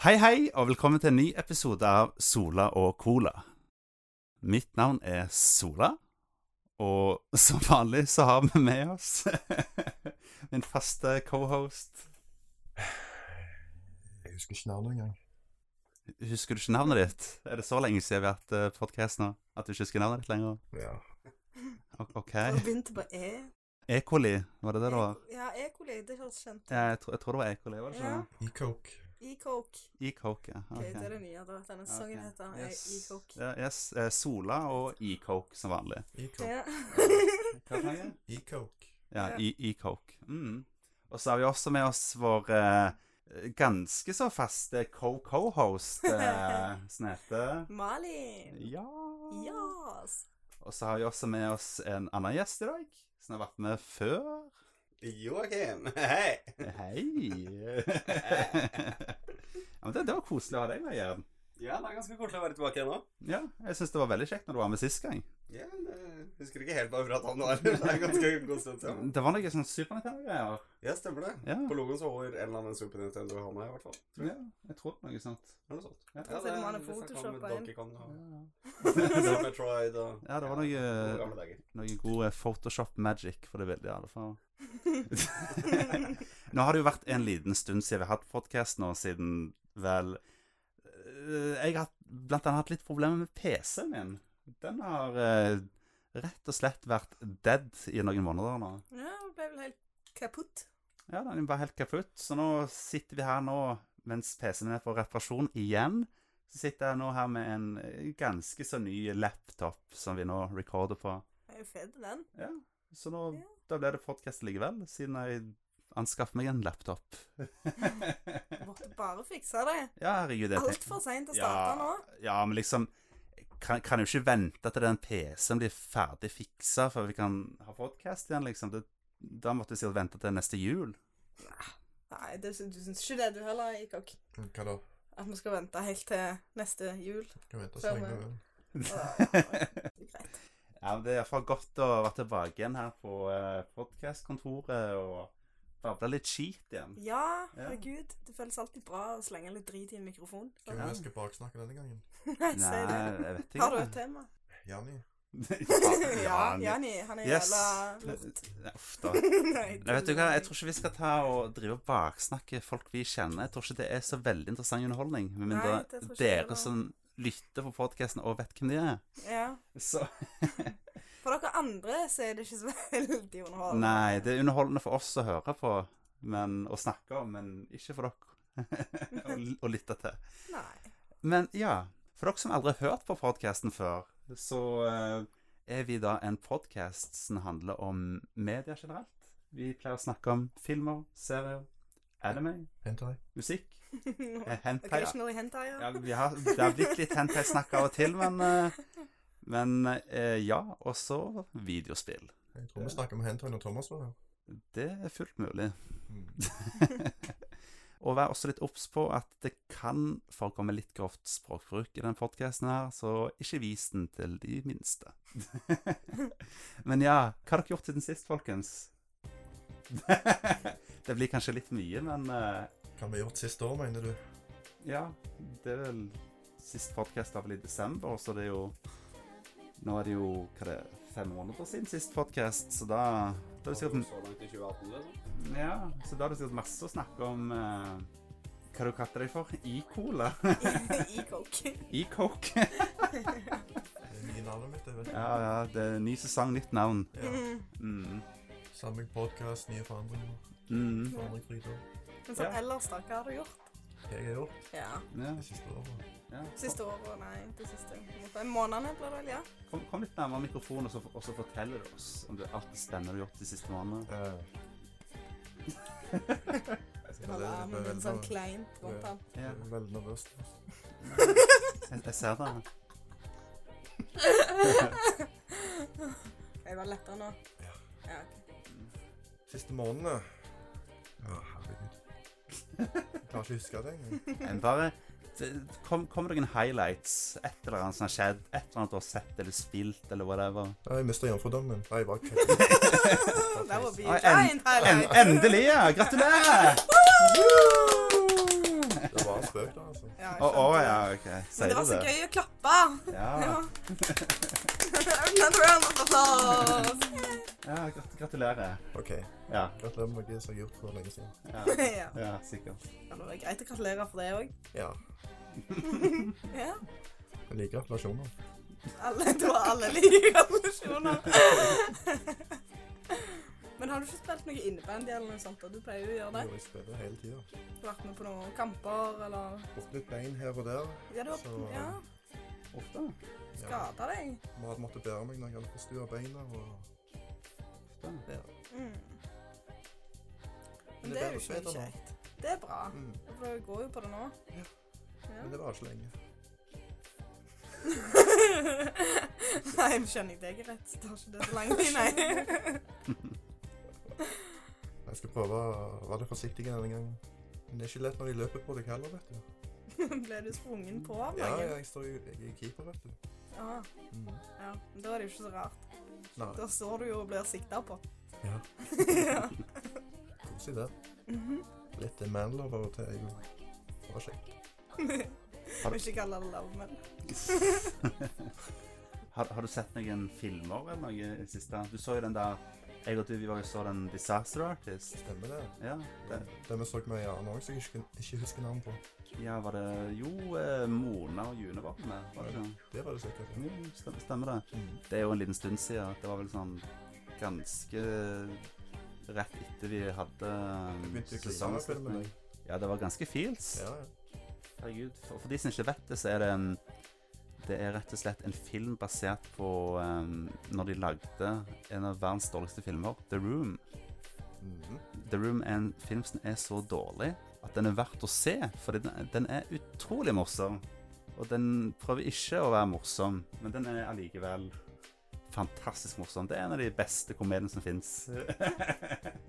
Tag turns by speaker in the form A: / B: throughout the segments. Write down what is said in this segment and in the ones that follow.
A: Hei, hei, og velkommen til en ny episode av Sola og Cola. Mitt navn er Sola, og som vanlig så har vi med oss min faste cohost.
B: Jeg husker ikke navnet engang.
A: Husker du ikke navnet ditt? Er det så lenge siden vi har hatt podkast nå at du ikke husker navnet ditt lenger?
B: Ja.
A: O- OK.
C: Og det begynte på E.
A: Ecoli, var det det det var?
C: Ja, E-coli. Det høres kjent ut.
A: Ja, jeg, tror, jeg tror det var Ecoli, var det ikke
C: Ja.
A: det?
B: E-coke.
C: E-coke.
A: E-coke, ja. ok.
C: Ok, Det er det nye. da. Denne sangen
A: Ok.
C: heter
A: Yes.
C: E-coke.
A: Ja, yes. eh, Sola og E-coke som vanlig.
B: E-coke.
C: Ja.
A: Hva for noe?
B: E-coke.
A: Ja,
C: Ja.
A: i, i coke. Mm. Og så har vi også med oss vår eh, ganske så faste co-co-host, eh, som heter
C: Malin.
A: Ja.
C: Yes.
A: Og så har vi også med oss en annen gjest i dag, som har vært med før.
D: Joakim, hei!
A: Hei! ja, men det, det var koselig å ha deg med igjen.
D: Ja, det er ganske koselig å være tilbake igjen nå.
A: Ja, jeg syns det var veldig kjekt når du var med sist gang.
D: Ja, det husker ikke helt hva vi pratet om nå, eller? Det er ganske god stund siden.
A: Det var noe sånn Super Nintendo-greier.
D: Mm. Ja, stemmer det.
A: Ja.
D: På logoen så holder en eller annen Super Nintendo i hånda, i hvert fall. Tror jeg.
A: ja, jeg tror det var noe sånt.
D: Eller noe sånt.
A: Ja,
D: det
C: til og med
D: er
C: han er
D: litt snakk om
C: photoshoppet
D: Donkey Kong
A: Ja,
D: og
A: ja.
D: Super Metroid og
A: Ja, det var noe- eh,
D: gode gamle dager.
A: Noe god eh, Photoshop magic for det bildet, i alle fall. nå har det jo vært en liten stund siden vi har hatt podkast nå, siden vel eh, Jeg har hatt- blant annet hatt litt problemer med PC-en min. Den har eh, rett og slett vært dead i noen måneder nå.
C: Ja, det ble vel helt kaputt.
A: Ja, den var helt kaputt, så nå sitter vi her nå mens PC-en er på reparasjon igjen. Så sitter jeg nå her med en eh, ganske så ny laptop som vi nå recorder på.
C: Det er jo fed, den.
A: Ja, så nå,
C: Ja.
A: da ble det podcast likevel, siden jeg anskaffet meg en laptop. ja,
C: Måtte bare fikse det.
A: herregud, jeg tenk-
C: Altfor seint å starte nå.
A: Ja, men liksom, kan, kan jo ikke vente til den PC-en blir ferdig fiksa før vi kan ha podcast igjen, liksom. Det, da måtte vi sikkert vente til neste jul.
C: Nei, det, syns- du syns ikke det, du heller, E-coke.
B: Mm, Hva da?
C: At vi skal vente helt til neste jul.
B: Kan vente så
C: Fem,
B: lenge
C: ja.
B: du vil.
C: Og- Greit.
A: Ja, men det er i hvert fall godt å være tilbake igjen her på eh, podcastkontoret og bable litt skit igjen.
C: Ja,
A: Ja.
C: herregud. Det føles alltid bra å slenge litt drit i en mikrofon.
B: Hva vil vi skal baksnakke denne gangen?
C: Nei,
A: Nei,
C: si det.
A: jeg vet ikke.
C: Har du et tema?
B: Jani?
C: ja,
A: Jan-
C: Jani. Han er
A: Yes.
C: jævla lort.
A: Ja, Uff da.
C: Nei,
A: Nei, vet du hva, jeg tror ikke vi skal ta og drive og baksnakke folk vi kjenner. Jeg tror ikke det er så veldig interessant underholdning, med mindre
C: Nei, det tror ikke jeg
A: dere
C: heller.
A: som lytter på podkasten og vet hvem de er.
C: Ja.
A: Så
C: For dere andre så er det ikke så veldig underholdende.
A: Nei, det er underholdende for oss å høre på men, og snakke om, men ikke for dere å l- å lytte til.
C: Nei.
A: Men ja, for dere som aldri har hørt på podkasten før, så eh, er vi da en podkast som handler om media generelt. Vi pleier å snakke om filmer, serier, anime,
B: Hentai?
A: musikk, eh,
C: Ok,
A: hentai.
C: ikke noe hentai, ja.
A: Ja, vi har, det har blitt litt hentai-snakk av og til, men, eh, men eh, ja. Og så videospill.
B: Jeg tror vi snakker om hentai når Thomas var her.
A: Det er fullt mulig.
B: Mm.
A: Og vær også litt obs på at det kan forekomme litt grovt språkbruk i den podkasten her, så ikke vis den til de minste. Men ja, hva har dere gjort siden sist, folkens? det blir kanskje litt mye, men eh,
B: Hva har vi gjort siste år, mener du?
A: ja, det er vel Sist podkast var vel i desember, så det er jo Nå er det jo hva det er, fem måneder siden sist podkast, så da, da er det
D: Så
A: sikkert
D: langt i 2018, liksom.
A: Ja, så da er det sikkert masse å snakke om eh, Hva du kalte deg for? E-cola?
C: I coke.
A: E-coke?
B: Det er nye navnet mitt, det vet du.
A: ja, ja, det er ny sesong, nytt navn.
B: Ja.
C: Mm.
A: Mm.
B: Samme podcast, nye forandringer.
A: Mm.
B: Forandring fryder.
C: Men sånn
A: Ja.
C: ellers, da, hva har du gjort?
B: Hva jeg har gjort
C: Ja.
A: Ja,
B: det siste året?
A: ja.
C: Siste året, nei, det siste. Fem månedene ble det vel, ja.
A: Kom, kom litt nærmere mikrofonen, og så, og så forteller du oss om det, alt det spennende du har gjort de siste månedene.
B: Eh. Ja, det- det
C: Alarmen
B: ble
C: din sånn
B: veldig-
C: kleint rundt han.
A: Ja,
B: Veldig nervøst.
A: jeg, jeg ser det.
C: Jeg var lettere nå. Ja, ok.
B: Siste månedene. Å, herregud. Jeg klarer ikke å huske det engang.
A: Jeg bare det- Kom, kom det noen highlights? Et eller annet som har skjedd? Et eller annet du har sett eller spilt, eller whatever?
B: Nei, Jeg mista jomfrudommen min. Nei, jeg bare kødder.
C: Det var
A: Oi,
C: big
A: en,
C: giant
A: en,
C: highlight.
A: endelig, ja! Gratulerer!
B: Det var spøk, da. altså.
C: Ja, jeg
A: Å, å,
C: skjønte
A: ja,
C: det.
A: OK.
C: Men
A: Sier
C: det var
A: du
C: så
A: det?
C: gøy å klappe.
A: Ja,
C: Ja. Another round of applause.
A: ja grat gratulerer.
B: OK.
A: Ja,
B: Gratulerer med det som er gjort for lenge siden.
A: ja,
C: ja.
A: ja, sikkert.
C: Ja, Det var greit å gratulere for det òg.
B: Ja.
C: Ja.
B: Jeg liker gratulasjoner.
C: Alle, det var alle like gratulasjoner. Men har du ikke spilt noe innebandy eller noe sånt? da? Du pleier jo å gjøre det.
B: Jo, Jeg spiller hele tida.
C: Du har vært med på noen kamper eller
B: Fått litt bein her og der.
C: Ja, du har
B: Så-
C: ja,
A: Ofte.
B: Ja.
C: skada deg.
B: Mat måtte bære meg når jeg hadde forstua beina. og...
A: ofte.
C: Mm.
B: Men det
C: Men det
B: ble
C: er jo
B: bedre
C: ikke
B: nå.
C: kjekt. Det er bra.
B: Mm.
C: For det går jo på det nå.
B: Ja.
C: Ja.
B: Men det varer ikke lenge.
C: nei, men skjønner jeg deg rett, så tar ikke det så lang tid, nei.
B: Jeg skal prøve å være litt forsiktig denne gangen. Men det er ikke lett når de løper på deg heller, vet du.
C: Ble du sprungen på av
B: Ja,
C: noen?
B: jeg står jo jeg er keeper, vet du.
C: Ah,
B: Mm.
C: ja. Men Da er det jo ikke så rart.
B: Nei.
C: Da står du jo og blir sikta på.
B: Ja.
C: ja.
B: Koselig, det.
C: Mhm.
B: Litt manlove av og til. er jo- Det var kjekt.
C: Vil ikke kalle det love, men
A: Har, har du sett noen filmer eller noe i det siste? Du så jo den der Jeg og du vi var jo så den 'Disaster Artist'.
B: Stemmer det.
A: Ja, det,
B: Det vi så med i annen òg, som jeg ikke, ikke husker navnet på.
A: ja var det Jo, eh, Mona og June var med. Var det ikke?
B: Det var det sikkert.
C: Mm.
A: Jo, stemmer, stemmer det.
B: Mm.
A: Det er jo en liten stund siden. Det var vel sånn ganske rett etter vi hadde
B: Jeg begynte å kline av filmen.
A: sesongavslutning.
B: jeg.
A: Ja, det var ganske feels.
B: Ja, ja.
A: Herregud. For, for de som ikke vet det, så er det en Det er rett og slett en film basert på um, når de lagde en av verdens dårligste filmer, The Room.
B: Mhm.
A: The Room er en film som er så dårlig at den er verdt å se, fordi den, den er utrolig morsom. Og den prøver ikke å være morsom, men den er allikevel fantastisk morsom. Det er en av de beste komediene som fins.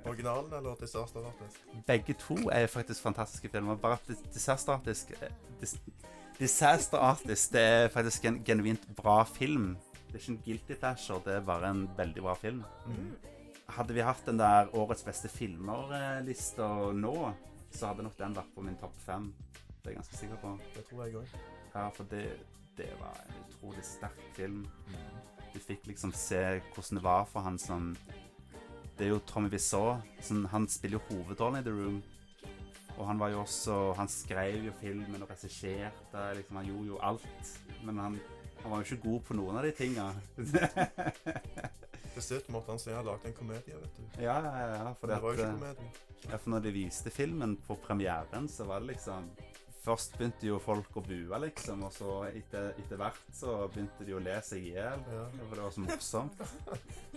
B: Originalen eller Disaster Artist?
A: Begge to er faktisk fantastiske filmer, bare at Dis- Disaster Artist dis, Disaster Artist det er faktisk en genuint bra film. Det er ikke en guilty pleasure, det er bare en veldig bra film.
B: Mm.
A: Hadde vi hatt den der årets beste filmer-lista nå, så hadde nok den vært på min topp fem. Det er jeg ganske sikker på.
B: Det tror jeg òg.
A: Ja, for det, det var en utrolig sterk film.
B: Mm.
A: Du fikk liksom se hvordan det var for han som Det er jo Tommy Wiseau. som- Han spiller jo hovedrollen i The Room. Og han var jo også Han skrev jo filmen og regisserte. Liksom, han gjorde jo alt. Men han, han var jo ikke god på noen av de tinga.
B: Til slutt måtte han si han lagde en komedie, vet du.
A: ja, ja, ja.
B: Men
A: Fordi
B: det var jo ikke
A: at, eh,
B: komedie.
A: Ja, for når de viste filmen på premieren, så var det liksom Først begynte jo folk å bue, liksom, og så etter, etter hvert så begynte de å le seg i hjel.
B: Ja.
A: For det var så morsomt.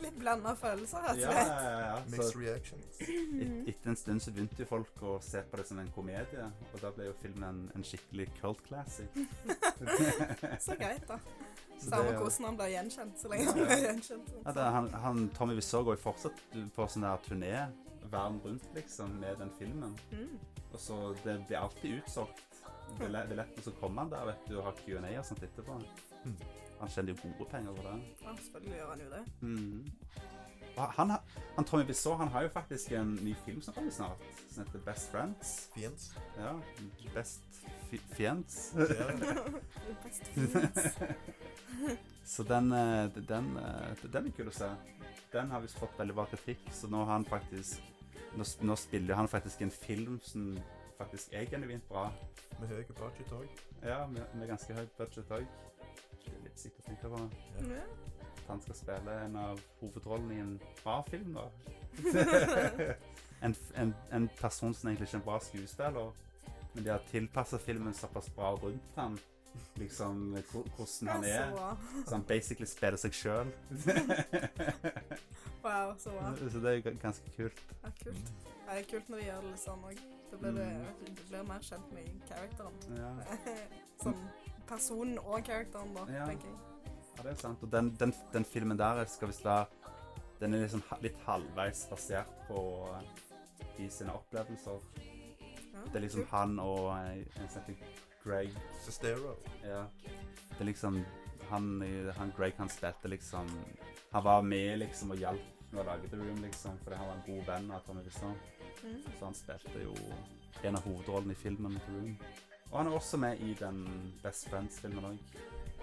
C: litt blanda følelser,
A: Ja,
C: rett og
A: ja,
C: slett.
A: ja, ja.
B: Mixed
A: Så
B: reactions.
A: et, etter en stund så begynte jo folk å se på det som en komedie, og da ble jo filmen en, en skikkelig cult classic.
C: Så greit, da.
A: Så
C: Samme
A: det-
C: hvordan han blir gjenkjent, så lenge han
A: Ja, ja.
C: blir gjenkjent.
A: Ja, det, han, han, Tommy Wiseau går jo fortsatt på sånn der turné verden rundt, liksom, med den filmen.
C: Mm.
A: Og så Det blir alltid utsolgt. Det er le- det er lett, og så kommer han der vet du, og har Q&A og sånt etterpå.
B: Mm.
A: Han tjener jo gode penger på det.
C: Ja, selvfølgelig gjør han jo det.
A: Og Han, har- han Tommy Wiseau han har jo faktisk en ny film som kommer snart, som heter Best Friends.
B: Fiends.
A: Ja, Best fi Fiends.
B: Ja,
C: Det er best fint.
A: Så den, eh, den, eh, den er kul å se. Den har visst fått veldig bra kritikk, så nå har han faktisk Nå, sp- nå spiller han faktisk en film som faktisk er genuint bra.
B: Med høy budget òg.
A: Ja, med, med ganske høyt budsjett òg. Det er litt sykt å tenke på.
C: Ja.
A: At han skal spille en av hovedrollene i en bra film, da. en, f- en, en person som egentlig ikke er en bra skuespiller, men de har tilpassa filmen såpass bra rundt han. Liksom hvor- hvordan han
C: Ja, Så
A: er.
C: bra.
A: Så han basically spiller seg sjøl.
C: Wow, så bra.
A: Så det er ga- ganske kult.
C: Ja, kult.
B: Mm.
C: Ja, det er kult når de gjør det litt sånn òg. Da blir det,
A: Mm.
C: du blir mer kjent med characteren.
A: Ja,
C: Sånn personen og characteren, da,
A: Ja.
C: tenker jeg.
A: ja det er sant. Og den, den, den filmen der skal visst være Den er liksom ha- litt halvveis basert på eh, de sine opplevelser.
C: Ja,
A: Det er liksom
C: kult.
A: han og eh, en som heter Greg
B: Sestero.
A: Ja. Det er liksom han, i- han Greg han spilte liksom Han var med liksom og hjalp med å lage The Room, liksom, fordi han var en god venn av Tommy Wiseau.
C: Mm.
A: Så han spilte jo en av hovedrollene i filmen The Room. Og han er også med i den Best Friends-filmen òg.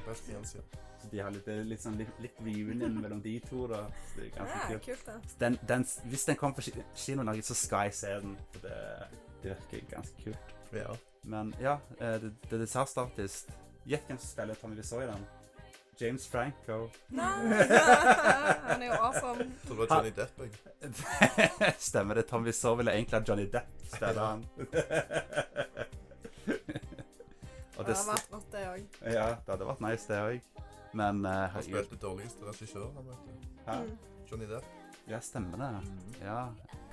B: Best Jens, ja.
A: Så de har litt, det er litt, sånn, litt, litt reunion mellom de to, da. Så det er ganske
C: Ja,
A: kult.
C: kult, det.
A: Så Den, den, hvis den kommer på ki- kino i Norge, så skal jeg se den. For det, det virker ganske kult.
B: ja.
A: Men ja, eh, The, The Disaster Artist Gjett hvem som spiller Tommy Wiseau i den? James Franco.
C: Nei! Han er jo awesome.
B: Tror det var Johnny Depp, jeg.
A: Stemmer det. Tom Wiseau ville egentlig ha Johnny Depp stedet han. Og
C: Det
A: det,
C: har vært godt, det òg.
A: ja, det hadde vært nice, det òg. Men eh,
B: Han
A: herregud.
B: spilte dårligste regissør, han vet du.
A: Hæ?
C: Mm.
B: Johnny Depp.
A: Ja, stemmer det. Ja.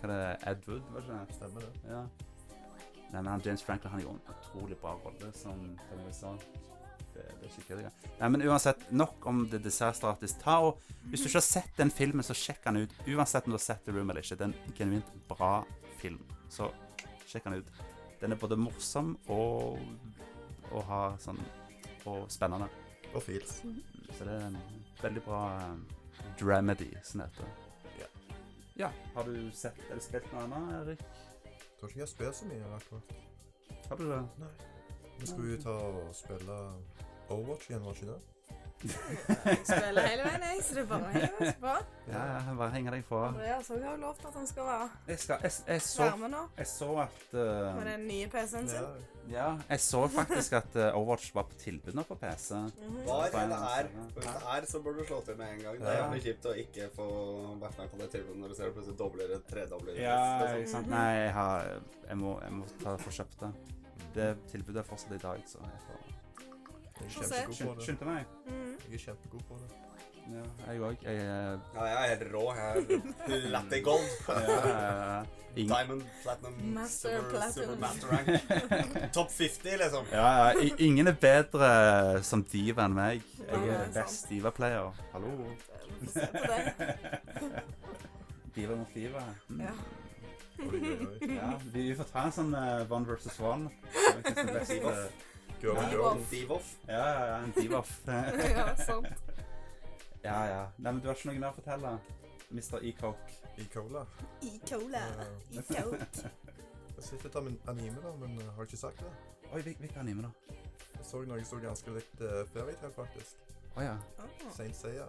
A: Hva er det? Ed Wood, var det ikke det?
B: Stemmer det.
A: Ja. Nei, men han, James Franklin han gjorde en utrolig bra rolle som Tommy Wiseau. Det, det er skikkelig gøy. Nei, men uansett, nok om The Disaster Artist. Ta og, hvis du ikke har sett den filmen, så sjekk den ut. Uansett om du har sett The Room eller ikke. Det er en genuint bra film. Så sjekk den ut. Den er både morsom og, og, har sånn, og spennende.
B: Og Fields.
A: Så det er en veldig bra eh, dramedy, som det heter.
B: Ja.
A: Ja. Har du sett eller spilt noe annet, Erik?
B: Tror ikke jeg spiller så mye akkurat.
A: Har du det?
B: Nei. Vi skulle jo ta og spille Overwatch igjen, var det ikke det?
C: Spiller hele veien, jeg, så det er bare å henge seg på.
A: Ja, ja, bare henger deg på.
C: Andreas òg har jo lovt at han skal være,
A: Jeg, skal, jeg, jeg, så,
C: være med nå
A: jeg så at eh,
C: med den nye PC-en sin.
B: Ja.
A: Ja, jeg så faktisk at eh, Overwatch var på tilbud nå på PC.
C: Mhm.
D: Var eller er. For Hvis det er, så burde du slå til med en gang. Det er
A: Ja.
D: jævlig kjipt å ikke få vært med på det tilbudet når du ser det plutselig dobler det, tredobler liksom. det.
A: ikke sant? sånn, Nei, jeg, har, jeg, må, jeg må ta få kjøpt det. Det tilbudet er fortsatt i dag, så jeg får
B: Jeg er
C: Få se.
B: kjempegod på
A: Skynd-
B: det.
A: Skyndte meg.
C: Mhm.
B: Jeg er kjempegod på det.
A: Ja, jeg òg. Jeg eh,
D: Ja, jeg er helt rå. Jeg er Latte gold.
A: ja, eh, ing-
D: Diamond, platinum,
C: Master
D: silver,
C: platinum.
D: silver master rank. Topp 50, liksom.
A: ja, ja, i- ingen er bedre som diva enn meg. Jeg
C: Ja,
A: er
C: det er
A: best diva-player. Hallo.
C: Vi får se på det.
A: Diva mot diva. Mm.
C: Ja.
B: Oi, oi, oi.
A: Ja, vi får ta en sånn eh, one versus one. Hvem som er best, eh,
B: Girl and girl.
D: Divoff.
A: Ja, ja, ja, en divoff.
C: ja, sant.
A: ja, ja. Nei, men du har ikke noe mer å fortelle? E Mr. E-Coke.
B: I cola.
C: I cola. I coke.
B: Jeg sitter litt av min anime, da, men eh, har jeg ikke sagt det?
A: Oi, hvil- hvilken anime da?
B: Jeg så noe som så ganske likt uh, Fairytale, faktisk.
A: Å ja.
C: Åh.
B: Saint Seiya.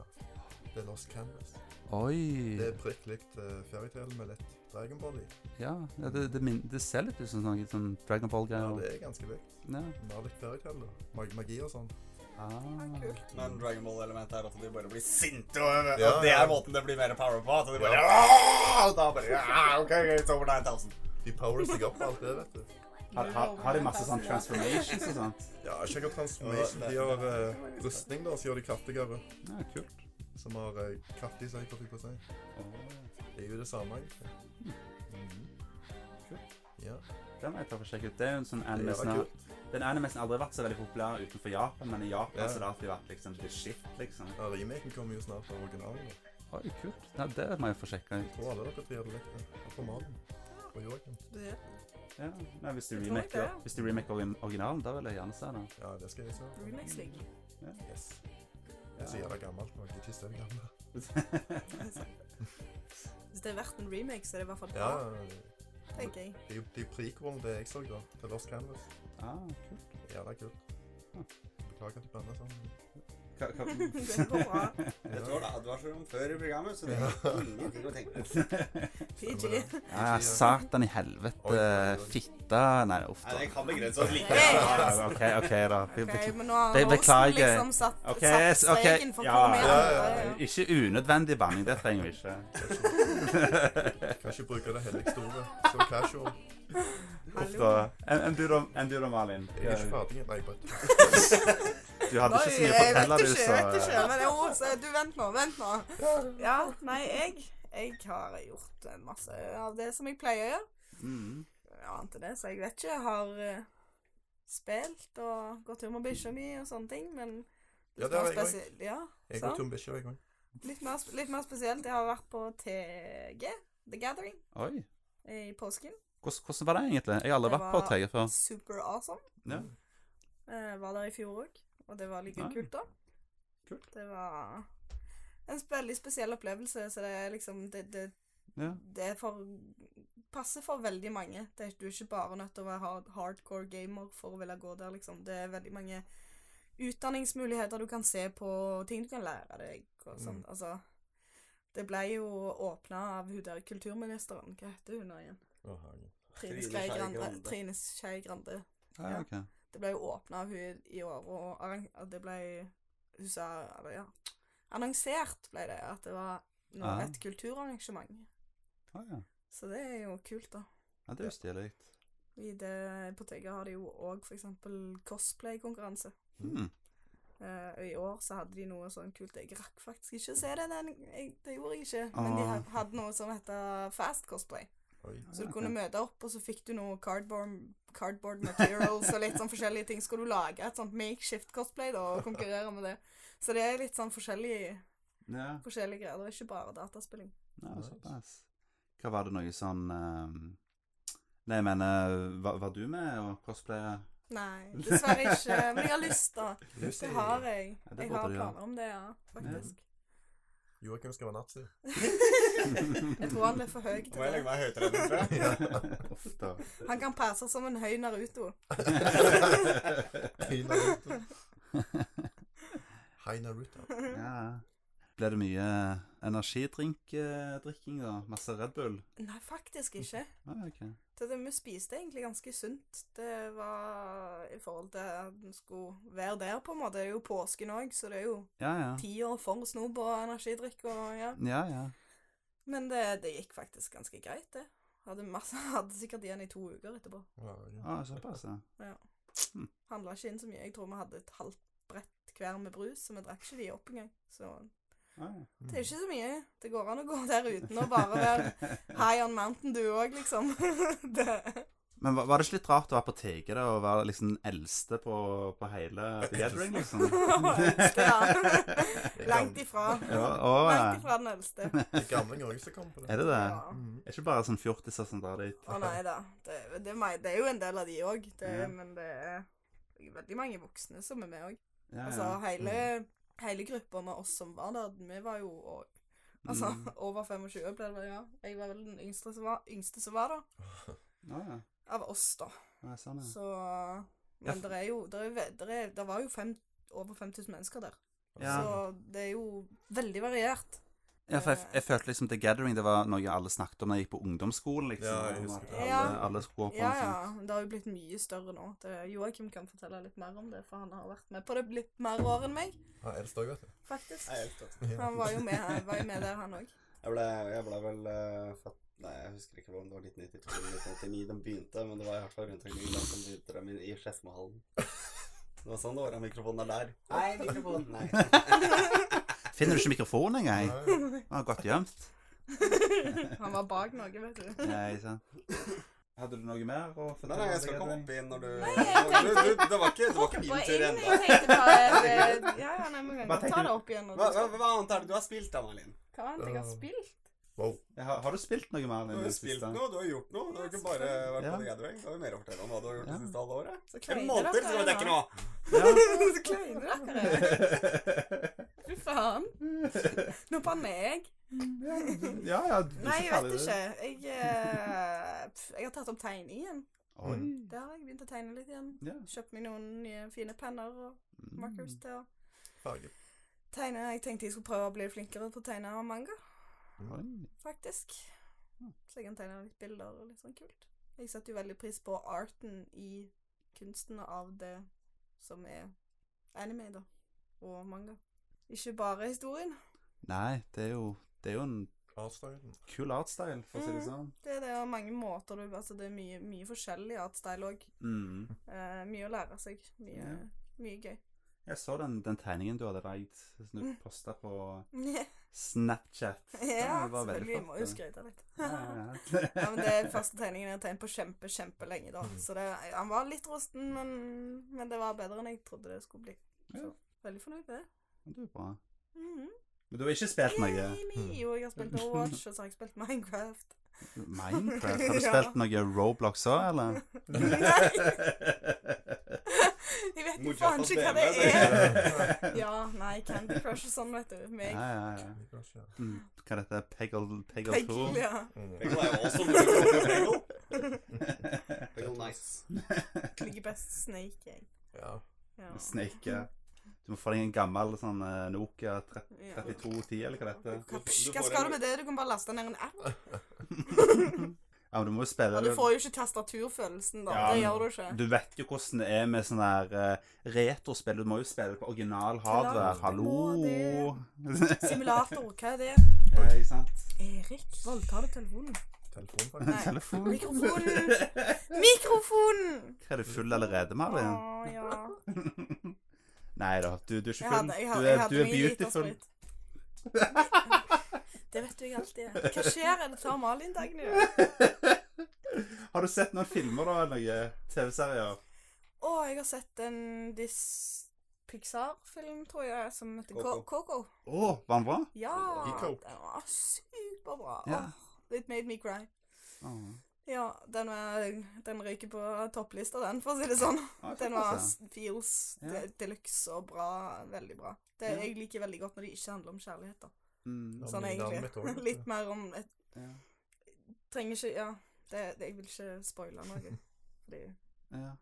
B: The Lost Canvas. Det
A: Oi.
B: er prikk likt eh, Fairytale med litt Dragon Ball i.
A: Ja, ja det, det, min, det ser litt ut som noe sånn Dragon
B: Ja,
A: Ball-greier.
B: det er ganske likt.
A: Ja.
B: Mer likt Fairytale, da. Mag magi og sånn.
A: Ah.
C: Kult.
D: Men Dragon Ball-elementet er at de bare blir sinte, og, og
B: Ja,
D: det
B: ja.
D: er måten det blir mer power på. At de bare
B: Ja.
D: «Åh!» Og Da bare «Ja, OK, it's over 9000.
B: De power seg opp og alt det, vet du.
A: Har, har, har de masse sånn transformations og sånt?
B: Ja, sjekk opp transformation. De har eh, rustning, da, så gjør de kraftigere.
A: Ja, kult.
B: Som har eh, kraft i seg, hva fikk jeg på seg.
A: Å,
B: Det er jo det samme, egentlig. Mhm.
A: Kult.
B: Ja,
A: Den må jeg ta for å sjekke ut. Det er jo en sånn
B: det
A: anime
B: er
A: som har-
B: kult.
A: Den anime som aldri har vært så veldig populær utenfor Japan, men i Japan
B: Ja.
A: så har det alltid vært liksom the shit, liksom.
B: Ja, remaken kommer jo snart av originalen. da.
A: Oi, kult. Ja, det må jeg få sjekka ut.
B: Jeg tror alle dere tre hadde likt det. Og på mannen. Og Joakim.
C: Det-
A: Ja. Nei, hvis de
C: Jeg tror nok
A: remaker,
C: det.
A: hvis de remaker ori- originalen, da vil jeg gjerne se den.
B: Ja, det skal jeg se.
C: Remix ligger.
B: Yes. Det er så jævla gammelt. nå. Jeg er ikke så gammel.
C: Hvis det er verdt en remake, så er det i hvert fall
B: Ja,
C: bra, tenker jeg.
B: det er jo de prequelene det jeg så, da. Til Lost Canvas.
A: Ah, kult.
B: Ja, det er kult. Beklager at jeg blander sånn. sammen.
C: Ah,
A: Hva, hva,
C: Det går bra.
D: Dette var det advarsler om før i programmet, så det er ingenting å tenke på.
C: PG.
B: eh,
A: Ja, satan i helvete.
B: Oi, oi, oi.
A: Fitta Nei, uff
D: Nei,
A: da.
D: det kan begrense oss like
C: Hey!
A: Ja, OK, OK, da. Be-
C: Ok,
A: bekl-
C: men nå har
A: Be-
C: Rosen
A: beklager.
C: liksom satt,
A: OK,
C: satt
A: s- OK.
C: streken for
A: Ja,
C: hvor vi
B: ja, ja,
C: er.
B: ja.
A: Ikke unødvendig banning. Det trenger vi ikke.
B: Kan ikke bruke det hellige store. Så casual.
A: Uff da. Enn en du, da, en du da, Malin?
B: Jeg er ikke ferdig. Nei, bare
A: Du hadde ikke så mye å fortelle, du,
C: Jeg vet
A: så
C: ikke. Men jo, så du, vent nå, vent nå. Ja, nei, jeg, jeg har gjort en masse av det som jeg pleier å gjøre.
A: Mm.
C: Jeg ante det, så jeg vet ikke. Jeg har eh, spilt og gått tur med bikkja mi og sånne ting, men
B: Ja, det har
C: mer
B: jeg også.
C: spesielt- sånn. Ja,
B: Jeg går
C: sant?
B: tom bikkje hver gang.
C: Litt mer, sp- litt mer spesielt. Jeg har vært på TG, The Gathering,
A: Oi.
C: i påsken.
A: Hvordan, hvordan var det egentlig? Jeg har aldri
C: Det
A: vært på
C: var-
A: Tøye før.
C: Super awesome.
A: Ja.
C: Eh, var der i fjor òg, og det var like
A: Ah.
C: kult, da.
A: Kult.
C: Det var en veldig spesiell opplevelse, så det er liksom det, det
A: Ja.
C: Det er for passer for veldig mange. Det er, du er ikke bare nødt til å være hard, hardcore gamer for å ville gå der, liksom. Det er veldig mange utdanningsmuligheter du kan se på, ting du kan lære deg og sånn. Altså Det ble jo åpna av hun der kulturministeren. Hva heter hun nå igjen?
B: Å, herregud.
C: Trine
D: Trine
C: Skei
D: Skei
C: Grande.
D: Grande.
C: Trine Skei Grande.
A: Ja,
C: Ja.
A: ok.
C: Det ble jo åpna av hun i år, og arran- at det ble Hun sa eller ja, Annonsert ble det at det var nå
A: Ja.
C: et kulturarrangement.
A: Ah, ja.
C: Så det er jo kult, da.
A: ja, det er jo stilig.
C: I det på Tega har de jo òg f.eks. cosplay-konkurranse.
A: Hmm.
C: Eh, og I år så hadde de noe sånn kult Jeg rakk faktisk ikke å se det, den, jeg, det gjorde jeg ikke. Men de
A: Ah.
C: ha- hadde noe som heter fast cosplay.
B: Oi.
C: Så du
A: ok.
C: kunne møte opp, og så fikk du noe cardboard, cardboard materials og litt sånn forskjellige ting. Skulle du lage et sånt makeshift cosplay da, og konkurrere med det. Så det er litt sånn forskjellige,
A: Ja.
C: forskjellige greier. Det er ikke bare dataspilling.
A: Ja,
B: Nice.
A: såpass. Hva var det noe sånn ehm, Nei, jeg mener, var, var du med og cosplaya?
C: Nei, dessverre ikke. Men jeg har lyst, da.
B: Lucy.
C: Det har jeg.
A: Ja, det
C: Jeg
A: burde
C: har
A: du gjøre.
C: planer om det, ja. Faktisk.
B: Joakim skal være nazi.
C: Jeg tror han er for høy til
D: Må jeg
C: det.
D: legge meg høytere enn dere?
A: Uff da.
C: Han kan passe som en høy Naruto.
B: Hei, Naruto. Hei, Naruto.
A: Ja. Ble det mye energidrikking, da? Masse Red Bull?
C: Nei, faktisk ikke.
A: Ah, ok.
C: Så det vi spiste egentlig ganske sunt. Det var i forhold til at en skulle være der, på en måte. Det er jo påsken òg, så det er jo
A: Ja, ja.
C: tida for snob og energidrikk og ja.
A: Ja, ja.
C: Men det, det gikk faktisk ganske greit, det. Hadde, masse, hadde sikkert igjen i to uker etterpå.
B: Herregud.
A: Ah, såpass, ja.
C: Handla ikke inn så mye. Jeg tror vi hadde et halvt brett hver med brus, så vi drakk ikke de opp engang. Så
A: Ah, ja.
C: det er ikke så mye. Det går an å gå der uten å bare være high on mountain, du òg, liksom. det
A: Men var, var det ikke litt rart å være på TG da, og være liksom den eldste på, på hele The Gathering, liksom?
C: Eldste, ja. Langt ifra.
A: Ja, å,
C: Langt
A: ja.
C: ifra den eldste.
B: Det er gamle Norge som kommer på det.
A: Er det det?
C: Ja.
B: Mhm.
A: Er ikke bare sånn fjortiser som drar dit?
C: Å nei da. Det, det, er meg- det er jo en del av de òg,
A: Ja.
C: men det er veldig mange voksne som er med òg.
A: Ja, mm.
C: Altså hele, hele gruppa med oss som var der, vi var jo og, altså,
A: Mm.
C: over 25 ble det vel, ja. Jeg var vel den yngste som var, yngste som var der.
A: Ah, ja.
C: Av oss, da.
A: Ja, sånn, ja.
C: Så
A: Ja,
C: Men
A: for-
C: det er jo Det, er, jo ve- der er, der var jo fem, over 5000 mennesker der.
A: Ja.
C: Så det er jo veldig variert.
A: Ja, for jeg, jeg følte liksom The Gathering det var noe alle snakket om da jeg gikk på ungdomsskolen. liksom.
B: Ja, jeg
A: om
B: husker
A: at
B: det.
A: alle,
C: Ja.
A: alle skulle gå på
C: Ja,
A: en
C: ja.
A: sånn.
C: Det har jo blitt mye større nå. Det- Joakim kan fortelle litt mer om det, for han har vært med på det litt mer år enn meg,
B: Han er eldst òg, vet du.
C: faktisk.
D: Nei, jeg vet ikke.
C: Han var jo med, her, var jo med der, han òg.
D: Jeg ble, jeg ble vel eh, født Nei, jeg husker ikke hvordan det var 1992 eller 1989 de begynte, men det var i hvert fall rundt omkring da som begynte dem i, i Skedsmohallen. Det var sånn det var. Den mikrofonen er der. Nei, mikrofonen. Nei.
A: Finner du ikke mikrofonen engang?
B: Nei.
A: Ah, godt gjemt.
C: Han var bak noe, vet du.
A: Nei, sant. Hadde du noe mer å
D: Nei, nei, jeg skal ikke hoppe inn når du,
C: jeg
D: du, du Det var ikke, det var ikke min tur ennå.
C: tenkte bare det, Ja, ja, nei,
A: Hva
C: men kan ta
A: tenker
C: det opp igjen.
D: Hva,
C: Når du
D: hva,
C: skal.
D: hva annet er det du har spilt da, Malin?
C: Hva annet jeg har spilt?
B: Wow.
A: Har, har du spilt noe mer?
D: Du har jo spilt noe, du har gjort noe. Du har ikke bare vært på
A: Ja.
D: The Gathering. Du har jo mer å fortelle om hva du har gjort
A: Ja.
D: det siste halve året. Så
C: Kleiner
D: fem måneder
C: dere
D: skal vi
A: Ja.
C: nå?
D: dekke nå.
C: Så kleine dere er. Fy faen. Nå banner jeg.
A: ja, ja. du- du er
C: Nei, jeg
A: ferdig, du.
C: vet ikke. Jeg, eh, pff, jeg har tatt opp tegning igjen.
A: Oi.
D: Mm.
C: Der har jeg begynt å tegne litt igjen.
A: Ja.
C: Kjøpt meg noen nye fine penner og markers
D: Mm.
C: til å
B: Farge.
C: tegne. Jeg tenkte jeg skulle prøve å bli flinkere på å tegne manga,
A: Mm. Oi.
C: faktisk.
A: Hmm.
C: Så jeg kan tegne litt bilder og litt sånn kult. Jeg setter jo veldig pris på arten i kunsten av det som er anime, da. Og manga. Ikke bare historien.
A: Nei, det er jo det er jo en
B: Artstylen.
A: kul artstyle, for å si det sånn.
C: Det er det og mange måter du Altså, det er mye, mye forskjellig artstyle òg.
A: Mm.
C: Eh, mye å lære seg. Mye,
A: Ja.
C: mye gøy.
A: Jeg så den, den tegningen du hadde lagd, som du posta på
C: ja,
A: Snapchat. Den var veldig
C: selvfølgelig. Vi
A: flott,
C: må jo
A: den.
C: skryte litt.
A: Ja, ja, ja.
C: Ja, men Det er første tegningen jeg har tegnet på kjempe, kjempelenge. da.
A: Mm.
C: Så det, Han var litt rosten, men, men det var bedre enn jeg trodde det skulle bli.
A: Ja.
C: Så, veldig fornøyd med det.
A: Men Det er bra.
C: Mhm.
A: Men du har ikke spilt Mm. noe
C: Yay! Jo, jeg har spilt Overwatch, og så har jeg spilt Minecraft.
A: Minecraft? Har du
C: Ja.
A: spilt noe Roblox òg, eller?
C: Nei, Jeg vet jo
D: Mojang
C: faen ikke hva det er. Ja, nei, Candy Crush og sånn, vet du.
A: Ja,
C: Meg.
A: ja, ja. Mm. Hva er dette? Peggle, Peggle 2?
C: Peggle, ja.
D: Jeg var jo også mulig å få Peggle. Peggle nice.
C: Ligger best Snake, jeg.
B: Ja.
C: Ja.
A: Snake. ja. Du må få deg en gammel sånn eh, Nokia 30-
C: Ja.
A: 3210, eller hva det heter.
C: Hva, psj, hva skal du med det? Du kan bare laste ned en app.
A: Ja, men du må jo spille
C: Og du får jo ikke tastaturfølelsen, da.
A: Ja,
C: Det
A: men-
C: gjør du ikke.
A: Du vet jo hvordan det er med sånne her eh, retrospill. Du må jo spille på original hardware.
C: Klart, du må
A: Hallo!
C: Simulator, hva er det?
A: Ja, ikke sant?
C: Erik, voldtar du telefonen?
B: Telefon, faktisk.
C: Nei.
A: Telefon.
C: Mikrofonen! Mikrofonen!
A: Hva er du full allerede,
C: Å,
A: Marvin?
C: ja.
A: Nei da, du, du er ikke
C: Jeg
A: full.
C: hadde, jeg
A: Du
C: hadde, jeg
A: er,
C: hadde
A: du er
C: mye liter
A: beautiful.
C: sprit. Det vet du jeg alltid er. Hva skjer? Er det tar Malin dagen i dag?
A: Har du sett noen filmer, da? eller Noen TV-serier?
C: Å, jeg har sett en dis... Pixar-film, tror jeg, som heter
D: Coco.
C: Co- Coco.
A: Å, var den bra?
C: Ja!
B: Coco.
C: Den var superbra.
A: Ja.
C: Åh, it made me cry.
A: Å.
C: Ja, den, var, den røyker på topplista, den, for å si det sånn.
A: Ja,
C: Den var
A: såpass,
C: s- feels
A: Ja.
C: de deluxe og bra. Veldig bra. Det
A: Ja.
C: jeg liker veldig godt når det ikke handler om kjærlighet, da.
A: ja. Mm,
B: Ja,
C: Sånn
B: men det er
C: egentlig.
B: mitt også, vet du.
C: Litt mer om et,
A: ja.
C: Trenger ikke Ja, det, det, jeg vil ikke spoile noe. Fordi
A: Ja.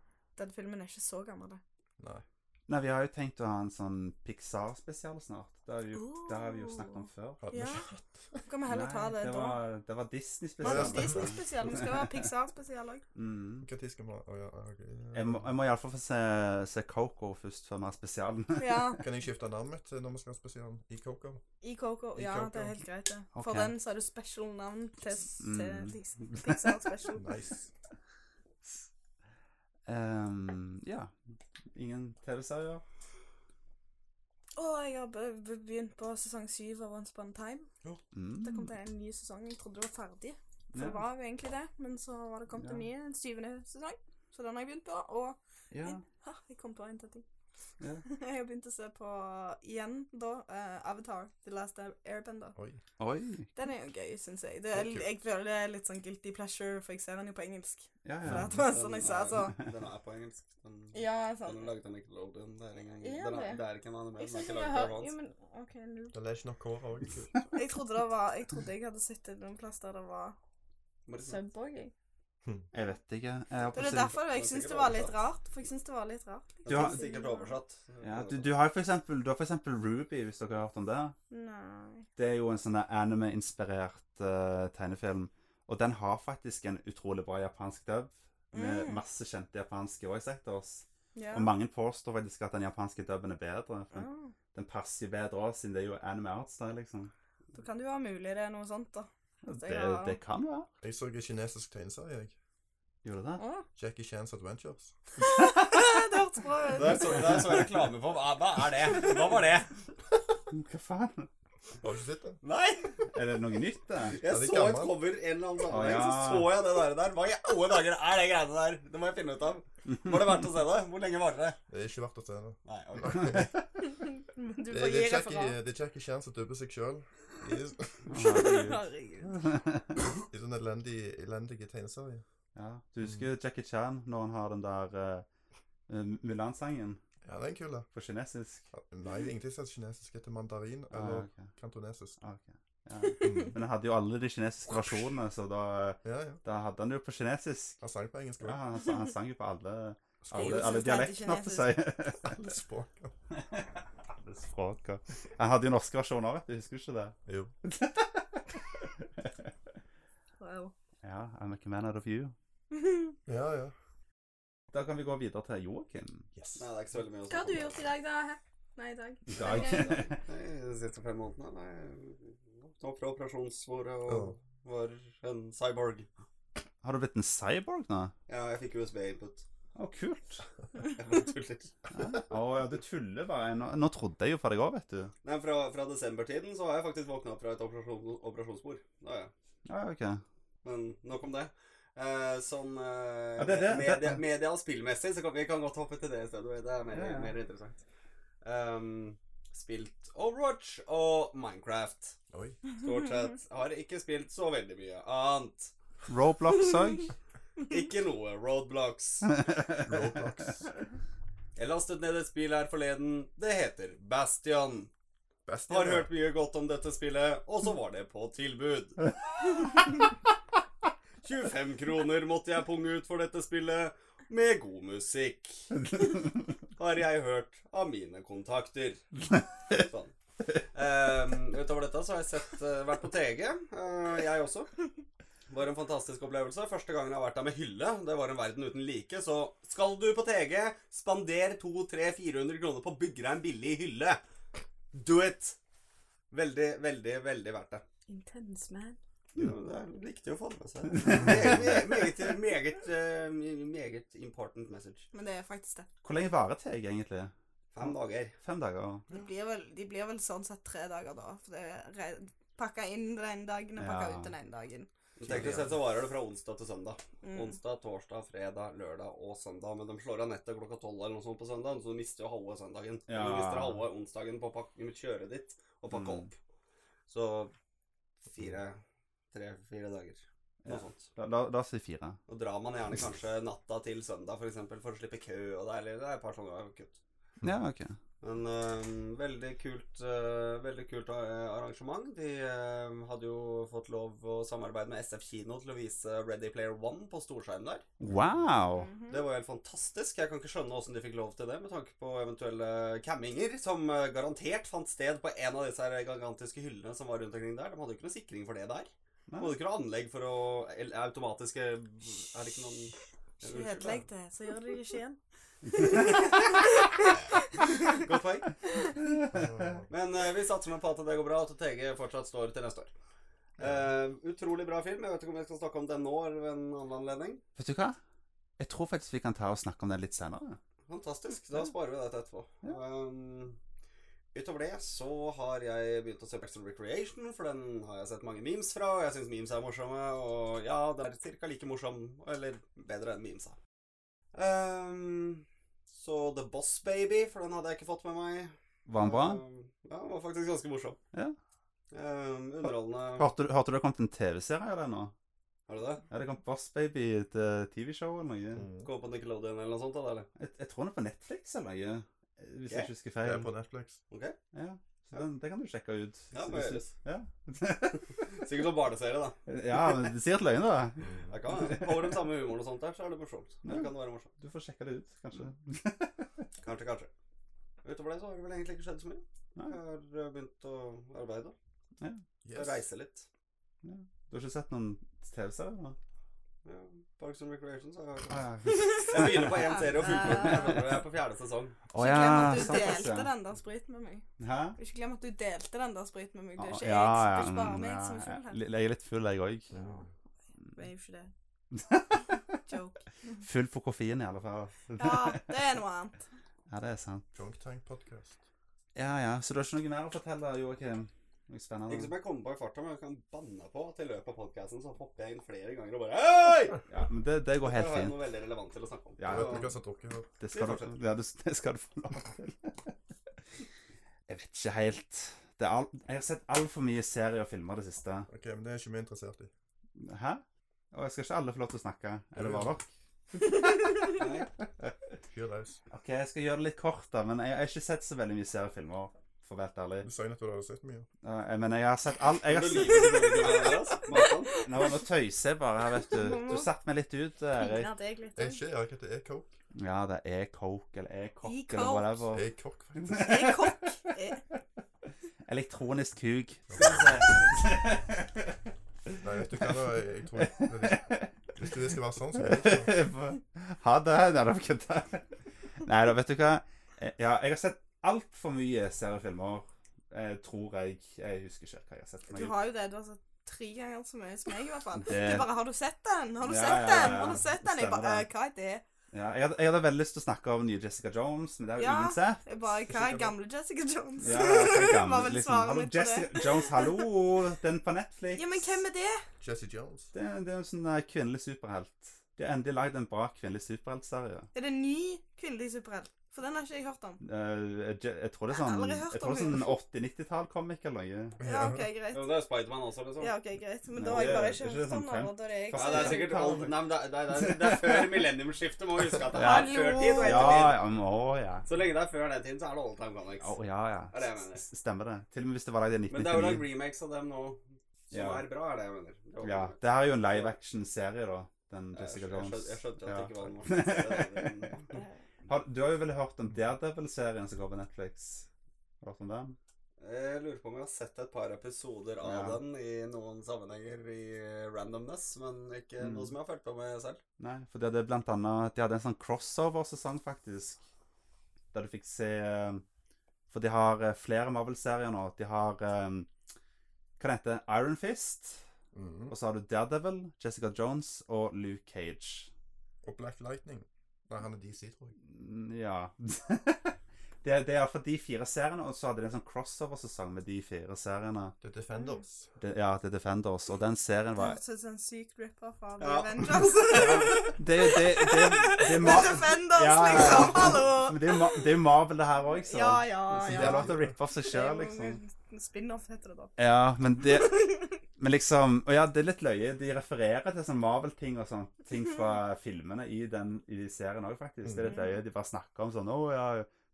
C: den filmen er ikke så gammel, da.
B: Nei.
A: Nei, vi har jo tenkt å ha en sånn Pixar-spesial snart. Det har, vi jo, det har vi jo
C: Oh.
A: snakket om før.
B: Hadde vi
C: Ja.
B: ikke-
C: Så kan vi heller ta
A: Nei,
C: det,
A: det
C: da.
A: var, det var
C: Var
A: Disney-spesial.
C: det Disney-spesial? Vi skal ha Pixar-spesial òg.
A: Mm.
B: Hva tid skal vi ha? Å, ja, ok.
A: Jeg må, jeg må iallfall få se, se Coco først, før vi har spesialen.
C: Ja,
B: Kan jeg skifte navn mitt når vi skal ha spesialen i Coco?
C: i Coco.
B: I
C: Ja,
B: Coco.
C: det er helt greit, det. For
A: Ok.
C: den så er det special navn til,
A: Mm.
C: til Dis- Pixar Special.
B: Nice.
A: Ehm, ja. Ingen TV-serier?
C: Å, jeg har be- be- begynt på sesong syv av Once Upon a Time.
A: Mm.
C: Det kom til en ny sesong. Jeg trodde det var ferdig, for
A: Ja.
C: det var jo egentlig det. Men så var det kommet en ny, en syvende sesong. Så den har jeg begynt på. Og
A: Ja.
C: ha, jeg kom på en til ting.
A: Ja.
C: Jeg har begynt å se på igjen, da, eh, Avatar, The Last Airbender.
B: Oi.
A: Oi.
C: Den er jo gøy, syns jeg. Det
B: Det er
C: er,
B: kult.
C: jeg føler det er litt sånn guilty pleasure, for jeg ser den jo på engelsk.
A: Ja,
C: For
A: ja.
C: at det var sånn jeg sa, så
D: Den er- Den er på engelsk. Den,
C: Ja,
D: den er
C: sant.
D: laget av Nickelodeon. Det er en gang.
C: Er
D: Den er,
C: det?
D: det er ikke en anime.
C: Jeg
D: Den er
C: synes
D: ikke
C: jeg
D: laget
C: har
D: av
C: jo,
D: hans.
C: men ok, nå-
B: Det er ikke nok hår òg.
C: Jeg trodde det var Jeg trodde jeg hadde sett det noen plass der det var
D: Morrison.
C: sub òg, jeg.
A: Jeg vet ikke. Jeg har
C: Det er
A: precis-
C: derfor jeg
D: Det er
C: syns
D: sikkert
C: det var litt
D: oversatt.
C: rart. For jeg syns det var litt rart.
D: Den
A: Du har-
D: er sikkert oversatt.
A: ja, du, du har jo for eksempel, du har for eksempel Ruby, hvis dere har hørt om det.
C: Nei.
A: Det er jo en sånn der anime-inspirert eh, tegnefilm. Og den har faktisk en utrolig bra japansk dub, med
C: Mm.
A: masse kjente japanske voice actors.
C: Ja.
A: Og mange påstår faktisk at den japanske dubben er bedre. For den,
C: Ah,
A: den passer jo bedre også, siden det er jo anime artstyle, liksom.
C: da kan det jo være mulig det er noe sånt, da. At jeg
A: Det,
C: har-
A: det kan være.
B: Jeg så en kinesisk tegneserie. jeg.
A: Gjorde det?
C: Å,
B: Jackie Chans Adventures.
C: det hørtes bra ut.
D: Der så, der så jeg reklame på. Hva, hva er det? Hva var det?
A: Mm, Hva faen?
B: Har du ikke sett det?
D: Nei!
A: Er det noe nytt, det?
D: Jeg
B: Er det
D: så et
B: gammel?
D: cover en eller annen
A: Å,
D: sammenheng,
A: ja.
D: så så jeg det der. der. Hva i alle dager er det greiene der? Det må jeg finne ut av. Var det verdt å se det? Hvor lenge varte det?
B: Det er ikke verdt å se det.
D: Nei, ok.
C: Du
B: Det er,
C: får gi
B: det er
C: referat.
B: Jackie, det er Jackie Chan som dubber seg sjøl i,
A: Herregud.
C: Herregud.
B: i sånn elendig, elendige tegneserie.
A: Ja, du husker jo Jackie Chan når han har den der eh, Mulan-sangen
B: Ja, den er kul, da.
A: på kinesisk?
B: Nei, egentlig så er det kinesisk. Det heter mandarin
A: Ah,
B: eller
A: ok,
B: kantonesisk.
A: ah, ok. Ja. Men han hadde jo alle de kinesiske versjonene, så da,
B: Ja, ja.
A: da hadde han det jo på kinesisk.
B: Han sang på engelsk
A: Ja,
B: òg.
A: han, sa- han sang jo på alle,
C: Jeg
A: alle,
C: synes
A: alle
C: det heter
A: dialektene til seg.
B: Alle språk. ja.
A: Alle språk, ja. Han hadde jo norske versjoner, vet du. Husker du ikke det?
B: Jo.
C: Wow.
A: Ja, I'm a man out of you.
B: Ja, ja.
A: Da kan vi gå videre til Joakim.
B: Yes.
D: Nei, det er ikke så veldig mye å
C: Hva har du gjort i dag, da? Hæ? Nei, i dag.
A: I dag.
D: Nei, De siste fem månedene nei, Nå fra operasjonsbordet og
B: Ja.
D: var en cyborg.
A: Har du blitt en cyborg nå?
D: Ja, jeg fikk USB-input.
A: Å, kult.
D: Jeg bare tuller.
A: Å ja, du tuller bare. Nå, nå trodde jeg jo på deg òg, vet du.
D: Nei, fra, fra desembertiden så har jeg faktisk våkna opp fra et operasjon, operasjonsbord. Det har jeg.
A: Ja, ok.
D: Men nok om det. Eh, sånn eh,
A: Ja, det er det.
D: Media,
A: Det-
D: media og spillmessig, så kan vi kan godt hoppe til det i stedet. Det er mer,
A: Ja, ja.
D: mer interessant. Ehm, spilt Overwatch og Minecraft.
B: Oi.
D: Stort sett. Har ikke spilt så veldig mye annet.
A: Roblox òg.
D: Ikke noe. Roadblocks.
B: Roblox.
D: Jeg lastet ned et spill her forleden. Det heter Bastion.
B: Best
D: Har hørt mye godt om dette spillet, og så var det på tilbud. 25 kroner måtte jeg punge ut for dette spillet, med god musikk. Har jeg hørt av mine kontakter. Sånn. Ehm, utover dette så har jeg sett, eh, vært på TG, eh, jeg også. Var en fantastisk opplevelse. Første gangen jeg har vært der med hylle. Det var en verden uten like. Så skal du på TG, spander 200-400 kroner på å bygge deg en billig hylle. Do it! Veldig, veldig, veldig verdt det.
C: Intense man.
D: Jo, det er viktig å få med seg. Meget, meget, meget, eh, meget important message.
C: Men det er faktisk det.
A: Hvor lenge varer TG egentlig?
D: Fem dager.
A: Fem dager?
C: De blir vel, de blir vel sånn sett tre dager da. For det er re- pakka inn den ene dagen og pakka
A: Ja.
C: ut den ene dagen.
D: Teknisk sett så varer det fra onsdag til søndag.
C: Mm.
D: Onsdag, torsdag, fredag, lørdag og søndag. Men de slår av nettet klokka tolv eller noe sånt på søndag, så du mister jo halve søndagen.
A: Ja.
D: Du mister halve onsdagen på å pakke, kjøre ditt og pakke
A: Mm.
D: opp. Så fire, tre, fire dager. Noe
A: Ja.
D: sånt.
A: La, la, la oss si fire.
D: Og drar man gjerne kanskje natta til søndag, for eksempel, for å slippe kø og det er, eller det er et par sånne kutt.
A: Ja, ok.
D: Men øhm, veldig kult øh, Veldig kult øh, arrangement. De øhm, hadde jo fått lov å samarbeide med SF kino til å vise Ready Player One på storskjerm der.
A: Wow!
C: Mhm.
D: Det var jo helt fantastisk. Jeg kan ikke skjønne åssen de fikk lov til det, med tanke på eventuelle camminger, som øh, garantert fant sted på en av disse her gigantiske hyllene som var rundt omkring der. De hadde jo ikke noe sikring for det der. De
A: Nei.
D: hadde ikke noe anlegg for å el- automatiske Er det ikke noen
C: Ikke ødelegg det, så gjør de det ikke igjen.
D: Godt poeng.
B: Mm.
D: Men eh, vi satser med på at det går bra, og at TG fortsatt står til neste år. Eh, utrolig bra film. Jeg vet ikke om jeg skal snakke om den nå eller ved en annen anledning.
A: Vet du hva? Jeg tror faktisk vi kan ta og snakke om det litt senere.
D: Fantastisk. Da sparer vi dette etterpå. Um, utover det så har jeg begynt å se Backstreet Recreation, for den har jeg sett mange memes fra, og jeg syns memes er morsomme, og ja, den er cirka like morsom, eller bedre enn memesa. Um, så The Boss Baby, for den hadde jeg ikke fått med meg.
A: Var den bra?
D: Um, ja, den var faktisk ganske morsom.
A: Ja.
D: Um, underholdende.
A: Hørte, du- hørte du det kom til en TV-serie av det nå?
D: Har du det?
A: Ja, det kom Boss Baby til TV-show eller noe.
B: Mm.
D: Gå på Nickelodeon eller noe sånt, da, eller?
A: Jeg, jeg tror den er på Netflix eller noe. Hvis
D: Ja.
A: jeg ikke husker
B: Det
A: feil.
B: er på Netflix.
D: Ok.
A: Ja, så den, det kan du sjekke ut.
D: Ja,
A: hvis-
D: må
A: hvis-
D: gjøres.
A: Ja.
D: Sikkert noen barneserie, da.
A: ja, men det sier et løgn, da.
D: Jeg kan det. Over den samme humoren og sånt der, så er det morsomt. Det
A: Ja.
D: kan det være morsomt.
A: Du får sjekke det ut, kanskje.
D: Kanskje, kanskje. Utover det så har det vel egentlig ikke skjedd så mye.
A: Nei.
D: Jeg har eh, begynt å arbeide.
B: Yes.
D: Reise litt.
A: Du har ikke sett noen TV-serie? nå?
D: Ja, Parks and Recreation, så har jeg
A: Å
D: Jeg begynner på én serie og fullfører den. Jeg skjønner det. Jeg er på fjerde sesong.
C: Ikke glem
A: ja,
C: at du
A: såpass,
C: delte
A: ja.
C: den der spriten med meg.
A: Hæ?
C: Ikke glem at du delte den der spriten med meg. Det er ikke
A: Ja,
C: jeg,
A: ja,
C: det er ikke bare
A: mm,
C: meg
A: ja,
C: som er full her.
A: Jeg er litt full, jeg òg.
B: Ja.
C: Det er jo ikke det. Joke.
A: Full for koffein, i alle fall.
C: Ja, det er noe annet.
A: Ja, det er sant.
B: Drunk Tank Podcast.
A: Ja, ja. Så du har ikke noe mer å fortelle, Joakim? Noe
D: Ikke som
A: spennende?
D: jeg kommer på i farta, men jeg kan banne på at i løpet av podkasten så hopper jeg inn flere ganger og bare Hei!
A: Ja, men det, det går
D: Her
A: helt
D: har jeg
A: fint.
D: noe veldig relevant til å snakke om.
A: Ja,
B: Jeg
D: Så-
B: vet ikke hva som dukker opp.
A: Det skal, du,
D: fortsetter.
A: ja, du, det skal du få lov til. Jeg vet ikke helt. Det er all, jeg har sett altfor mye serier og filmer det siste.
B: Ok, men det er ikke vi interessert i.
A: Hæ? Og jeg skal ikke alle få lov til å snakke? Er det bare dere?
D: Nei.
B: Fyr løs.
A: Ok, jeg skal gjøre det litt kort, da. Men jeg har ikke sett så veldig mye serier og filmer, for å være helt ærlig.
B: Du sa jo nettopp at du hadde sett mye.
A: Eh, Men jeg har sett all... Jeg har
D: Men Du
A: sett...
D: lyver så veldig mye der, altså. Matan.
A: Nå, nå tøyser jeg bare her, vet du. Du satte meg litt ut, eh, Erik.
C: Piner deg litt.
B: Det er
C: også.
B: ikke Erik, det er Coke.
A: Ja, det er coke eller
C: I
A: e-kokk
C: coke.
A: eller whatever.
B: Jeg er kokk, faktisk.
C: Jeg er kokk. Eh, Jeg-
A: Elektronisk kuk.
B: Nei, vet du hva da? Jeg, jeg tror Hvis det skal være sånn, så er det ikke
A: ha det. Nei, da kødder jeg. Nei da, vet du hva. Eh, Ja, jeg har sett altfor mye seriefilmer. Eh, tror jeg. Jeg husker ikke hva jeg har sett.
C: Du har jo det. Du har sett tre ganger så mye som meg, i hvert fall. Du
A: Det-
C: bare 'Har du sett den?' 'Har du
A: Ja, ja,
C: sett
A: ja,
C: den?'
A: ja.
C: Har du sett den? Jeg
A: Stemmer
C: bare
A: det.
C: «Eh, 'Hva er det?'
A: Ja, jeg, hadde, jeg hadde veldig lyst til å snakke om nye Jessica Jones, men det har jo
C: Ja.
A: ingen sett.
C: Jeg bare 'Hva er gamle Jessica Jones?'
A: Ja, så gammel,
C: Var vel
A: liksom.
C: svaret
A: Hallo,
C: mitt på
A: Jessica Jones, hallo! Den på Netflix.
C: Ja, men hvem er det?
B: Jesse Jones.
A: Det, det er en sånn eh, kvinnelig superhelt. De har endelig lagd en bra kvinnelig superheltserie.
C: Er det en ny kvinnelig superhelt? For den har ikke jeg hørt om.
A: Eh, jeg, jeg tror det er
C: Jeg har
A: sånn,
C: aldri hørt
A: jeg tror det er
C: om
A: sånn
C: det.
A: 80-90-tall-komikk eller noe.
C: Ja, OK, greit.
D: Jo, det er Spiderman også, liksom.
C: Ja, ok, greit. Men
A: Nei,
C: da har jeg
A: det er-
C: bare
A: det
C: ikke
A: er ikke
C: hørt om
A: sånn fem.
C: noe. Da er det jeg
D: Nei,
C: som-
D: det er sikkert old, nei, men det, er- det, er- det, er- det er før millenniumskiftet, må vi huske at det
A: Ja.
D: er før tid og
A: Ja,
D: etter tid.
A: ja, men, å ja.
D: Så lenge det er før den tiden, så er det old time comics.
A: Å, ja,
D: Ja, det
A: ja.
D: er jeg
A: S- Stemmer det. Til og med hvis det var lagd i
D: Men det er jo lagd
A: 1999.
D: remakes av dem nå som
A: Ja.
D: er bra, er det jeg mener. Det er
A: Ja,
D: jo-
A: det her er jo en live action-serie, da. Den
D: Jeg
A: Jessica
D: skjønte-
A: Jones.
D: Jeg skjønte, jeg skjønte at det
A: Ja.
D: ikke var en morsom serie.
A: Har, du har jo vel hørt om Daredevil-serien som går på Netflix? Har du hørt om den?
D: Jeg lurer på om jeg har sett et par episoder av
A: Ja.
D: den i noen sammenhenger i randomness, men ikke
A: Mm.
D: noe som jeg har fulgt på med selv.
A: Nei, for det hadde blant annet De hadde en sånn crossover-sesong, faktisk. Der du fikk se eh, For de har eh, flere Marvel-serier nå. De har eh, Hva det heter Iron Fist.
B: Mhm.
A: Og så har du Daredevil, Jessica Jones og Luke Cage.
B: Og Black Lightning. Nei, han er DC, tror jeg.
A: Mm, Ja. det, det er iallfall de fire seriene, og så hadde de en sånn crossover-sesong med de fire seriene.
B: The Defenders.
A: Det, ja, The Defenders. Og den serien
C: Det
A: var
C: høres ut som en syk rip-off av
D: Ja.
C: Avengers.
A: Det, det, det, det, er
C: The
A: ma-
C: Defenders,
A: Ja, ja, ja.
C: liksom. Hallo!
A: Men det er jo Ma- det er jo Marvel, det her òg, så
C: Ja, ja,
A: Så
C: Ah, ja.
A: de har lov til å rippe av seg
C: Det er
A: sjøl,
C: jo
A: liksom.
C: en Spin-off heter det da.
A: Ja, men det Men liksom Og ja, det er litt løye. De refererer til sånn Marvel-ting og sånn. Ting fra filmene i den i serien òg, faktisk. Det er
C: Mhm.
A: litt løye. De bare snakker om sånn Å, ja,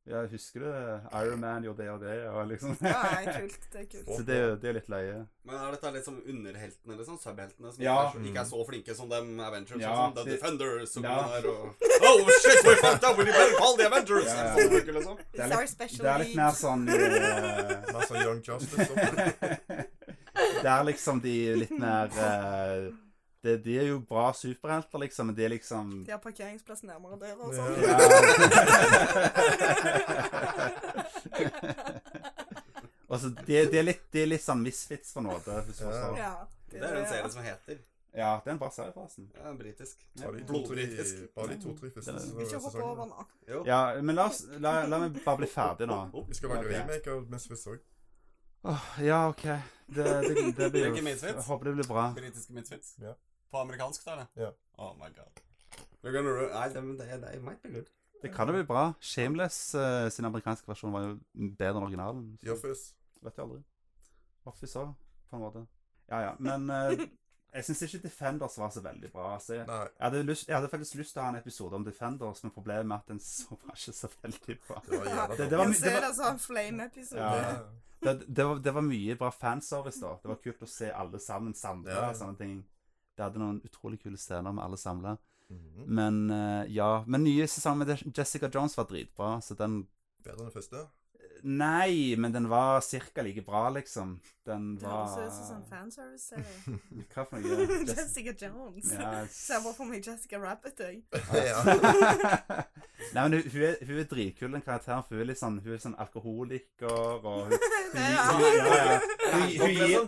A: ja, husker du Iron Man gjorde det og det, og liksom
C: Ja, det er kult. Det er kult.
A: Så det, er jo- det er litt løye.
D: Men er dette litt som underheltene, liksom? Subheltene som
A: Ja.
D: ikke, er så, ikke er så flinke som dem Avengers?
A: Ja,
D: Sånn, the
A: det-
D: Defenders som
A: Ja.
D: er og Oh shit, we fucked up! We better call the Avengers!
A: Ja, ja.
D: Sånn, bruker, liksom.
A: Det er
C: It's our
A: litt,
C: special
A: det er litt mer
C: league.
A: sånn eh,
B: Masse altså, Young Justice. Og...
A: Det er liksom de litt mer eh, det, De er jo bra superhelter, liksom, men de er liksom
C: De har parkeringsplass nærmere døra og
B: Ja.
C: sånn.
A: Og så Altså, det, det, er litt, det er litt sånn misfits for nåde. Hvis du forstår.
C: Ja.
D: Det er jo en serie som heter
A: Ja, det er en bra serie, forresten.
D: ja, Britisk.
B: Bare de
D: Blodbritisk.
B: to-tre bare de to-tre første
C: Ikke hopp over
B: sesongene.
C: nå.
D: Jo.
A: Ja, men la, oss, la, la meg bare bli ferdig nå.
D: Oh.
B: Vi skal lage
A: Ja, det-
B: remake av Miss Fizz òg.
A: Åh, ja, OK. Det, det, det blir
D: Ikke
A: jo
D: misfits.
A: Jeg håper det blir bra.
D: Britiske midtvits?
B: Ja.
D: På amerikansk, da? eller?
B: Ja.
D: Oh my god. We're gonna ru- Nei, det, men det, det might be good.
A: Det kan jo bli bra. Shameless eh, sin amerikanske versjon var jo bedre enn originalen.
B: The
A: Så
B: Office.
A: vet jeg aldri. Office òg, på en måte. Ja, ja. Men eh, jeg syns ikke Defenders var så veldig bra. Så jeg,
B: Nei,
A: jeg, hadde lyst, jeg hadde faktisk lyst til å ha en episode om Defenders, men problemet er at den så var ikke så veldig bra.
B: det var jævla
A: Det- det var
C: Jeg
A: my-
C: ser
A: var-
C: det som en flame-episode.
A: Ja.
B: Ja.
A: det, det, var, det var mye bra fanservice, da. Det var kult å se alle sammen samla.
B: Ja.
A: og Sånne ting. Det hadde noen utrolig kule scener med alle samla.
B: Mhm.
A: Men eh, ja. Men nye sesongen med Jessica Jones var dritbra, så den
B: Bedre enn den første.
A: Nei, men den var cirka like bra, liksom. Den
C: Det
A: var
C: høres ut som en fanservice-serie.
A: Hva for noe? Jess-
C: Jessica Jones.
A: Ja, altså.
C: Ser bare for meg Jessica Rabbit, jeg.
B: ja.
A: Nei, men hun, hun, er, hun er dritkul, den karakteren. For hun er litt sånn, hun er sånn alkoholiker og hun, Ja,
C: Det er-
A: ja, ja.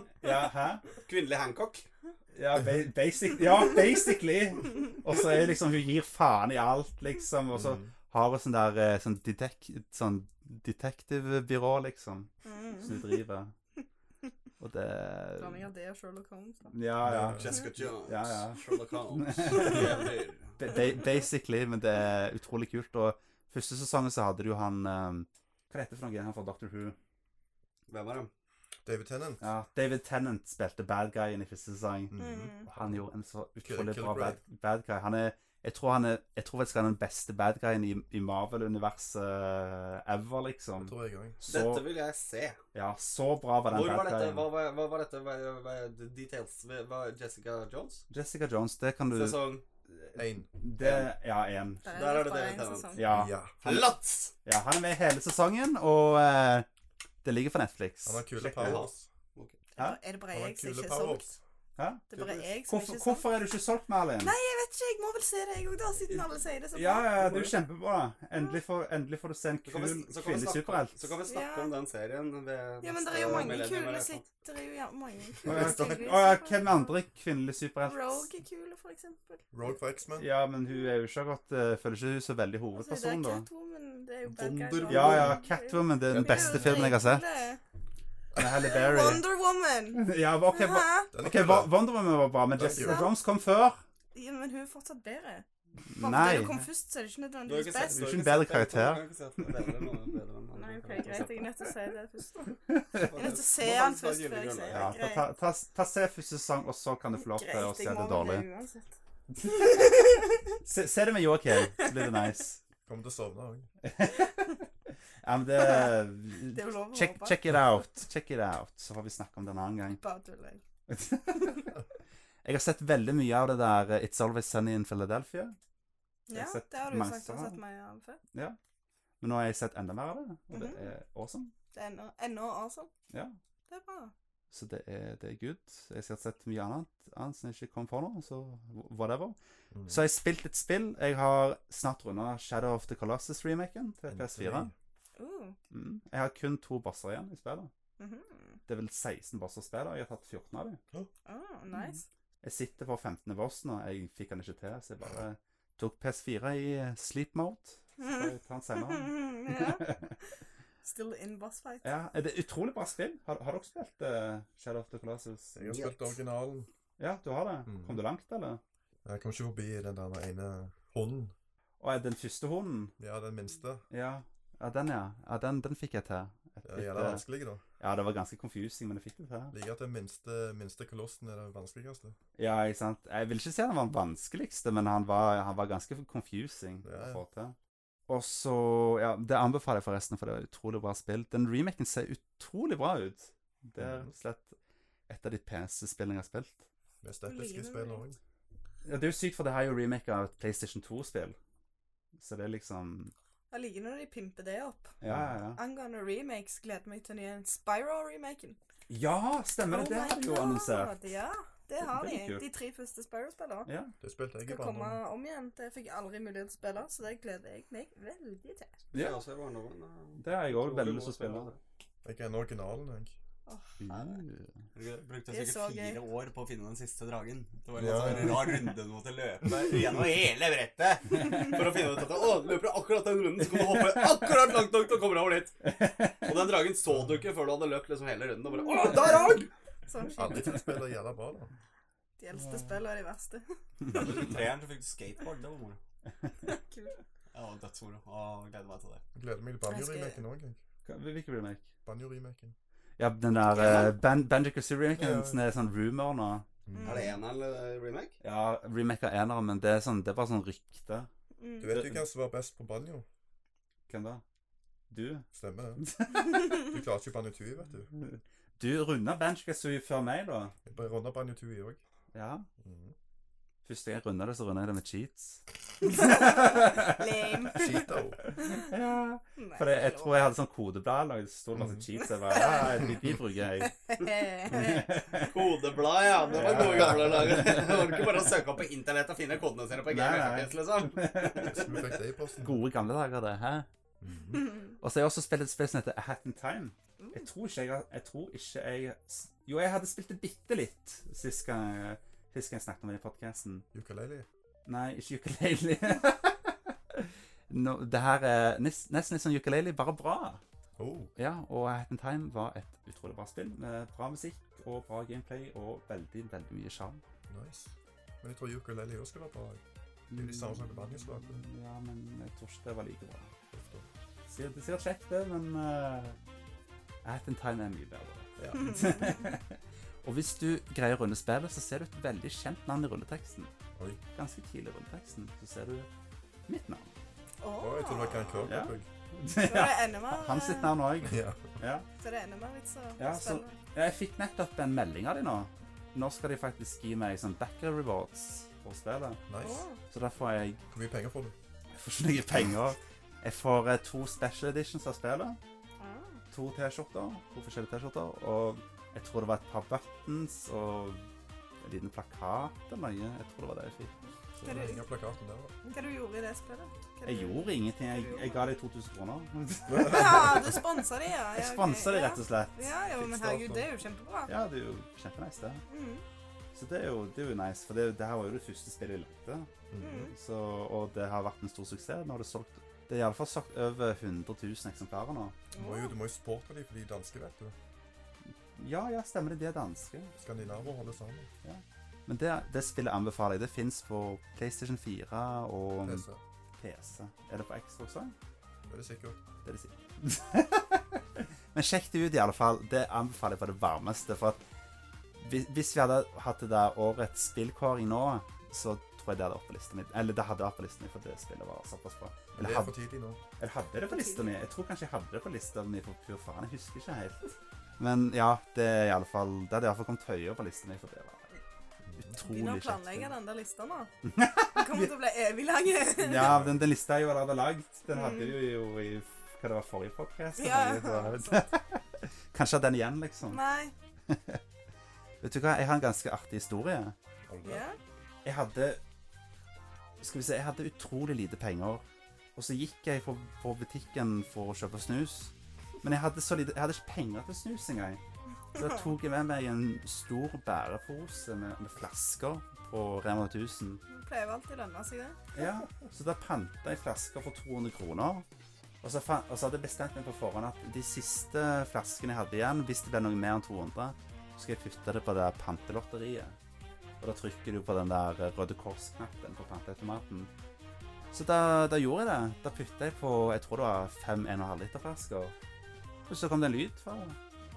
A: Hun, hun,
D: Hancock,
A: gir
D: liksom.
A: Ja, hæ?
D: Kvinnelig Hancock.
A: Ja, ba- basic, ja basically. Og så er liksom Hun gir faen i alt, liksom. Og så
B: Mhm.
A: har hun sånn der eh, sånn, detek, sånn detektivbyrå, liksom, som
C: Mm.
A: hun driver. Og det
C: Blanding
A: Eh,
C: av det og Sherlock Holmes. da.
A: Ja, ja.
D: Jessica Jones.
A: Ja, ja.
D: Sherlock Holmes. Jævlig.
A: Ba ba- basically, men det er utrolig kult. Og første sesongen så hadde du jo han eh, Hva heter det for noe? Han fra Doctor Who.
D: Hvem er dem?
B: David Tennant.
A: Ja, David Tennant spilte bad guyen i første sesong.
B: Mhm.
C: Mm.
A: Og Han gjorde en så
B: Kill-
A: utrolig
B: Kill
A: bra
B: Grey.
A: bad, bad guy. Han er, jeg tror han er, jeg tror faktisk han er den beste bad guyen i, i Marvel-universet ever, liksom.
B: Tror jeg òg.
A: Så,
D: Dette vil jeg se.
A: ja, så bra var den
D: Hvor var
A: bad
D: dette? Hva,
A: guyen.
D: var- hva var dette? Hva, hva, details? Var Jessica Jones?
A: Jessica Jones, det kan du
D: Sesong
B: Én.
A: Det Ja, én.
C: Der
D: Der er det
C: bare
D: David
C: en
D: Tennant.
C: sesong.
A: Ja,
B: Ja.
D: Lats!
A: ja. Han er med hele sesongen, og eh, det ligger på Netflix.
B: Han har kule
A: Sjekk det.
B: powers.
C: sånn, Er det bare
B: Han har
C: jeg som
B: kule
C: ikke er
B: powers.
C: solgt?
A: Hæ?
C: Det er bare jeg som ikke
A: Hvorfor,
C: er solgt?
A: hvorfor er du ikke solgt, Merlin?
C: Nei, jeg vet ikke. Jeg må vel se det, jeg òg, da, siden alle sier det så
A: Ja,
C: bra.
A: ja, det er jo kjempebra. Endelig får, endelig får du se en
D: Så kan vi-
A: kul
D: så kan vi
A: kvinnelig
D: snakke-
A: superhelt.
D: Så kan vi snakke
C: Ja.
D: om den serien ved
C: Ja, men det er jo
D: neste
C: mange
D: millennium,
C: kule
D: eller?
C: sik- Det er jo ja, mange
A: sånn. Å
C: kule
A: ja,
C: serier.
A: å ja, hvem andre kvinnelige superhelt?
C: Rogue er kule, for eksempel.
B: Rogue for X-Men.
A: Ja, men hun er jo ikke godt, eh, føler ikke hun så veldig
C: Altså, det er
A: hovedperson, da.
C: Catwoman, det er jo bad
B: Wonder
C: guy. da.
A: Ja, ja, Catwoman det er den
C: Det er jo
A: beste filmen jeg har sett.
C: dritkule.
A: Med Halle Berry.
C: Wonder Woman!
A: Ja, OK, Wo-
C: Hæ?
B: Den er
A: ok, Wo-
B: kul.
A: Wonder Woman var bra, men
B: Den er
A: Jessica
C: kul.
A: Jones kom før.
C: Ja, men hun er fortsatt bedre. Bare fordi du kom først, så er det ikke
D: sånn. Du har ikke
C: nødvendigvis
D: sett-
C: best.
A: du er ikke
D: har
A: en bedre
D: sett den, så du
A: karakter.
D: kan ikke si at den er bedre enn noen, bedre enn noen.
C: Nei,
D: Du
C: ok,
D: kan ikke
C: greit.
D: si
C: Jeg er nødt til å si det først.
D: at-
C: Jeg er nødt til å se
D: Du må
C: han
D: faktisk ta
C: først før jeg
D: julegullet.
C: sier
A: Ja, ta, ta, ta, ta se første sesong, eh, og så kan du få lov til å
C: Greit,
A: se
C: jeg må
A: det
C: vel
A: dårlig.
C: det uansett.
A: Se, se det med Joakim, så blir det nice.
B: Kommer til å sovne òg.
A: Ja, men
C: Det
A: det
C: er jo lov å
A: check,
C: håpe.
A: check it out. Check it out, så får vi snakke om det en annen gang.
C: Bare tuller jeg.
A: Jeg har sett veldig mye av det der eh, It's Always Sunny in Philadelphia. Jeg sånn. har
C: Ja,
A: sett
C: det har du jo
A: mange
C: sagt. Du har
A: sanger.
C: sett meg av før.
A: Men nå har jeg sett enda mer av det, og det
C: Mhm.
A: er awesome.
C: Det er ennå- ennå awesome.
A: Ja.
C: Det er bra.
A: Så det er, det er good. Jeg har sett mye annet, annet som jeg ikke kom på nå, så whatever.
B: Mm.
A: Så har jeg spilt et spill. Jeg har snart runda Shadow of the Colossus-remaken til PS4.
C: Uh,
A: Mm. Jeg har kun to bosser igjen i spillet.
C: mhm.
A: Det er vel 16 bosser i spillet, og jeg har tatt 14 av dem.
C: Ah,
A: Mm-hmm.
C: nice.
A: Jeg sitter på 15. boss nå. Jeg fikk den ikke til, så jeg bare tok PS4 i sleep mode. Så får jeg ta den senere.
C: ja. Still in boss fight.
A: ja, det er utrolig bra spill. Har, har dere spilt eh, Shadow of the Colossus?
B: Jeg har spilt originalen.
A: Ja, du har det?
B: Mm.
A: Kom du langt, eller?
B: Jeg kom ikke forbi den der ene hunden.
A: Å, er den første hunden?
B: Ja, den minste.
A: Ja. ja, den ja. Ja, Den, den fikk jeg til. Et
B: Det er jævla
A: lite-
B: vanskelig, da.
A: ja, det var ganske confusing, men jeg fikk det til.
B: Liker at den minste, minste kolossen er den vanskeligste.
A: Ja, ikke sant? Jeg vil ikke si han var den vanskeligste, men han var, han var ganske confusing
B: Ja, ja.
A: å få til. Og så Ja, det anbefaler jeg forresten, for det var et utrolig bra spill. Den remaken ser utrolig bra ut. Det er
B: Mm.
A: rett og slett et av de peneste spillene jeg har spilt.
B: Mest episke
C: Ligner
B: spillet
C: det
B: òg.
A: Ja, det er jo sykt, for det her er jo remake av et PlayStation 2-spill. Så det er liksom
C: Jeg liker når de pimper det opp.
A: Ja, ja, ja.
C: Angående remakes, gleder meg til den nye Spyro-remaken. Oh
A: Ja, stemmer det! Det
C: my
A: har de jo
C: god,
A: annonsert.
C: Ja, det har
A: Det
C: de.
A: er kult.
C: De tre første Spyro-spillene
A: Ja.
B: Det spilte jeg i
C: skal komme
B: barndommen.
C: om igjen. Det fikk jeg aldri mulighet til å spille, så det gleder jeg meg veldig til.
A: ja.
D: Ja, så er barndommen, da.
A: Det har jeg òg
D: Utrolig
A: veldig
D: god
A: lyst til å spille.
D: spiller.
B: Jeg kjenner originalen, jeg.
A: Ja.
D: Jeg brukte
C: Det er så
D: sikkert fire år på å finne den siste dragen. Det var en
B: Ja.
D: sånn rar runde du måtte løpe gjennom hele brettet for å finne ut at Å, du løper akkurat den runden, så kan du hoppe akkurat langt nok til å komme deg over dit. Og den dragen så du ikke før du hadde løpt liksom hele runden og bare Å, der er han!
C: Sånn
B: Alle
C: skikkelig.
B: tre spiller jævla bra, da.
C: De eldste spillene er de verste.
D: Etter treeren så fikk du skateboard. Det var moro.
C: Kult.
D: Ja, dødsmoro. Å, gleder meg til det.
B: Jeg gleder meg til
C: Jeg skal-
B: banjo-remaken òg.
A: Hvilken remake?
B: Banjo-remaken.
A: Ja, den der uh, Band Banjo
B: Ja.
A: Remaken som er sånn rumor nå.
C: Mm.
D: Er det en eller remake?
A: Ja, remake av enere, men det er, sånn, det er bare sånn rykte.
C: Mm.
B: Du vet jo hvem som var best på banjo?
A: Hvem da? Du?
B: Stemmer det. Du klarer ikke banjo tui, vet du.
A: Du runda Banjo Kazooie før meg, da.
B: Jeg bare runder banjo tui òg.
A: Ja.
B: Mm.
A: Første gang jeg runda det, så runda jeg det med cheats.
C: Lame.
B: Cheeto.
A: ja. Mm.
C: Nei,
A: For jeg, jeg tror jeg hadde sånn kodeblad lagd, så sto det masse
B: Mhm.
A: cheats. Jeg bare, ja, de, de bruker jeg.
D: Kodeblad, ja. Det var gode gamle dager. Det var ikke bare å søke opp på internett og finne kodene sine på
A: Nei, nei.
D: GMFS, liksom.
B: Så vi fikk det i posten.
A: Gode gamle dager, det. Hæ? Og så har jeg også spilt et spill som heter A Hat in Time. Jeg tror ikke jeg, har- jeg, tror ikke jeg s- Jo, jeg hadde spilt det bitte litt sist gang, sist gang jeg snakket om det i podkasten.
B: Ukulele.
A: Nei, ikke ukulele. no, det her er nes- nesten litt sånn ukulele, bare bra.
B: Oh.
A: Ja, og Hat in Time var et utrolig bra spill med bra musikk og bra gameplay og veldig, veldig mye sjarm.
B: Nice. Men jeg tror ukulele også skal være bra. Det er jo de samme som bemanningslagene.
A: Ja, men jeg tror ikke det var like bra.
B: Ofte.
A: Sier- Det sier kjekt, det, men uh, Hat in Time er mye bedre.
B: Ja.
A: og hvis du greier å runde spillet, så ser du et veldig kjent navn i rulleteksten.
B: Oi.
A: Ganske tidlig i rulleteksten så ser du mitt navn.
C: Ah.
B: Å, jeg trodde det var Grand Kirkwood.
C: Så er det enda mer eh,
A: Hans sitt navn òg.
B: Ja.
A: Ja.
C: Så det er enda mer vits å
A: Ja, så-
C: spille.
A: Ja, Jeg fikk nettopp en melding av de nå. Nå skal de faktisk gi meg sånn backer rewards for spillet.
B: Nice.
C: Å.
A: Så da får jeg,
B: Hvor mye penger får du?
A: jeg får ikke noe penger. Jeg får eh, to special editions av spillet.
C: Ah.
A: To T-skjorter, to forskjellige T-skjorter, og jeg tror det var et par buttons og en liten plakat eller noe. Jeg tror det var det jeg fikk.
C: Hva
B: Det
C: du-
B: er ingen plakaten der, da.
C: Hva du gjorde i det spillet? Hva
A: Jeg
C: du-
A: gjorde ingenting. Jeg, jeg ga deg 2000 kroner.
C: Ja, du sponsa de, ja.
A: Jeg sponsa de, rett og slett.
C: Ja, jo, men herregud, det er jo kjempebra.
A: Ja, det er jo kjempenice, det.
C: Mm.
A: Så det er jo, det er jo nice, for det, er jo- det her var jo det første spillet vi lagde.
C: Mm.
B: Mhm.
A: Så, og det har vært en stor suksess. Nå har det solgt Det er iallfall solgt over 100 000 eksemplarer nå.
B: Du må jo, du må jo supporte dem, for de er danske, vet du.
A: Ja, ja, stemmer det. De er danske.
B: Skandinaver holder sammen.
A: Men det, det spillet anbefaler jeg. Det fins på PlayStation 4 og
B: PC.
A: PC. Er det på Xbox òg?
B: Det er det sikkert.
A: Det er det sikkert. Men sjekk det ut, i alle fall. Det anbefaler jeg på det varmeste. For at hvis, hvis vi hadde hatt det der årets spillkåring nå, så tror jeg det hadde vært på lista mi. Eller det hadde vært på lista mi, for det spillet var såpass bra.
B: Det
A: Eller
B: er
A: hadde,
B: for tidlig nå.
A: eller hadde jeg det på lista mi? Jeg tror kanskje jeg hadde det på lista mi for pur faen. Jeg husker ikke helt. Men ja, det er i alle fall Det hadde i alle fall kommet høyere på lista mi, for det var
C: Begynn å
A: utrolig kjekt.
C: planlegge den der lista nå. Den kommer til å bli evig lang.
A: Ja, den, den lista jeg jo allerede lagd, den hadde vi jo i hva det var forrige podcast.
C: Mm. Ja,
A: eller? Så-
C: sant.
A: Kanskje den igjen, liksom.
C: Nei.
A: Vet du hva, jeg har en ganske artig historie.
B: Har du det?
C: Ja.
A: Jeg hadde Skal vi se, jeg hadde utrolig lite penger. Og så gikk jeg på, på butikken for å kjøpe snus. Men jeg hadde, så lite, jeg hadde ikke penger til snus engang. Så da tok jeg med meg en stor bærepose med, med flasker på Rema 1000.
C: Det pleier jo alltid å lønne seg, det.
A: Ja, så da panta jeg flasker for 200 kroner. Og så, fa- og så hadde jeg bestemt meg på forhånd at de siste flaskene jeg hadde igjen, hvis det ble noe mer enn 200, så skal jeg putte det på det pantelotteriet. Og da trykker du på den der Røde Kors-knappen på panteautomaten. Så da, da gjorde jeg det. Da putta jeg på jeg tror det var fem 1,5 liter flasker. Og så kom det en lyd fra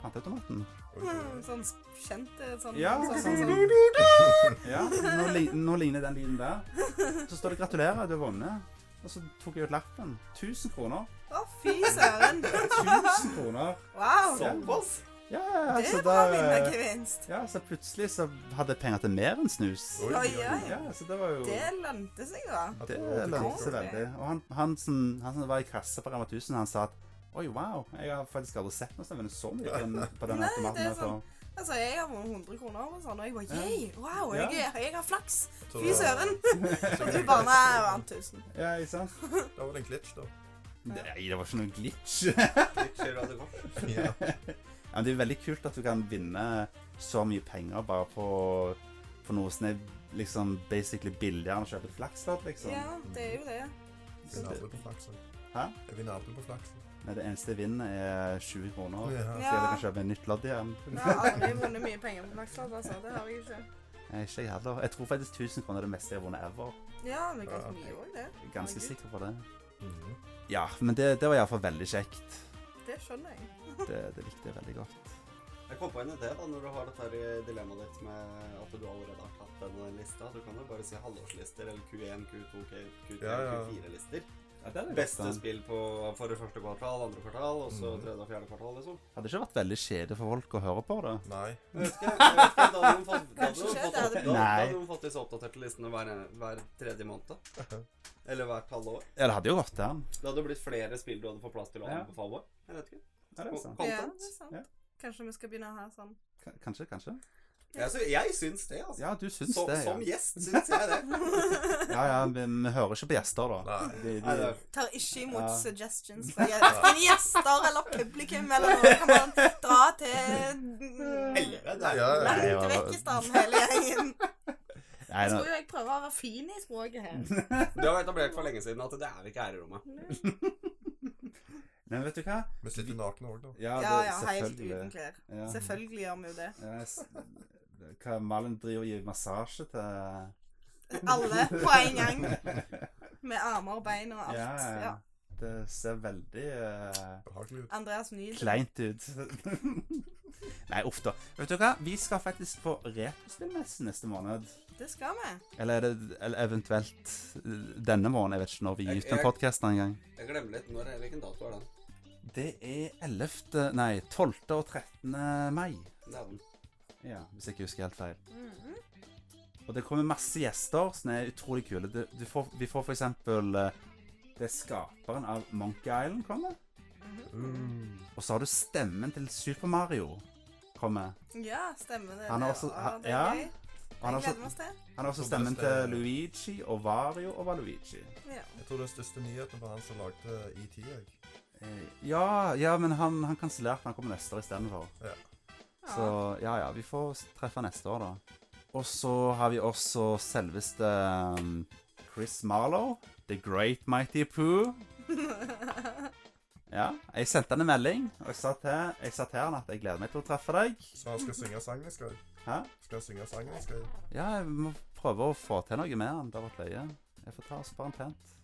A: panteautomaten.
B: Har du ikke det?
C: Sånn kjent eh, sånn,
A: Ja.
C: sånn, sånn, sånn,
A: Ja, nå, li- nå ligner den lyden der. Så står det 'gratulerer, du har vunnet'. Og så tok jeg ut lappen. 1000 kroner.
C: Å, fy søren!
A: 1000 kroner.
C: Wow!
D: Såpass?
A: Ja, ja, ja,
C: Det
A: så
C: er bra
A: da, eh,
C: vinnergevinst.
A: ja, så plutselig så hadde jeg penger til mer enn snus.
B: Oi,
C: Oi,
B: oi,
C: oi.
B: oi.
A: Ja, så det var jo
C: Det lønte seg, da.
A: Det
B: At-
A: lønte seg
C: det.
A: veldig. Og han, han, som, han som var i kassa på Rema 1000, han sa at Oi, wow, jeg har faktisk aldri sett noe som har vunnet så mye på den- på denne
C: Nei,
A: automaten.
C: det er
A: her før.»
C: Altså, jeg har vunnet 100 kroner og sånn, og jeg bare
A: Ja.
C: yeah, wow,
A: Ja.
C: jeg, er- jeg har flaks.
B: Så
C: Fy
B: da-
C: søren. Og du bare nei, jeg vant 1000.
A: Ja, ikke sant?
B: Da var det en glitch, da.
A: Nei, det var ikke noe glitch. ja,
D: Litt skjer at det går.
B: Ja.
A: men det er veldig kult at du kan vinne så mye penger bare på, på noe som er liksom basically billigere enn å kjøpe et flakslodd, liksom.
C: Ja, det er jo det.
B: Jeg vinner aldri på flaksen.
A: Hæ?
B: Jeg vinner aldri på flaksen.
A: Men det eneste jeg vinner, er 20 kroner.
B: Ja.
A: Så jeg
C: Ja.
A: kan kjøpe et nytt lodd igjen.
C: Jeg har aldri vunnet mye penger på Maxlad, altså. Det har jeg ikke.
A: Nei, Ikke jeg heller. Jeg tror faktisk 1000 kroner er det meste jeg har vunnet ever.
C: Ja, det er ganske mye òg, det.
A: Jeg er Ganske
C: Herregud.
A: sikker på det.
B: Mhm.
A: Ja, men det, det var iallfall veldig kjekt.
C: Det skjønner jeg.
A: Det, det likte jeg veldig godt.
D: Jeg kom på en idé da, når du har dette her eh, dilemmaet ditt med at du allerede har tatt den og den lista. Du kan jo bare si halvårslister eller Q1, Q2, Q3,
B: Ja, ja.
D: Q4-lister.
A: Ja, det
D: Beste spill på for det første kvartal, andre kvartal, og så
B: Mhm.
D: tredje og fjerde kvartal, liksom.
A: Hadde ikke vært veldig kjedelig for folk å høre på det.
B: Nei.
D: Jeg vet ikke, jeg vet ikke, da hadde de fått, da hadde
C: Kanskje
D: de
C: ikke,
D: fått,
C: det
D: opp,
C: hadde-
D: da, da
A: Nei.
D: hadde de fått disse oppdaterte listene hver, hver tredje måned. da. Eller hvert halve år.
A: Ja, det hadde jo gått an.
D: Det hadde blitt flere spill du hadde fått plass til å
A: Ja.
D: anbefale. Jeg vet ikke.
A: Ja, det er sant.
C: Ja,
D: Content.
C: det er
A: Ja.
C: sant. Kanskje vi skal begynne å ha sånn
A: K- Kanskje, kanskje.
D: Jeg, sy jeg syns det, altså.
A: Ja, du syns
D: som,
A: det.
D: som
A: Ja,
D: gjest syns jeg det.
A: ja, ja vi, vi hører ikke på gjester, da.
B: Nei.
A: De,
D: Nei, det
A: de,
D: er-
C: Tar ikke imot
A: Ja.
C: suggestions fra gje- verken gjester eller publikum eller noe. Kan man dra til
D: Helvete.
B: Ja, ja.
A: Nei,
C: langt
A: ja.
C: vekk i stand hele gjengen?
A: nei,
C: Jeg
A: nå,
C: tror jo jeg prøver å være fin i språket her.
D: Det var etablert for lenge siden at det er ikke her i rommet.
A: nei, vet du hva?
B: Vi sitter nakne òg, da.
A: Ja,
C: Ja, ja, helt uten
A: selvfølgelig.
C: klær.
A: Ja.
C: Selvfølgelig gjør vi jo det.
A: Ja, s- hva Malin driver og gir massasje til
C: Alle på en gang. Med armer og bein og
A: Ja,
C: alt.
A: ja.
C: Ja.
A: Det ser veldig eh,
B: Behagelig ut.
C: Andreas Nyhl.
A: kleint ut. Nei, uff da. Vet du hva? Vi skal faktisk på retrospillmessen neste måned.
C: Det skal vi.
A: Eller, er det, eller eventuelt eh, denne måneden. Jeg vet ikke når vi gir ut den
D: Jeg-
A: podkasten engang.
D: Jeg glemmer litt når, hvilken dato er den.
A: Det er 11. Nei, 12. og 13. mai.
D: Det er den.
A: Ja, Hvis jeg ikke husker helt feil. Og det kommer masse gjester som er utrolig kule. Du, du får, vi får for eksempel eh, Det er skaperen av Monkey Island kommer.
C: Mhm.
A: Og så har du stemmen til Super Mario kommer.
C: Ja, stemmer det.
A: Han er
C: Det
A: også-
C: var-
A: han-
C: det er
A: ja.
C: gøy.
A: Og han har
C: Jeg
A: også,
C: gleder oss til.
A: han har også
B: Så bare
A: stemmen
B: stemme.
A: til Luigi og Vario og Valuigi.
C: Ja.
B: Jeg tror den største nyheten var han som lagde ET. Jeg.
A: Eh, Ja, ja men han, han kansellerte. Han kommer neste år istedenfor.
C: Ja.
A: Så ja, ja, vi får s- treffe neste år, da. Og så har vi også selveste um, Chris Marlow, The Great Mighty Pooh. Ja, jeg sendte han en melding, og jeg sa til, jeg sa til han at jeg gleder meg til å treffe deg.
B: Så han skal synge sangen, skal jeg?
A: Hæ?
B: Skal han synge sangen, skal jeg?
A: Ja, jeg må prøve å få til noe med han. Det har vært løye. Jeg får ta oss på han pent.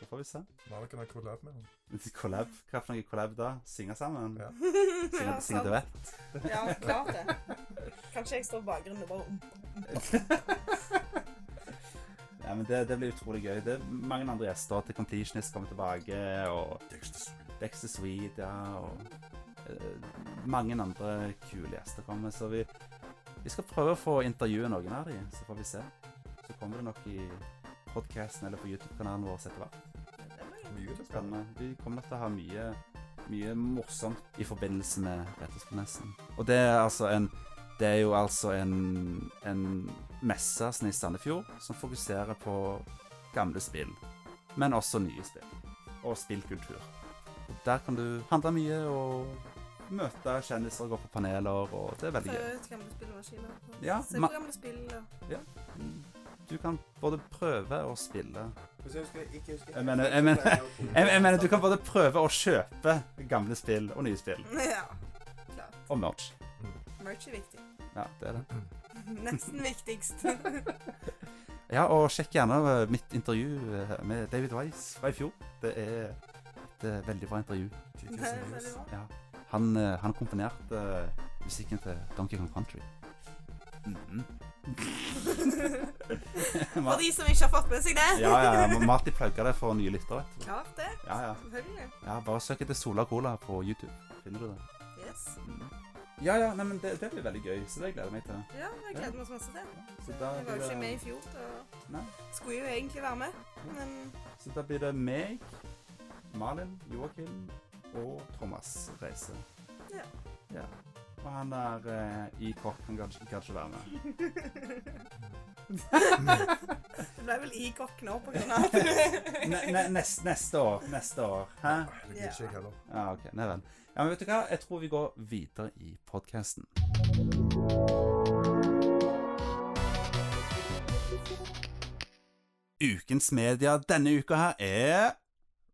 A: Så får vi se.
B: Nå har dere kollab med han.
A: Collab. Hva for noe collab da? Synge sammen?
B: Ja.
A: Synge,
C: Ja,
A: synge
C: sant.
A: duett?
C: Ja, klart det. Kanskje jeg står i bakgrunnen og bare um.
A: Ja, men det, det blir utrolig gøy. Det er mange andre gjester til Completionist kommer tilbake, og
B: Dexter Sweet.
A: Dexter Swede, ja, og eh, mange andre kule gjester kommer, så vi, vi skal prøve å få intervjue noen av dem, så får vi se. Så kommer det nok i podcasten eller på YouTube-kanalen vår etter hvert.
B: Mye det spennende.
A: Spennende. eh, Vi kommer nok til å ha mye, mye morsomt i forbindelse med Retrosprennessen. Og det er altså en det er jo altså en, en messe sånn i Sandefjord som fokuserer på gamle spill, men også nye spill, og spillkultur. Og der kan du handle mye og møte kjendiser og gå på paneler, og det er veldig gøy.
C: Prøve ut eh, gamle spillemaskiner. og
A: Ja,
C: Se
A: ma-
C: på gamle spill. og-
A: Du kan både prøve og spille.
D: Hvis jeg husker, ikke husker
A: Jeg mener- jeg mener- Jeg, jeg mener, du kan både prøve og kjøpe gamle spill og nye spill,
C: Ja, klart.
A: og merch.
C: Merch er viktig.
A: Ja, det er det.
C: Nesten viktigst.
A: Ja, og sjekk gjerne eh, mitt intervju eh, med David Wise fra i fjor. Det er et eh, veldig bra intervju.
B: 10
C: Det
B: 000
C: er
B: views.
C: veldig bra.
A: Ja. Han, eh, han komponerte eh, musikken til Donkey Kong Country. Mhm.
C: For de som ikke har fått med seg det.
A: ja, ja, ja, Marty plugga det for nye lyttere. vet du.
C: Klart det.
A: Ja, ja.
C: Selvfølgelig.
A: ja, bare søk etter Sola Cola på YouTube. Finner du det?
C: Yes.
A: Mm. Ja, ja, nei, men det, det blir veldig gøy, så det gleder jeg meg til.
C: Ja, jeg gleder meg så masse til det.
A: Så da
C: Jeg var jo
A: blir
C: ikke med
A: det,
C: i fjor, da
A: Nei.
C: skulle jo egentlig være med. Men
A: så da blir det meg, Malin, Joakim og Thomas Reise.
C: ja.
A: Ja. Og han der eh, i kokk kan kanskje, kanskje være med.
C: Det ble vel i kokk nå på grunn av at du
A: Ne ne nest, neste år. Neste år. Hæ?
B: Det gidder ikke jeg heller.
A: Ja, OK. Nei vel. Ja, men vet du hva? Jeg tror vi går videre i podkasten. Ukens media denne uka her er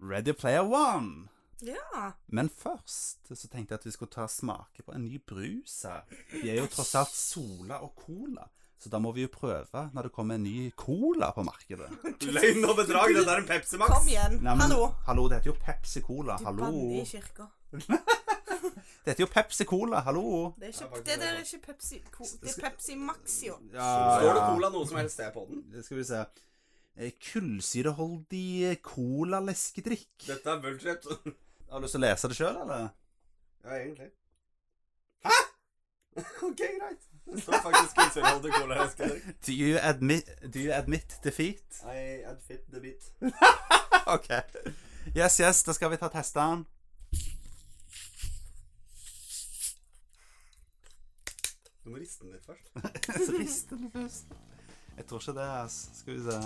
A: Ready Player One.
C: Ja.
A: Men først så tenkte jeg at vi skulle ta og smake på en ny brus her. Vi er jo tross alt Sola og Cola, så da må vi jo prøve når det kommer en ny Cola på markedet.
D: Løgn og bedrag! Det der er en Pepsi Max!
C: Kom igjen.
A: Nei, men-
C: Hallo.
A: Hallo, det heter jo Pepsi Cola.
C: Du
A: Hallo.
C: banner i kirka.
A: Det heter jo Pepsi Cola. Hallo.
C: Det, er
D: Ja,
C: ikke,
D: faktisk
C: det der er
D: det.
C: ikke Pepsi Co- Det er Pepsi Maxio.
D: Står det Cola noe som helst sted på den?
A: Det skal vi se. Eh, Kullsyreholdig eh, cola-leskedrikk.
D: Dette er bullshit.
A: Har du lyst til å lese det sjøl, eller?
D: Ja, egentlig. Hæ?! OK, greit. Det står faktisk kullsyreholdig cola. Jeg skal drikke.
A: Do you admit, do you admit defeat?
D: I adfit the bit.
A: OK. Yes, yes, da skal vi ta teste den.
D: Du må riste den litt først.
A: Så rister den først. Jeg tror ikke det, altså. Skal vi se.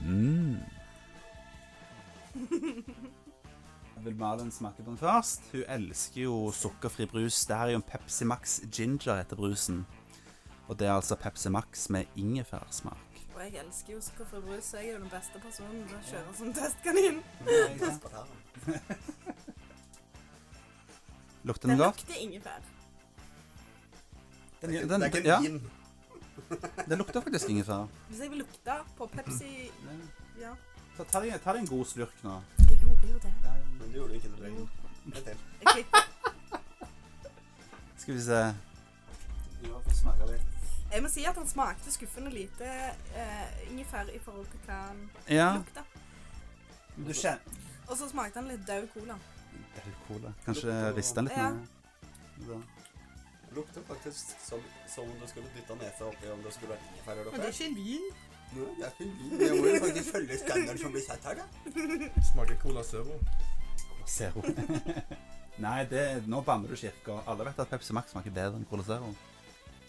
A: Mm. Vil Malin smake på den først? Hun elsker jo sukkerfri brus. Det her er jo en Pepsi Max Ginger heter brusen. Og det er altså Pepsi Max med ingefærsmak.
C: Og jeg elsker jo sukkerfri brus, så jeg er jo den beste personen til å kjøre som testkanin.
A: Lukter
C: Den
A: den godt?
C: lukter ingefær.
A: Den,
D: Det er ikke en
A: ja,
D: vin.
A: det lukter faktisk ingefær.
C: Hvis jeg vil lukte på Pepsi Ja.
A: Ta, ta, deg, ta deg en god slurk nå.
C: Jeg gjorde jo det.
D: Men du gjorde jo ikke noe løgn. En til.
C: Jeg klippet.
A: Skal vi se.
D: Du har fått smaka litt.
C: Jeg må si at han smakte skuffende lite eh, ingefær i forhold til hva han
A: Ja.
C: lukta.
A: Du kjenner
C: Og så smakte han litt død cola.
A: Det er litt cola. Kanskje riste den litt
C: Ja.
A: ned. Bra.
D: Det lukter faktisk som, som om du skulle dytta nesa oppi om det skulle vært ingefær.
C: Men det er ikke vin.
D: Nei, det er ikke en vin. Jeg må jo faktisk følge standarden som blir satt her, da.
B: Smaker Cola Zero.
A: Zero. Nei, det, nå banner du kirka. Alle vet at Pepsi Max smaker bedre enn Cola Zero.
D: Jeg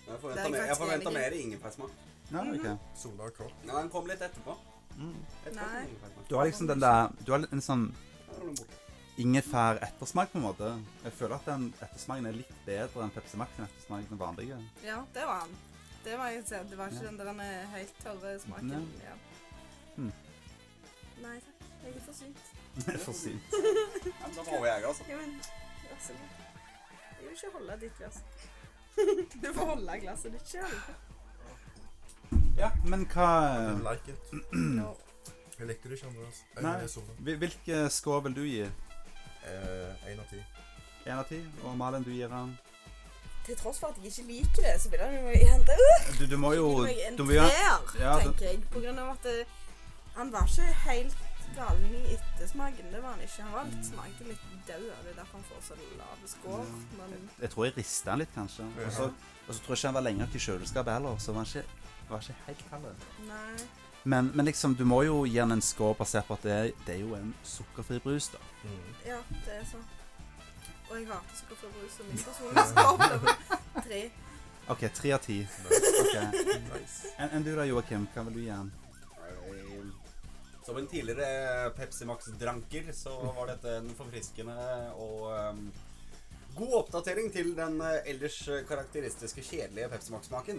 C: Det er
D: forventa mer, jeg
C: faktisk
D: forventa
C: enig.
D: mer ingefærsmak.
A: Nei, ok.
B: Sola og Cola.
D: Ja, den kom litt etterpå.
A: Mm.
D: Etterpå kom
C: Nei.
D: ingefærsmak.
A: Du har liksom den der Du har litt en sånn
D: Ja, den er borte.
A: ingefær-ettersmak, på en måte. Jeg føler at den ettersmaken er litt bedre enn Pepsi Max sin ettersmak den vanlige.
C: Ja, det var han. Det var, jeg, det var ikke
A: Ja.
C: den der med helt tørre smaken.
A: Nei.
C: Ja.
A: Hmm.
C: Nei takk, jeg er for syk.
A: For sykt.
D: Ja, men da må jeg, altså.
C: Ja, men vær så god. Jeg vil ikke holde ditt glass. Du får holde glasset ditt sjøl.
A: Ja, men hva
B: Like it.
C: Nå.
B: Jeg likte det ikke, Andreas.
A: Nei.
B: Jeg, Sone.
A: hvil- Hvilke score vil du gi?
B: eh, en av ti.
A: Én av ti? Og Malin, du gir han
C: Til tross for at jeg ikke liker det, så vil han jo hente ut
A: Du, du må jo
C: meg en
A: du må jo,
C: treer,
A: Ja, det-
C: tenker jeg. På grunn av at eh, han var ikke helt galen i ettersmaken. Det var han ikke. Han var litt smakte litt død, og det er derfor han får så lav score.
A: Ja.
C: Men
A: Jeg tror jeg rista han litt, kanskje. Og så, og så tror jeg ikke han var lenger til kjøleskapet heller, så var han ikke, var ikke helt kald.
C: nei.
A: Men, men liksom, du må jo gi han en score basert på at det, det er jo en sukkerfri brus, da.
B: Mm.
C: Ja, det er sånn. Og jeg hater sukkerfri brus, og min personlige score ble tre.
A: OK, tre av ti.
B: Nice.
A: Ok.
B: Mm. nice.
A: Enn enn du da, Joakim? Hva vil du gi han?
D: Ehm, Som en tidligere Pepsi Max-dranker, så var dette en forfriskende og ehm, god oppdatering til den eh, ellers karakteristiske kjedelige Pepsi Max-smaken.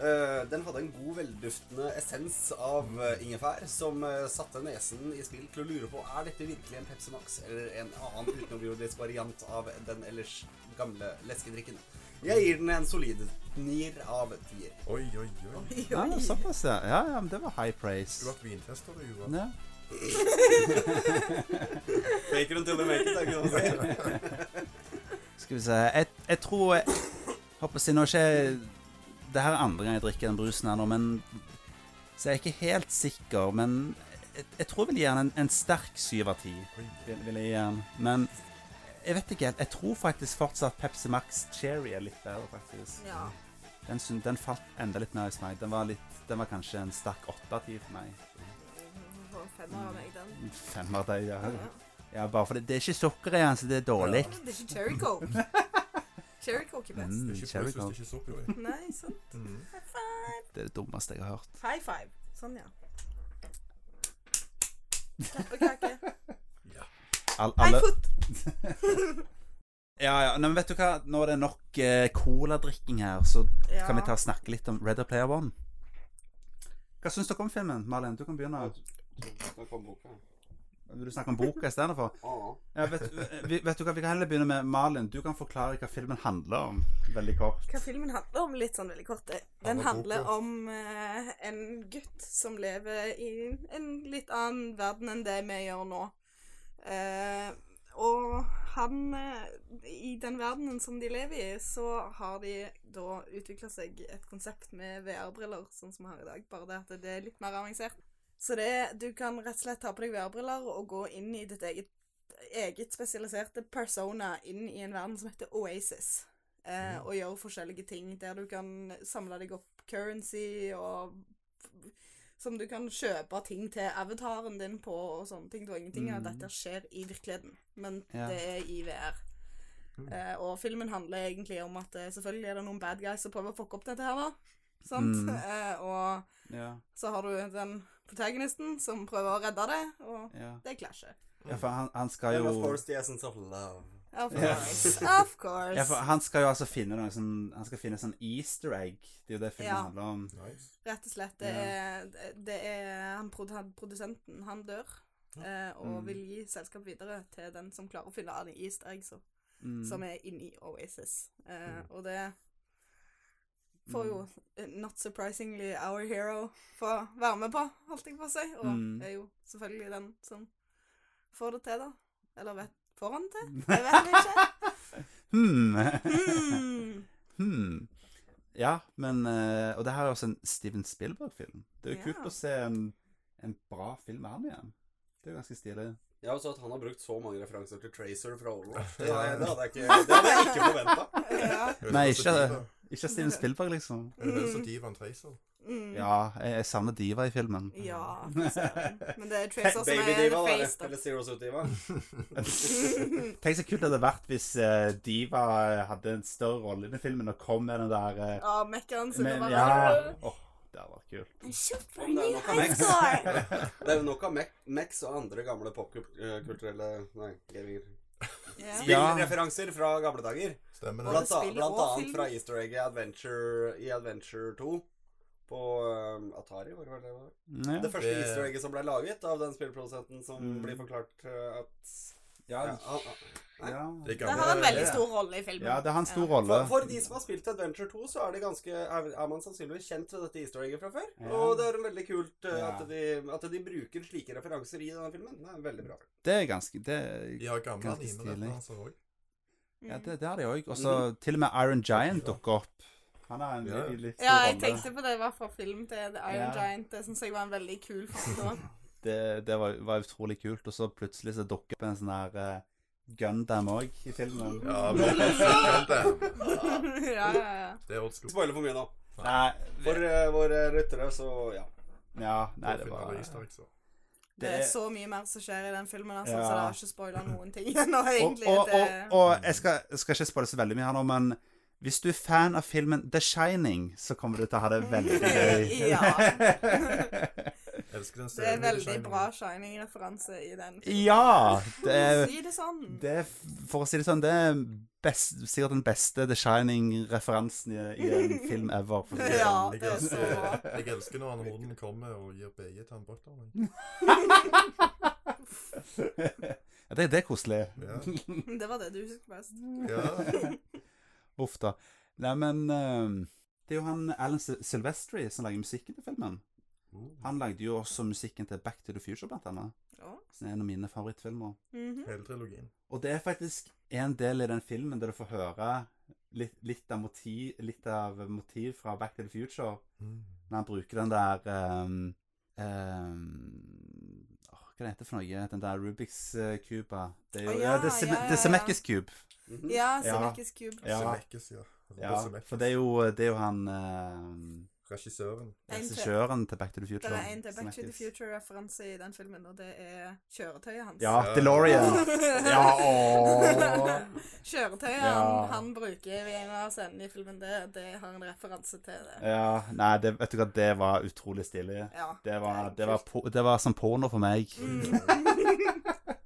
D: Eh, den hadde en god, velduftende essens av eh, ingefær som eh, satte nesen i spill til å lure på er dette virkelig en Pepsi Max eller en annen utenomjordisk variant av den ellers gamle leskedrikken. Jeg gir den en solid nier av tier.
B: Oi, oi, oi.
A: Ja, såpass, ja. Ja, ja, men det var high
B: Du har
A: praise.
B: vært vintester, du, Joa.
A: Ja.
D: Fake it until you make it, er ikke det man sier?
A: Skal vi se Jeg, jeg tror jeg, Håper å si nå er ikke Det her er andre gang jeg drikker den brusen her nå, men Så jeg er ikke helt sikker, men jeg, jeg tror jeg vil gi den en, en sterk syv av ti.
B: Oi.
A: Vil, vil jeg gi den. Men jeg vet ikke helt. Jeg tror faktisk fortsatt Pepsi Max Cherry er litt bedre, faktisk.
C: Ja.
A: Den, syn- den falt enda litt ned hos meg. Den var, litt, den var kanskje en sterk åtte av ti for meg.
C: Du får en femmer av meg, den.
A: En Fem av deg,
C: Ja.
A: ja. ja. Bare fordi det er ikke sukker i den, så det er dårlig.
C: Det er ikke cherry coke. Cherry coke er best.
A: Mm,
B: Det er ikke
A: cherry
B: pølse hvis det
A: coke.
B: ikke er sopp, Joa.
C: Nei, sant.
B: Mm.
C: High five.
A: Det er det dummeste jeg har hørt.
C: High five. Sånn, ja. Klappekake.
B: Ja.
A: All,
C: High
A: alle,
C: foot.
A: Ja, ja. Nei, men vet du hva? Nå er det nok eh, coladrikking her, så
C: Ja.
A: kan vi ta og snakke litt om Red Dead Player One. Hva syns dere om filmen? Malin, du kan begynne.
D: Nå kom boka.
A: Vil du snakke om boka istedenfor?
D: Ah.
A: Ja, vet, eh, vi- vet du hva, vi kan heller begynne med Malin. Du kan forklare hva filmen handler om, veldig kort.
C: Hva filmen handler om, litt sånn veldig kort, det-
B: Anna
C: den
B: Boka.
C: handler om eh, en gutt som lever i en litt annen verden enn det vi gjør nå. Eh, og han eh, I den verdenen som de lever i, så har de da utvikla seg et konsept med VR-briller, sånn som vi har i dag, bare det at det er litt mer avansert. Så det, du kan rett og slett ta på deg VR-briller og gå inn i ditt eget, eget spesialiserte persona inn i en verden som heter Oasis eh,
A: Mhm.
C: og gjøre forskjellige ting der du kan samle deg opp currency og som du kan kjøpe ting til avataren din på og sånne ting. Og ingenting av
A: Mm.
C: dette skjer i virkeligheten, men
A: Ja.
C: det er i VR.
B: Mm.
C: Eh, og filmen handler egentlig om at eh, selvfølgelig er det noen bad guys som prøver å fucke opp dette her, da. Sant?
A: Mm.
C: Eh, og
A: Ja,
C: så har du den protagonisten som prøver å redde det, og
A: ja.
C: det klasjer.
A: ja for han, han skal
D: And of
A: jo
D: course the essence of love.
C: Of
A: Ja.
C: course. Of course.
A: ja, for Han skal jo altså finne noe sånn Han skal finne sånn easter egg. Det er jo det filmen
C: Ja.
A: handler om.
B: Nice.
C: Rett og slett. Det
A: Ja.
C: er, det er han, prod- han, produsenten. Han dør. Eh, og
A: Mm.
C: vil gi selskap videre til den som klarer å finne alle easter eggs som-
A: Mm.
C: som er inni Oasis. Eh,
B: Mm.
C: og det får
A: Mm.
C: jo eh, not surprisingly Our Hero få være med på, holdt jeg på å si. Og
A: Mm.
C: er jo selvfølgelig den som får det til, da. Eller vet, får han det til? Jeg vet ikke.
A: Hmm.
C: Hmm.
A: Hmm. Ja, men eh, Og det her er også en Steven Spielberg-film. Det er jo
C: Ja.
A: kult å se en, en bra film med han igjen. Det er jo ganske stilig.
D: Ja, og så at han har brukt så mange referanser til Tracer fra Overwatch, det,
B: Ja.
D: hadde jeg- det hadde jeg ikke, det hadde jeg ikke forventa.
C: Ja.
B: Er det
A: Nei,
B: den som
A: ikke det.
B: diva?
A: Ikke Steven Spielberg, liksom.
B: Er det den som diva en tracer?
C: Mm.
A: Ja, jeg, jeg savner Diva i filmen.
C: Ja, for søren. men det er Tracer Sånn som er
D: Baby-diva,
C: the
D: da,
C: face, da.
D: eller Zero Suit-diva.
A: Tenk så kult det hadde vært hvis eh, Diva hadde en større rolle i den filmen og kom med den der eh,
C: Ja, mekkeren sin
A: med,
C: og bare
A: Ja. Åh, det hadde vært kult.
C: I shoot for a
D: Det
C: new
D: er nok av
C: high
D: Max.
C: score!
D: Det er jo nok av Mac- Max og andre gamle popkulturelle Nei, gamer.
C: Ja.
D: Spillreferanser fra gamle dager.
B: Stemmer det.
D: Blant, a-
C: spill
D: blant
C: og
D: annet
C: film.
D: fra Easter Egg i Adventure, i Adventure 2 på um, Atari. Var det var det det var?
A: Ja.
D: Det første
B: Det-
D: Easter egget som ble laget av den spillprodusenten som
A: Mm.
D: blir forklart uh, at
A: Ja,
D: ja, han- han-
A: ja.
B: Det
C: Det
B: gamle-
C: har en veldig stor rolle i filmen.
A: ja, det har en stor
C: Ja.
A: rolle.
D: for, for de som har spilt Adventure 2, så er, det ganske, er, er man sannsynligvis kjent med dette easter egget fra før.
A: Ja.
D: Og det er veldig kult uh,
A: Ja.
D: at, de, at de bruker slike referanser i denne filmen. Det er veldig bra.
A: Det er ganske det,
B: De har gamle
A: Ganske
B: anime
A: stilig.
B: dette, altså òg.
C: Mm.
A: ja, det, det har de òg. Og så til og med Iron Giant dukker opp. Han har en
B: Mm. Ja, ja.
A: veldig litt stor
C: Ja, jeg
A: rolle.
C: tenkte på det var fra film til The
A: Ja.
C: Iron Giant. Det syns jeg var en veldig kul film.
A: Det, det var, var utrolig kult. Og så plutselig så dukker opp en sånn her eh, Gundam òg i filmen.
B: Ja, men Gundam.
C: ja, ja, ja.
B: Det er old school.
D: Spoiler for mye nå.
A: Nei,
D: For uh, våre lyttere, så ja.
A: ja, nei,
B: Det
A: det
B: finner
A: var
B: vi i Stark, så.
C: Det
A: Det-
C: er så mye mer som skjer i den filmen, altså,
A: Ja.
C: så det har ikke spoila noen ting ennå,
A: og,
C: egentlig.
A: og,
C: eh,
A: og,
C: det...
A: og
B: Mm.
A: jeg skal, jeg skal ikke spoile så veldig mye her nå, men hvis du er fan av filmen The Shining, så kommer du til å ha det veldig gøy.
C: Ja.
B: Elsker den
C: Det er
B: serien.
C: veldig
B: Shining.
C: bra Shining-referanse i den.
A: ja! Det er,
C: Si det sånn.
A: eh, det er, for å si det sånn, det er best, sikkert den beste The Shining-referansen i, i en film ever. For å si det.
C: Ja,
B: Jeg
C: det er så
B: elsker-
C: bra.
B: Jeg elsker når han hoden kommer og gir BJ tannbørster. men-
A: Ja, det, det er koselig.
B: Ja.
C: Det var det du husker best.
B: ja.
A: Uff da. Nei, men eh, det er jo han Alan Sil- Silvestri som lager musikken til filmen.
B: Uh,
A: Han lagde jo også musikken til Back to the Future, blant annet.
C: Ja.
A: Som er en av mine favorittfilmer.
C: Mhm.
B: Hele trilogien.
A: Og det er faktisk en del i den filmen der du får høre litt, litt, av, motiv, litt av motiv fra Back to the Future,
B: Mm.
A: når han bruker den der ehm, ehm, åh, Hva det heter det for noe? Den der Rubiks eh, kuba. Det er jo
C: Å,
A: ja,
C: ja,
A: det er Sim-
C: ja, ja,
A: det er Zemeckis kube.
D: Mhm.
C: Ja,
A: Ja.
C: Zemeckis Cube.
A: Ja.
B: Zemeckis, ja.
A: Ja, for det er jo, eh, det er jo han ehm,
B: Regissøren.
C: En til.
A: regissøren til Back to the Future.
C: Det er en til Back to the
A: Zemeckis.
C: Future-referanse i den filmen, og det er kjøretøyet hans.
A: Ja, DeLorean. Ja, ååå.
C: Kjøretøyet
A: Ja.
C: han, han bruker i en av scenene i filmen, det, det har en referanse til det.
A: Ja, nei, det, vet du hva, det var utrolig stilig.
C: Ja.
A: Det var, det var, po det var som porno for meg.
C: Mm.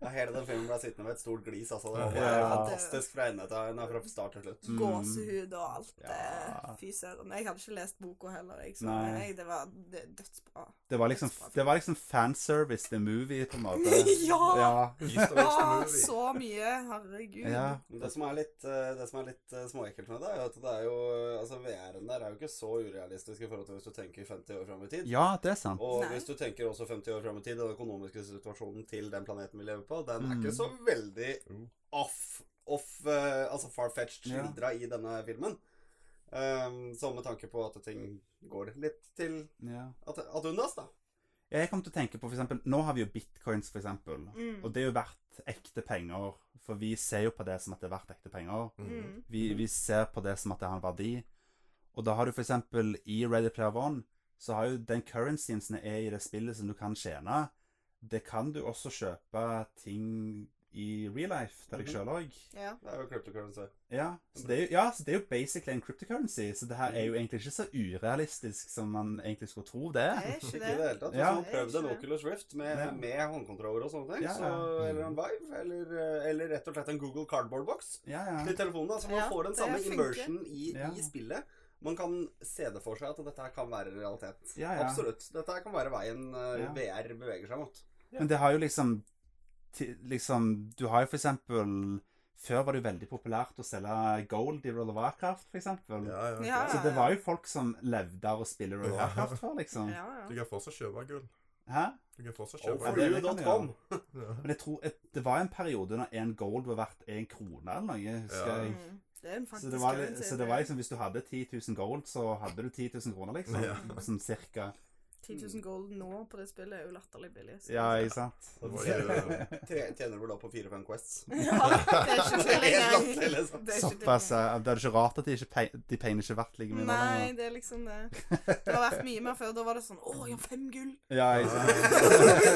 D: Ja, hele den filmen ble sittende med et stort glis. Altså, det var bare
A: Ja.
D: fantastisk fra ende til ende, fra start til slutt.
C: Gåsehud og alt det.
A: Mm. Ja.
C: Fy søren. Jeg hadde ikke lest boka heller, jeg, så
A: Nei.
C: jeg, det var det, dødsbra.
A: Det var liksom, det var liksom fanservice the movie, på en måte.
C: ja!
A: Ja.
B: Easter
C: Det
B: eggs to
C: var
B: movie.
C: så mye, herregud.
A: ja.
D: Men Det som er litt, eh, det som er litt eh, småekkelt med det, er jo at det er jo Altså, VR-en der er jo ikke så urealistisk i forhold til hvis du tenker 50 år fram i tid.
A: Ja, det er sant.
D: Og
C: Nei.
D: hvis du tenker også 50 år fram i tid, den økonomiske situasjonen til den planeten vi lever på, den er
A: Mm.
D: ikke så veldig
B: Jo.
D: off, off eh, altså far-fetched
A: Ja.
D: skildra i denne filmen. Um, så med tanke på at ting går litt til
A: Ja.
D: at, at undas, da.
A: Jeg kom til å tenke på, for eksempel, nå har vi jo bitcoins, for eksempel.
C: Mm.
A: Og det er jo verdt ekte penger, for vi ser jo på det som at det er verdt ekte penger.
B: Mm.
C: Mm.
A: Vi, vi ser på det som at det har en verdi. Og da har du for eksempel i Ready Player One, så har jo den currencyen som er i det spillet som du kan tjene, det kan du også kjøpe ting i real life til deg
D: Mhm.
A: sjøl òg.
C: Ja.
D: Det er jo cryptocurrency.
A: Ja, så det er jo, ja, så det er jo basically en cryptocurrency, så det her
C: Mm.
A: er jo egentlig ikke så urealistisk som man egentlig skulle tro det
C: Det
A: er.
C: er ikke
D: Ikke
C: det.
D: i det hele tatt. Hvis
A: Ja.
D: man prøvde en
C: Ikke det.
D: Oculus Rift med,
A: Ja.
D: med håndkontroller og sånne ting,
A: Ja, Mm. ja.
D: så, eller en Vive, eller, eh, eller rett og slett en Google Cardboard-boks
A: Ja, ja.
D: til telefonen, da, så man
C: Ja,
D: får den
C: det
D: samme
C: funker.
D: immersion i,
A: Ja.
D: i spillet. Man kan se det for seg at dette her kan være realitet.
A: Ja, ja.
D: Absolutt. Dette her kan være veien eh,
A: Ja.
D: VR beveger seg mot.
A: Men det har jo liksom, ti- liksom Du har jo for eksempel Før var det jo veldig populært å selge gold i World of Warcraft, for eksempel.
B: Ja, ja.
C: Ja.
A: Så det var jo folk som levde av å spille World of
B: Ja.
A: Warcraft før, liksom.
C: Ja, ja.
B: Du kan fortsatt kjøpe gull.
A: Hæ?
B: Du kan fortsatt
A: Oh,
B: kjøpe
A: for det-
B: gull.
A: kan
D: Overview.com.
B: Ja.
A: Men jeg tror et, det var en periode når én gold var verdt én krone eller noe, husker
B: Ja.
A: jeg.
C: Mm. Det er en
A: Så
C: faktisk
A: det, var, li-
C: currency,
A: så det var liksom, hvis du hadde 10 000 gold, så hadde du 10 000 kroner, liksom.
B: Ja.
A: Sånn cirka.
C: 10 000 gold nå på det spillet er jo latterlig billig. så-
A: Ja, ikke sant?
B: Det var jo
D: Tre- Tjener du da på fire-fem Quests?
C: Ja, det er ikke tull
D: Det er
C: engang.
D: latterlig, liksom.
C: Det er ikke tull
A: Såpass. ja. Det er ikke rart at de, ikke pe de pengene ikke er verdt like mye.
C: engang. Nei, det er liksom det. Det har vært mye mer før. Da var det sånn Å, jeg har fem gull!
A: Ja, ikke sant?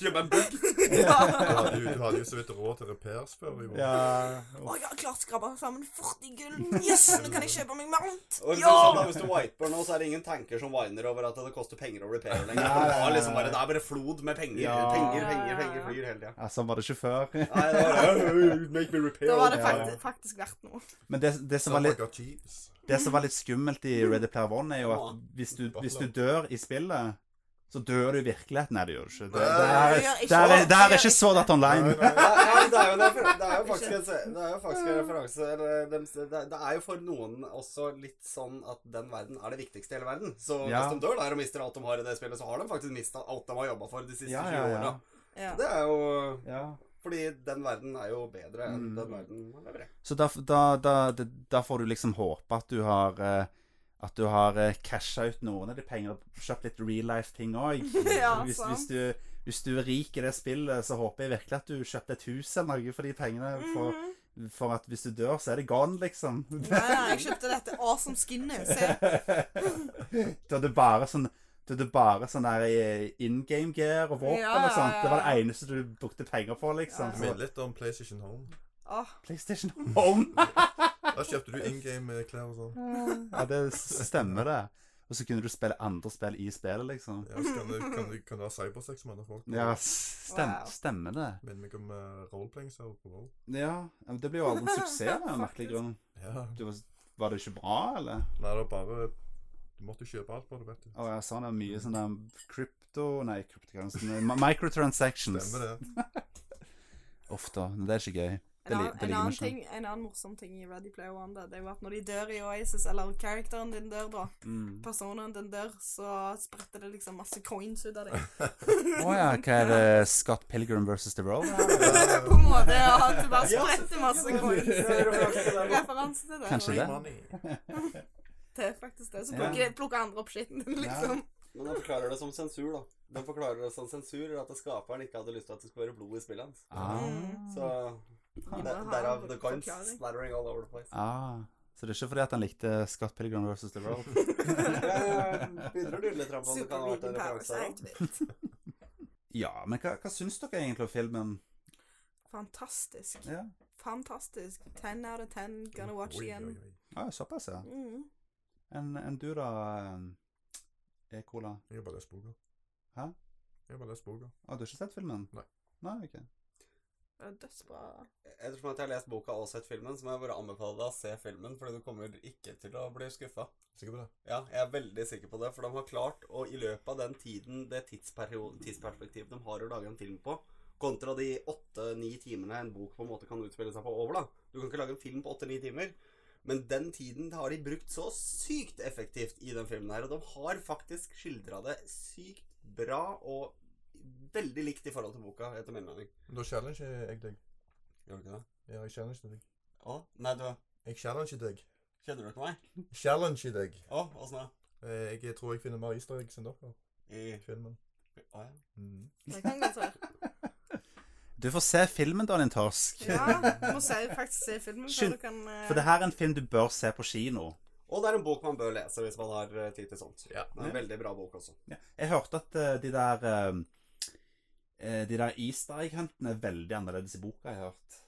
D: Kjøpe en bugg!
B: Du
C: Ja.
B: hadde jo- du hadde jo så vidt råd til repairs før. Jo.
A: Ja.
C: Å, jeg har klart å skrape sammen 40 gull! Yes, nå kan jeg kjøpe meg mount!
D: Og liksom,
C: Ja!
D: sånn da, hvis du wiper nå, så er det ingen tanker som whiner over at det koster penger over au pair lenger.
A: Nei,
D: Det, var
A: nei,
D: liksom
A: nei.
D: bare, det er bare flod med penger.
A: Ja.
C: Ja,
D: Penger,
C: ja,
D: penger,
C: ja.
D: penger flyr hele tida.
A: Ja, sånn var det ikke før.
D: Nei, det var det. Make me repair.
C: Da var det
A: Ja, ja.
C: faktisk, faktisk verdt noe.
A: Men det, det, som var litt,
B: got cheese.
A: det som var litt skummelt i Ready Player One, er jo at hvis du, hvis du dør i spillet, så dør du i virkeligheten. Nei, det gjør du ikke. Det, det,
B: Nei,
A: er,
C: det gjør ikke.
A: det, er, det, er, det er ikke så data
B: Nei,
A: online.
B: nei.
D: Ja, ja, men det, er jo, en- det er jo faktisk en, det er jo faktisk en referanse eller, dem- det, det er jo for noen også litt sånn at den verden er det viktigste i hele verden. Så
A: Ja.
D: hvis de dør der og mister alt de har i det spillet, så har de faktisk mista alt de har jobba for de siste
A: Ja, ja,
D: 20
A: ja.
D: årene.
C: Ja.
D: Det er jo
A: Ja.
D: Fordi den verden er jo bedre enn
A: Mm.
D: den verden man lever i.
A: Så da, da, da, da, da får du liksom håpe at du har eh, At du har eh, casha ut noen av de pengene og kjøpt litt real life-ting òg.
C: Ja,
A: hvis,
C: sant.
A: hvis, du- hvis du er rik i det spillet, så håper jeg virkelig at du kjøpte et hus eller noe for de pengene. For,
C: Mhm.
A: for at hvis du dør, så er det gone, liksom.
C: Nei, nei, jeg kjøpte dette awesome skinnet. Se.
A: da er det bare sånn da er det bare sånn der in game gear og våpen
C: Ja, ja,
A: og sånt. Det var
C: ja.
A: det eneste du brukte penger på, liksom.
C: Ja.
B: Minn litt om PlayStation Home.
C: Åh,
A: Så PlayStation Home
B: Da kjøpte du in game-klær og sånn.
A: Ja, det s- stemmer det. Og så kunne du spille andre spill i spillet, liksom.
B: Ja, så kan du, kan du, kan du ha cybersex med andre folk.
A: Ja, s- stem,
C: Wow.
A: stemmer det.
B: Minner meg om uh, roleplaying server på Vål.
A: Ja, men det blir jo aldri en suksess av en merkelig grunn.
B: Ja.
A: Du, var- var det ikke bra, eller?
B: Nei, det var bare Du måtte jo kjøpe alt på det, vet du.
A: Å ja, sånn er mye sånn der krypto... Nei, kryptokurranse mi- Microtransactions.
B: Stemmer det.
A: Ofte. Men det er ikke gøy.
C: En,
A: li-
C: annen,
A: det liker
C: en,
A: vi
C: annen
A: ikke.
C: ting, en annen morsom ting i Ready Player One, da, det er jo at når de dør i Oasis, eller characteren din dør, da,
A: Mm.
C: personen din dør, så spretter det liksom masse coins ut av deg.
A: Å ja, hva er det? Scott Pilgrim versus The Roll?
C: På en måte. Ja, at du bare
D: Ja,
C: spretter masse coins. Referanse til det.
A: Kanskje
B: Free
A: det.
B: money.
C: Det er faktisk det. Så
A: Ja.
C: plukker, plukker andre opp skitten din, liksom.
D: Men den forklarer det som sensur, da. Den forklarer det som sensur at skaperen ikke hadde lyst til at det skulle være blod i spillet hans.
A: Ah.
D: Så
C: må ha
D: der- derav
C: en
D: the coins
C: forklaring.
D: splattering all over the place.
A: ah. Så det er ikke fordi at han likte Scott Pilgrim versus The Roll?
D: Jeg Begynner å lure litt fram på om det kan ha vært en
C: Supervegan power
D: referanse her. da.
C: sandwich.
A: Ja, men hva, hva syns dere egentlig om filmen?
C: Fantastisk.
A: Ja,
C: Fantastisk. Ten out of ten, gonna watch
B: Oi,
C: again.
B: oi, oi.
A: ah, såpass, ja.
C: Mm.
A: Enn enn du da, eh, E-Cola?
B: Jeg har bare lest boka.
A: Hæ?
B: Jeg har bare lest boka.
A: Å, du har ikke sett filmen?
B: Nei.
A: Nei, ok.
C: Det er Dødsbra.
D: Ettersom at jeg har lest boka og sett filmen, så må jeg bare anbefale deg å se filmen, fordi du kommer ikke til å bli skuffa.
B: Sikker på det?
D: Ja, jeg er veldig sikker på det, for de har klart å i løpet av den tiden, det tidsperio- tidsperspektivet de har å lage en film på, kontra de åtte-ni timene en bok på en måte kan utspille seg på over, da. Du kan ikke lage en film på åtte-ni timer. Men den tiden har de brukt så sykt effektivt i den filmen her, og de har faktisk skildra det sykt bra og veldig likt i forhold til boka, etter min mening.
B: Men Da challenger jeg deg.
D: Gjør du ikke det?
B: Ja, jeg challenger deg.
D: Å? Nei, du
B: Jeg challenger deg.
D: Kjenner du ikke meg?
B: Challenger deg.
D: Å, åssen da?
B: Eh, Jeg tror jeg finner mer easter eggs enn dere
D: I
B: i filmen.
D: Å ja.
B: Mm.
C: Det kan godt være.
A: Du får se filmen, Daniel Torsk.
C: Ja, du må se, faktisk se filmen før
A: Skynd-
C: du kan eh,
A: For det her er en film du bør se på kino.
D: Og det er en bok man bør lese hvis man har eh, tid til sånt.
B: Ja.
D: Det er en veldig bra bok også.
A: Jeg hørte at eh, de der eh, eh, De der easter egg-huntene er veldig annerledes i boka, jeg har hørt.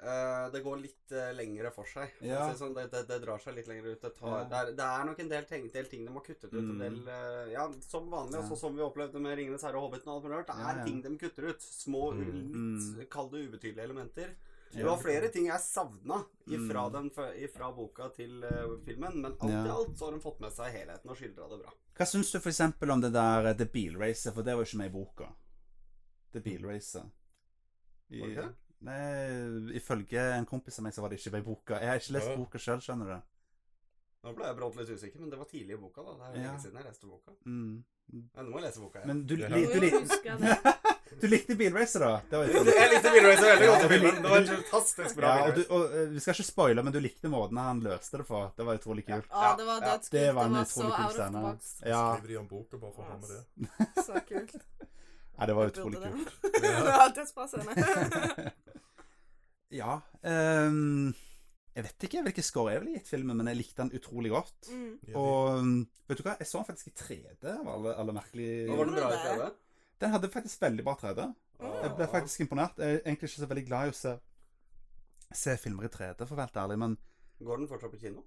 D: Eh, det går litt eh, lengre for seg. For å
A: Ja.
D: si det sånn, det, det, det drar seg litt lenger ut. Det, tar,
A: Ja.
D: det, er, det er nok en del, ting, del ting de har kuttet ut.
A: Mm.
D: En del, eh, ja, som vanlig,
A: Ja.
D: også som vi opplevde med 'Ringenes herre' og 'Hobbiten' og alt mulig rart. Det
A: Ja,
D: er
A: ja.
D: ting de kutter ut. Små,
B: Mm.
A: Mm.
D: litt kall det ubetydelige elementer. Det var flere ting jeg savna ifra,
A: Mm.
D: den fø- ifra boka til eh, filmen, men alt i
A: Ja.
D: alt så har de fått med seg helheten og skildra det bra.
A: Hva syns du for eksempel om det der eh, The Bilracer, for det var jo ikke med i boka. The Bilracer. I,
D: Var det ikke?
A: nei, ifølge en kompis av meg så var det ikke med i boka. Jeg har ikke lest
B: Ja.
A: boka sjøl, skjønner du.
D: Nå ble jeg brått litt usikker, men det var tidlig i boka. da Det er jo
A: Ja.
D: lenge siden jeg leste boka.
A: Mm.
D: Men nå må jeg lese boka igjen.
A: Men du,
B: Ja.
A: li, du,
C: Jo,
A: li,
C: jeg husker det.
A: du likte Bilracer, da? Det var jo
D: Jeg likte Bill Racer veldig godt.
A: Ja,
D: i filmen.
A: du-
D: Det var en fantastisk bra.
A: Ja,
D: Bill
A: og, du, og eh, Vi skal ikke spoile, men du likte måten han løste det på. Det var utrolig kult.
C: Ja, det var
D: Ja,
C: dødskult.
A: Det var en
C: så
A: utrolig kul
C: out of the
A: scene.
C: box.
A: Ja,
B: Skriver de om boka bare for å ha med det?
C: Så kult.
A: ja, det var
C: Jeg burde
A: utrolig kult.
C: det. det var dødsbra scene.
A: Ja ehm, Jeg vet ikke hvilken score jeg ville gitt filmen, men jeg likte den utrolig godt.
C: Mm.
B: Ja,
A: Og mm, vet du hva, jeg så den faktisk i 3D, av alle, alle
D: Nå var
A: merkelig
D: den bra i TV.
A: Den hadde faktisk veldig bra 3D. Jeg ble
D: Ja.
A: faktisk imponert. Jeg er egentlig ikke så veldig glad i å se, se filmer i 3D, for å være helt ærlig, men
D: Går den fortsatt på kino?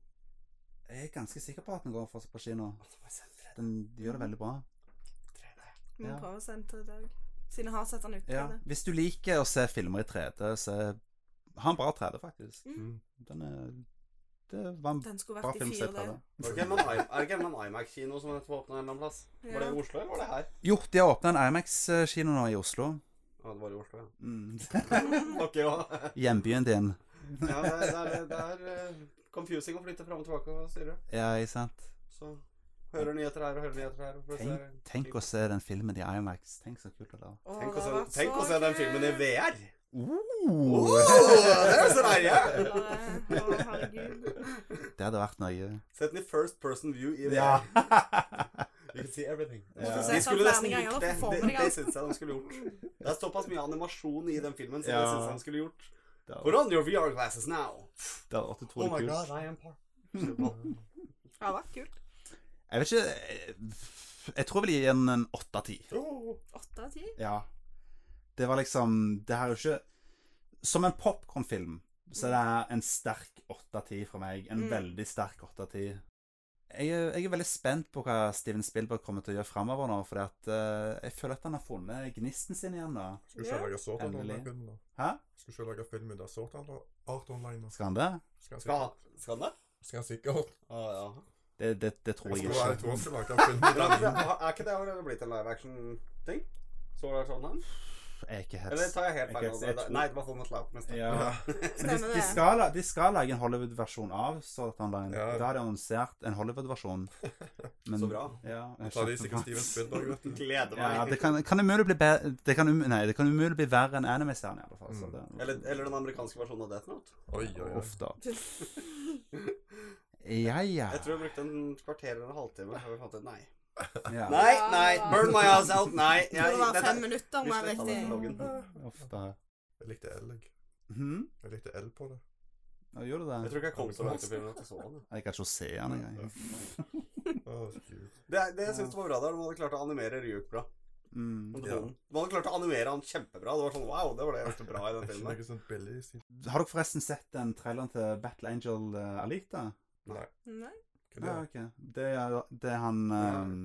A: jeg er ganske sikker på at den går fortsatt på kino.
D: Å, det var sendt
A: Den gjør det veldig bra.
C: Vi må
A: Ja.
C: prøve å sende til i dag. Siden jeg har sett den ut.
A: Ja.
C: eller?
A: Hvis du liker å se filmer i 3D, så ha en bra 3D, faktisk.
B: Mm.
A: Den er Det var en
C: Den skulle
A: bra
C: vært
A: film
C: i
A: å se i
C: 4D.
A: 3D.
D: Er det ikke en I- er det ikke en iMac-kino som nettopp åpna en eller annen plass?
C: Ja.
D: Var det i Oslo, eller var det her?
A: Jo, de har åpna en Imax-kino nå i Oslo.
D: Ja, det var i Oslo, ja.
A: Mm.
D: Takk, ja.
A: Hjembyen din.
D: Ja, det er, det er, det er eh, confusing å flytte fram og tilbake og styre.
A: Ja, ikke sant?
D: Så hører nyheter her og hører nyheter her. og plutselig
A: Tenk,
D: er det-
A: tenk å se den filmen i Imax. Tenk så kult det er.
C: Å,
D: Tenk
C: det
D: å
C: har
D: se,
C: vært
D: tenk å
C: så
D: se den filmen i
C: kult.
D: VR!
A: Oh!
D: det er så deilig!
C: Eller, Å, herregud.
A: Det hadde vært nøye.
D: Sett den i first person view i VR. You can see everything.
A: Måtte se
D: De
C: sånn
D: skulle nesten
C: flere ganger,
D: gjort
C: da,
D: det.
C: for
D: Det,
C: formen, ja.
D: det syns jeg de skulle gjort. Det er såpass mye animasjon i den filmen, så det
A: Ja.
D: syns jeg de skulle gjort.
A: Det
D: Put on your VR glasses now!
A: det hadde vært utrolig kult.
D: Oh I am part. Nei,
C: Det har vært kult.
A: Jeg vet ikke Jeg, jeg tror jeg vil gi den en åtte av ti.
C: Åtte av ti?
A: Ja. Det var liksom Det her er jo ikke Som en popkornfilm så det er en sterk åtte av ti fra meg. En
C: Mm.
A: veldig sterk åtte av ti. Jeg, er- jeg er veldig spent på hva Steven Spielberg kommer til å gjøre framover nå, fordi at eh, jeg føler at han har funnet gnisten sin igjen, da.
B: Skulle ikke jeg lage Sword Art
A: Endelig.
B: Online filmen da?
A: Hæ?
B: Skulle ikke jeg lage film ut av Sword Art Art Online nå?
A: Skal han det?
B: Skal jeg si-
D: Skal, skal den det?
B: Skal jeg sikkert
D: Å ja.
A: Det, det, det tror
B: Jeg
A: jeg
B: tror jeg
A: ikke.
B: tror jeg skal lage en film ut
D: Men
B: av
D: er ikke
B: den.
D: det- er ikke det allerede blitt en live action-ting? Så var det sånn den?
A: Jeg er ikke
D: Eller
A: helt
D: tar jeg helt
A: Jeg
D: feil?
A: kan-
D: nå?
A: jeg
D: Det-
A: tror-
D: Nei, det var Holmet Laupnes. da.
A: ja. Men de,
C: Stemmer
A: de,
C: det.
A: skal, la- de skal lage en Hollywood-versjon av Sword Art Online.
B: Ja.
A: Da har de annonsert en Hollywood-versjon. Men-
D: Så bra.
A: Ja, jeg
B: Ta
A: skjønner
B: de sikkert
A: hva-
B: Steven Spielberg, vet du.
D: Gleder meg.
A: ja, det kan, kan umulig bli bedre det kan, um- Nei, det kan umulig bli verre enn anime-serien, i alle fall. Så
B: Mm.
A: det,
D: eller, eller den amerikanske versjonen av Death Note.
B: Oi, oi, oi.
A: Uff, da. Ja, ja.
D: Jeg tror jeg brukte en kvarter eller en halvtime før vi fant ut nei.
A: ja.
D: Nei, nei, burn my ass out, nei.
C: Det
D: Jeg,
C: var
D: dette-
C: fem minutter,
D: vi
C: mer
D: sletter
C: riktig.
D: den vloggen.
A: Uff, da.
B: Jeg likte L, jeg.
A: Hm?
B: Jeg likte L på det.
A: Ja, Gjorde du
D: jeg
A: det?
D: tror ikke jeg kom så langt i filmen at jeg så den.
A: Jeg kan ikke se den engang.
B: Å, så kult.
D: Det, det jeg syns var bra der, de hadde klart å animere Ryuk bra.
A: Mm.
D: De hadde klart å animere han kjempebra. Det var sånn wow, det var det eneste bra i den
B: Det er ikke
D: filmen.
B: noe sånn billig stil.
A: Har dere forresten sett den traileren til Battle Angel eh, Alita?
C: Nei.
A: Ja,
B: Hva er det?
A: Ah, ok. Det er, det er han ehm,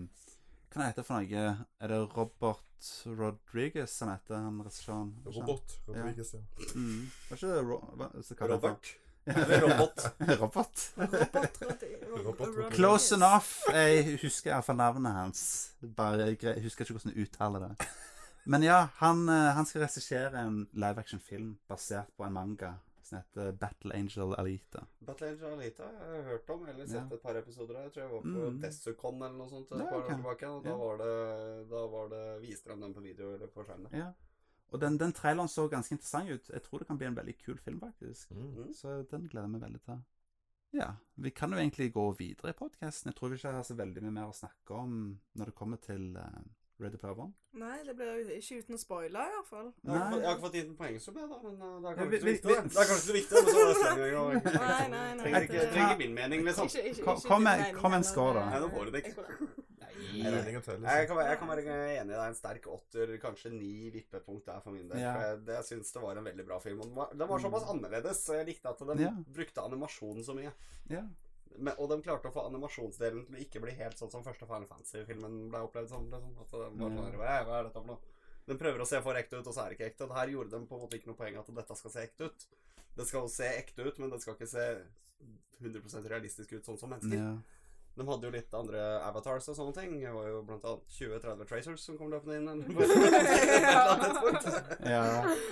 A: Hva heter han for noe? Er det Robert Rodriguez han heter, han regissøren? Er det ikke han?
B: Robot. Rodriguez, ja.
A: Mm. Var ikke det Ro... Hva så kaller han
D: Robert.
A: for-
D: Eller Robot.
A: Robot.
C: Robot, Rod- Rod-
B: Robot, Robot.
A: Close enough. Jeg husker iallfall navnet hans. Bare jeg gre- husker ikke hvordan jeg uttaler det. Men ja, han, eh, han skal regissere en live action-film basert på en manga som heter Battle Angel Alita.
D: Battle Angel Alita jeg har hørt om, eller sett
A: Ja.
D: et par episoder av. Jeg tror jeg var på
A: Mm.
D: Desucon eller noe sånt et
A: Ja,
D: par
A: ok.
D: år tilbake. Og da,
A: Ja.
D: var det, da var det viste de den på video eller på skjermen.
A: Ja. Og den, den traileren så ganske interessant ut. Jeg tror det kan bli en veldig kul film, faktisk.
B: Mm.
D: Mm.
A: Så den gleder jeg meg veldig til. Ja, vi kan jo egentlig gå videre i podkasten. Jeg tror vi ikke har så veldig mye mer å snakke om når det kommer til eh, Ready Player One.
C: Nei, det blir jo ikke uten å spoile, i hvert fall.
D: Jeg har, ikke fått, jeg
A: Nei.
D: har ikke fått gitt en poengsum, jeg, da. Men uh, det er
A: Ja,
D: kanskje
A: vi-
D: ikke
A: vi-
D: så viktig. da. Det er kanskje ikke så viktig, men så var det sleng en
C: Nei,
D: gang.
C: nei, nei.
D: Trenger ikke,
C: det-
D: trenger min mening, liksom.
C: Ikke- ikke-
A: Kom-
C: ikke
A: kom
C: din
A: med-
C: mening
A: kom en
C: heller.
A: skår, da.
D: Nei, nå får du det ikke.
B: Jeg
D: sånn.
B: regner ikke til,
D: Jeg
B: liksom.
D: kan, være, jeg kan være enig. Det er en sterk åtter, kanskje ni vippepunkt der for min del.
A: Ja. Mm.
D: For jeg, det, jeg syns det var en veldig bra film. Og den var, den var såpass annerledes, og jeg likte at den
A: Ja.
D: brukte animasjon så mye.
A: Ja.
D: Men, og de klarte å få animasjonsdelen til å ikke bli helt sånn som første Final Fantasy-filmen ble opplevd som. Liksom. At det var sånn,
A: Ja.
D: «Hva er- hva er dette for noe? Den prøver å se for ekte ut, og så er det ikke ekte. Og her gjorde de på en måte ikke noe poeng at dette skal se ekte ut. Det skal jo se ekte ut, men det skal ikke se 100 realistisk ut, sånn som mennesker.
A: ja.
D: De hadde jo litt andre avatars og sånne ting. Det var jo blant annet 20-30 Tracers som kom løpende inn. eller noe sånt. På et eller annet tidspunkt.
A: ja.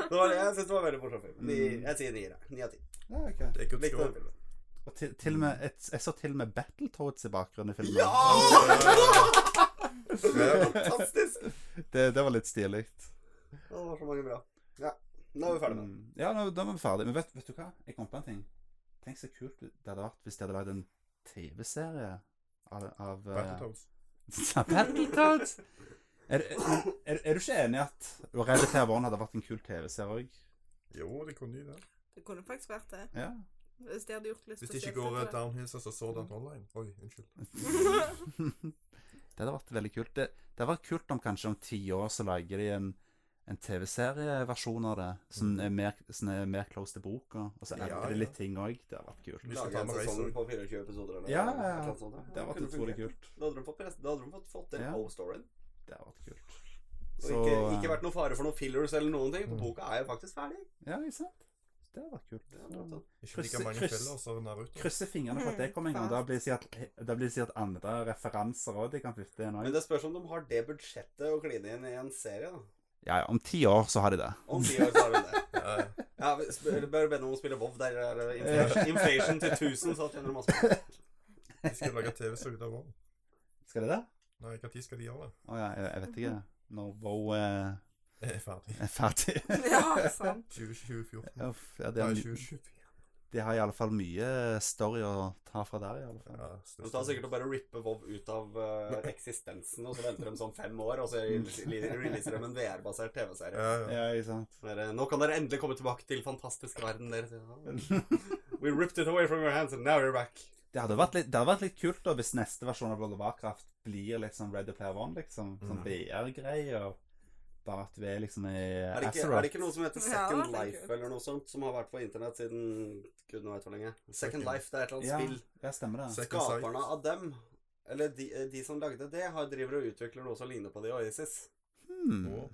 D: Det var det jeg syns var en veldig morsom film. Ni,
A: Mm.
D: jeg sier nier. jeg. Ni av ti.
A: ja ok.
B: Det er ikke obskur.
D: Likte den filmen.
A: Og til, til og med, jeg, jeg så til og med Battletoads i bakgrunnen i filmen.
D: Fantastisk!
A: Det, det var litt stilig.
D: Det var så mange bra. Ja, nå er vi ferdig med den.
A: Mm. Ja, nå, da var vi ferdig. Men vet, vet du hva? Jeg kom på en ting. Tenk så kult det hadde vært hvis de hadde lagd en TV-serie av, av eh,
B: Battletoads.
A: Battletoads. Er, er, er, er du ikke enig i at Ready Player One hadde vært en kul TV-serie òg?
B: Jo, de kunne jo det.
C: Det kunne faktisk vært det.
A: Ja.
C: Hvis de hadde gjort litt
B: Hvis det ikke
C: spesielt
B: går
C: ut
B: eh,
C: av det.
B: downhill, så så den online. Oi, unnskyld.
A: Det hadde vært veldig kult. Det, det hadde vært kult om kanskje om ti år så lager de en, en TV-serieversjon av det, som
D: Mm.
A: er mer, som er mer close til boka. Og så
B: Ja,
A: endrer
B: ja.
A: det litt ting òg. Det har vært kult.
B: Hvis du
D: Lage
B: tar
D: en
B: med
D: sesong
B: Razor.
D: på 24 episoder eller
A: Ja, ja,
D: noe,
A: ja.
D: et eller annet sånt, ja.
A: Det har vært
D: kunne
A: utrolig
D: fungert.
A: kult.
D: Da hadde de fått, press- da hadde de fått, fått den
A: Ja.
D: O-storyen.
A: Det har vært kult.
D: Og
A: Så- eh,
D: ikke, ikke vært noe fare for noen fillers eller noen ting, for
B: Mm.
D: boka er jo faktisk ferdig.
A: Ja, ikke sant? Det har vært kult.
D: Det er bra, sånn.
B: Ikke
A: Kryss-
B: like mange
A: kryss-
B: fillers av Naruto.
A: Krysser fingrene for at det kommer en gang. Da blir det sikkert, da blir det sikkert andre referanser òg de kan putte inn.
D: Men
A: også.
D: det spørs om de har det budsjettet å kline inn i en serie, da.
A: Ja, ja, om ti år så har de det.
D: Om ti år så har de det.
B: Ja, ja.
D: Ja, vi spør- Bare be noen om å spille WoW. Der er det inflation, inflation til 1000, så tjener du masse penger.
B: De skal lage TV-serie der òg.
A: Skal de det?
B: Nei, når skal de gjøre det?
A: Å ja, jeg, jeg vet ikke. Når Wow eh,
B: Jeg er ferdig.
A: er ferdig.
C: Ja, sånn. sant.
B: 2014.
A: Uff, ja, de,
B: Nei,
A: har,
B: 2024.
A: de har i alle fall mye eh, story å ta fra der, i alle fall.
B: Ja,
D: De tar sikkert og bare rippe WoW ut av eh, eksistensen, og så venter de sånn fem år, og så releaser de en VR-basert TV-serie.
B: Mm. Ja, ja.
A: Ja, ikke sant.
D: Så er det, Nå kan dere endelig komme tilbake til fantastiske verden deres.
B: Mm.
D: Ja. We ripped it away from your hands, and now you're back.
A: Det hadde vært litt, det hadde vært litt kult da, hvis neste versjon av World of Warcraft blir liksom Red Player One, liksom. Sånn
B: Mm.
A: VR-greie, og bare at vi er liksom i
D: Er det, ikke,
A: Azeroth.
D: er det ikke noe som heter
C: Ja, det
D: Second
C: er
D: Life
C: kult.
D: eller noe sånt, som har vært på internett siden gud nå vet hvor lenge? Second
B: Second-
D: Life, det er et eller annet
A: ja,
D: spill.
A: Ja, stemmer det.
B: Second Sight.
D: Skaperne av dem, eller de, de som lagde det, har driver og utvikler noe som ligner på det i Oasis.
A: Hmm.
B: Wow.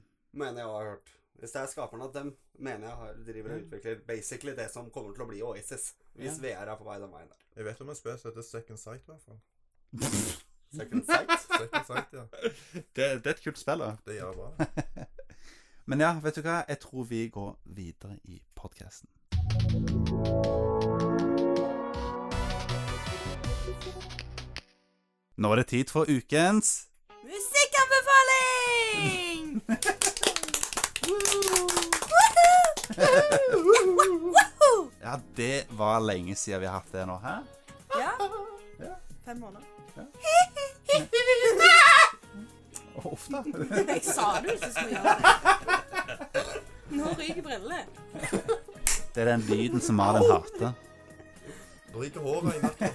D: Mener jeg å ha hørt. Hvis det er skaperne av dem, mener jeg har- driver og
A: Ja.
D: utvikler basically det som kommer til å bli Oasis. Hvis VR er på vei den veien der.
B: Jeg vet om en spill som heter Second Sight, i hvert fall.
D: Second Sight.
B: Second Sight, ja.
A: Det, det er et kult spill, da.
B: Det gjør bra.
A: Men ja, vet du hva? Jeg tror vi går videre i podkasten. Nå er det tid for ukens
C: Musikkanbefaling!
A: Ja, det var lenge siden vi har hatt det nå, hæ?
C: Ja.
A: Ja.
C: Fem måneder.
A: Å, Uff da.
C: Jeg sa du ikke skulle gjøre det. Nå ryker brillene.
A: Det er den lyden som Malin hater.
B: Nå ryker håret i natta.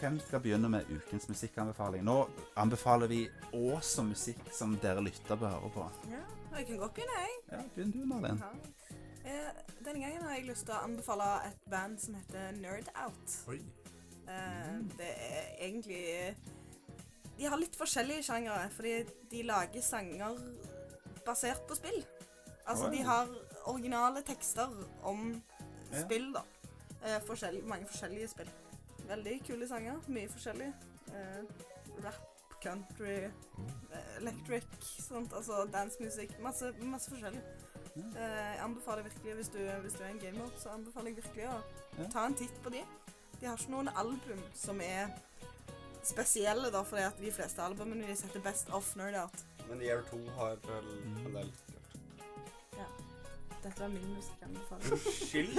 A: Hvem skal begynne med ukens musikkanbefaling? Nå anbefaler vi også musikk som dere lytter bør høre på.
C: Ja, jeg kan godt begynne, jeg.
A: Ja, begynn du, Malin.
C: Ja. Eh, Denne gangen har jeg lyst til å anbefale et band som heter Nerd Out.
B: Oi.
C: Eh, Det er egentlig eh, De har litt forskjellige sjangere, fordi de lager sanger basert på spill. Altså,
A: Oi.
C: de har originale tekster om
A: Ja.
C: spill, da. Eh, forskjell- mange forskjellige spill. Veldig kule sanger. Mye forskjellig. Eh, rap, country,
A: Mm.
C: eh, electric, sånt. Altså dansemusikk. Masse, masse forskjellig.
A: Ja.
C: Eh, jeg anbefaler virkelig, hvis du, hvis du er en gamer, så anbefaler jeg virkelig å
A: Ja.
C: ta en titt på de. De har ikke noen album som er spesielle, da, fordi at de fleste albumene de setter best off nerd art.
D: Men Year 2 har vel en del
C: Dette var min musikkanbefaling.
D: skyld.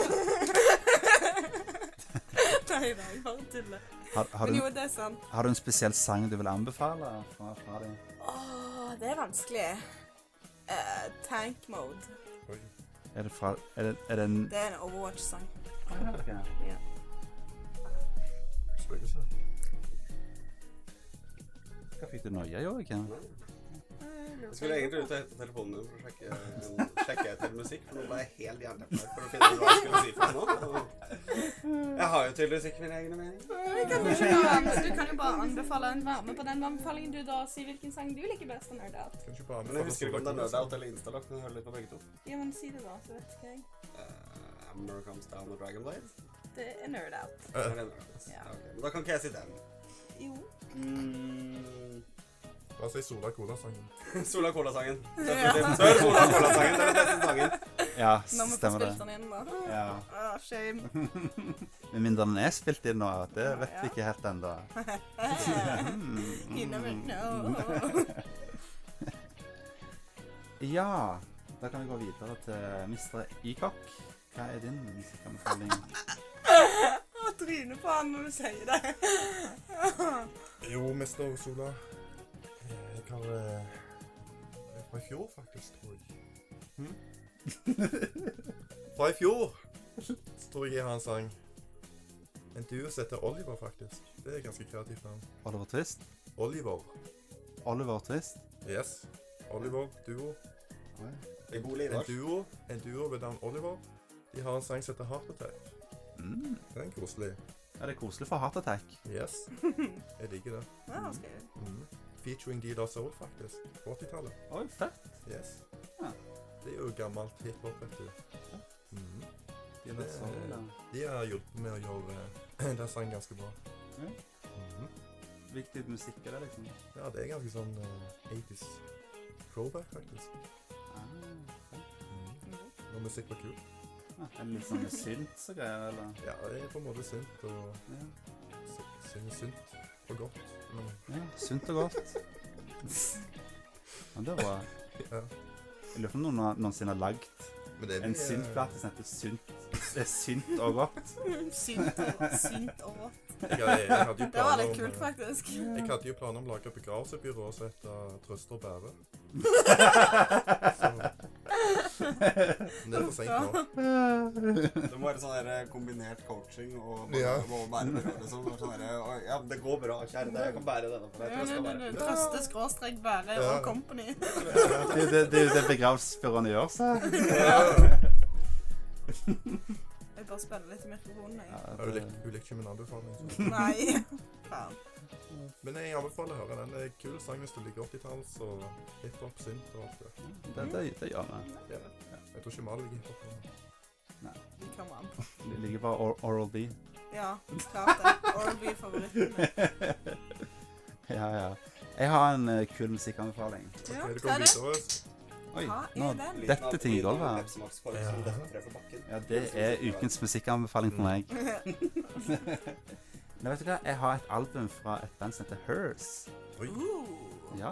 C: Nei da, jeg bare tuller.
A: Har, har,
C: Men
A: du,
C: jo, det er sant.
A: har du en spesiell sang du vil anbefale? Fra, fra din?
C: Åh, det er vanskelig. Eh, tank mode.
B: Oi.
A: Er det fra Er det, er det en
C: Det er en Overwatch-sang.
A: Ok.
C: Ja.
B: Spøkelse.
A: Hva fikk du noia i år, ikke?
D: Jeg skulle egentlig ut og hente telefonen min for å sjekke, sjekke etter musikk, for nå ble jeg helt jernteppet for å finne ut hva jeg skulle si for noe. Jeg har jo tydeligvis ikke mine egne meninger.
C: Jeg kan jo ikke gjøre det. Du kan jo bare anbefale en varme på den anbefalingen du da, og si hvilken sang du liker best av nerd art.
B: Kan ikke bare
D: Men jeg husker ikke om det er
B: Sola
D: Nerdout eller Instalock, men jeg hører litt på begge to.
C: Ja, men si det da, så vet ikke jeg.
D: Eh, Hammer comes down og Dragonblade.
C: Det er nerd out.
D: Er det Nerdout?
C: Ja.
D: Ja, ok. Men Da kan ikke jeg si den.
C: Jo.
D: Mm.
B: Kona. Bare si Sola Cola-sangen.
D: Sola Cola-sangen.
C: Ja.
D: Definitivt. Sør Sola Cola-sangen. Det er den beste sangen.
A: Ja,
C: Når vi får
A: stemmer
C: spilt
A: det.
C: den inn, da.
A: Ja.
C: Ah, shame.
A: Med mindre den er spilt inn nå, det vet vi
C: sånn. Ja.
A: ikke helt ennå.
C: You never know.
A: Ja, da kan vi gå videre til Mr. Ikok. Hva er din musikkanbefaling?
C: Å, trynet på han når du sier det.
B: Jo, mester Sola. Eh, Jeg har eh, det er Fra i fjor, faktisk, tror jeg. Hm? Fra i fjor så tror jeg jeg har en sang. En duo som heter Oliver, faktisk. Det er et ganske kreativt navn.
A: Oliver Twist?
B: Oliver.
A: Oliver Twist?
B: Yes. Oliver, duo.
D: Det er god liv,
B: En
D: da.
B: duo, en duo ved navn Oliver. De har en sang som heter Heart Attack.
A: Mm.
B: Den er koselig.
A: Ja, det er koselig for Heart Attack.
B: Yes. Jeg liker det.
C: Ja, skal jeg-
B: Mhm. Featuring Dealer Soul, faktisk. På 80-tallet.
A: Oi, fett.
B: Yes.
A: Ja.
B: Det er jo gammelt hiphop, vet du. Mhm.
A: De er litt sånn, da.
B: De har hjulpet med å gjøre eh, den sangen ganske bra.
A: Ja.
B: Mhm.
A: Viktig musikk er det, liksom.
B: Ja, det er ganske sånn eh, 80s throwback, faktisk.
A: Ah, fett.
B: Mhm.
C: Mhm.
B: Når musikk var kult.
A: Ja, er det litt sånn synt og greier, eller?
B: Ja, det er på en måte synt og
A: Ja.
B: sy- synger synt og godt. Men
A: Ja, sunt og godt. Ja, det er bra.
B: Ja.
A: Jeg lurer på om noen har- noensinne har lagd
B: Men det
A: en
B: blir, eh,
A: synt-plate som heter Sunt. Det er synt og godt.
C: Synt og synt og rått.
B: Jeg, jeg, jeg hadde jo
C: Det var
B: planer
C: litt
B: om,
C: kult,
B: eh,
C: faktisk.
B: Jeg hadde jo planer om å lage et begravelsebyrå som heter Trøster og Bære. Så. Men det er for seint nå.
D: Det må være sånn der kombinert coaching og bare,
B: Ja.
D: og bære det, liksom. Det er Sånn der, «Oi, ja, men det går bra, kjære. deg, Jeg kan bære denne for deg. Jeg tror jeg skal bære den.
C: Trøste skråstrek bære
B: Ja.
C: og company.
A: Det er jo det, det, er jo det begravelsesbyråene gjør, så.
C: Jeg bare spiller litt i mikrofonen, jeg.
A: Ja,
B: Har du
A: det,
B: likt, du liker ikke min anbefaling? så.
C: Nei. Faen.
B: Men jeg anbefaler å høre den. Det er en kul sang hvis du liker 80-talls og hiphop, synt og alt det.
A: det, det, det gjør vi.
B: Ja. Jeg tror ikke Mal liker hiphop. nå.
C: Vi kommer an.
A: Det ligger bare Or- Oral B.
C: Ja, klart det. Oral-B er favoritten min.
A: Ja, ja. Jeg har en eh, kul musikkanbefaling.
C: Ja,
B: Ok, det
C: hva er
B: kommer
C: det?
B: videre.
A: Oi,
C: Hva er
A: nå
C: den?
D: Lyden
A: Dette
D: av
A: ting i
D: lyden av
A: gulvet her.
D: Pepsi Max-kork som
B: Ja.
D: detter ned fra bakken.
A: Ja, det er ukens musikkanbefaling for meg. Nei, vet du hva? Jeg har et album fra et band som heter Hers.
B: Oi.
C: Uh,
A: Ja.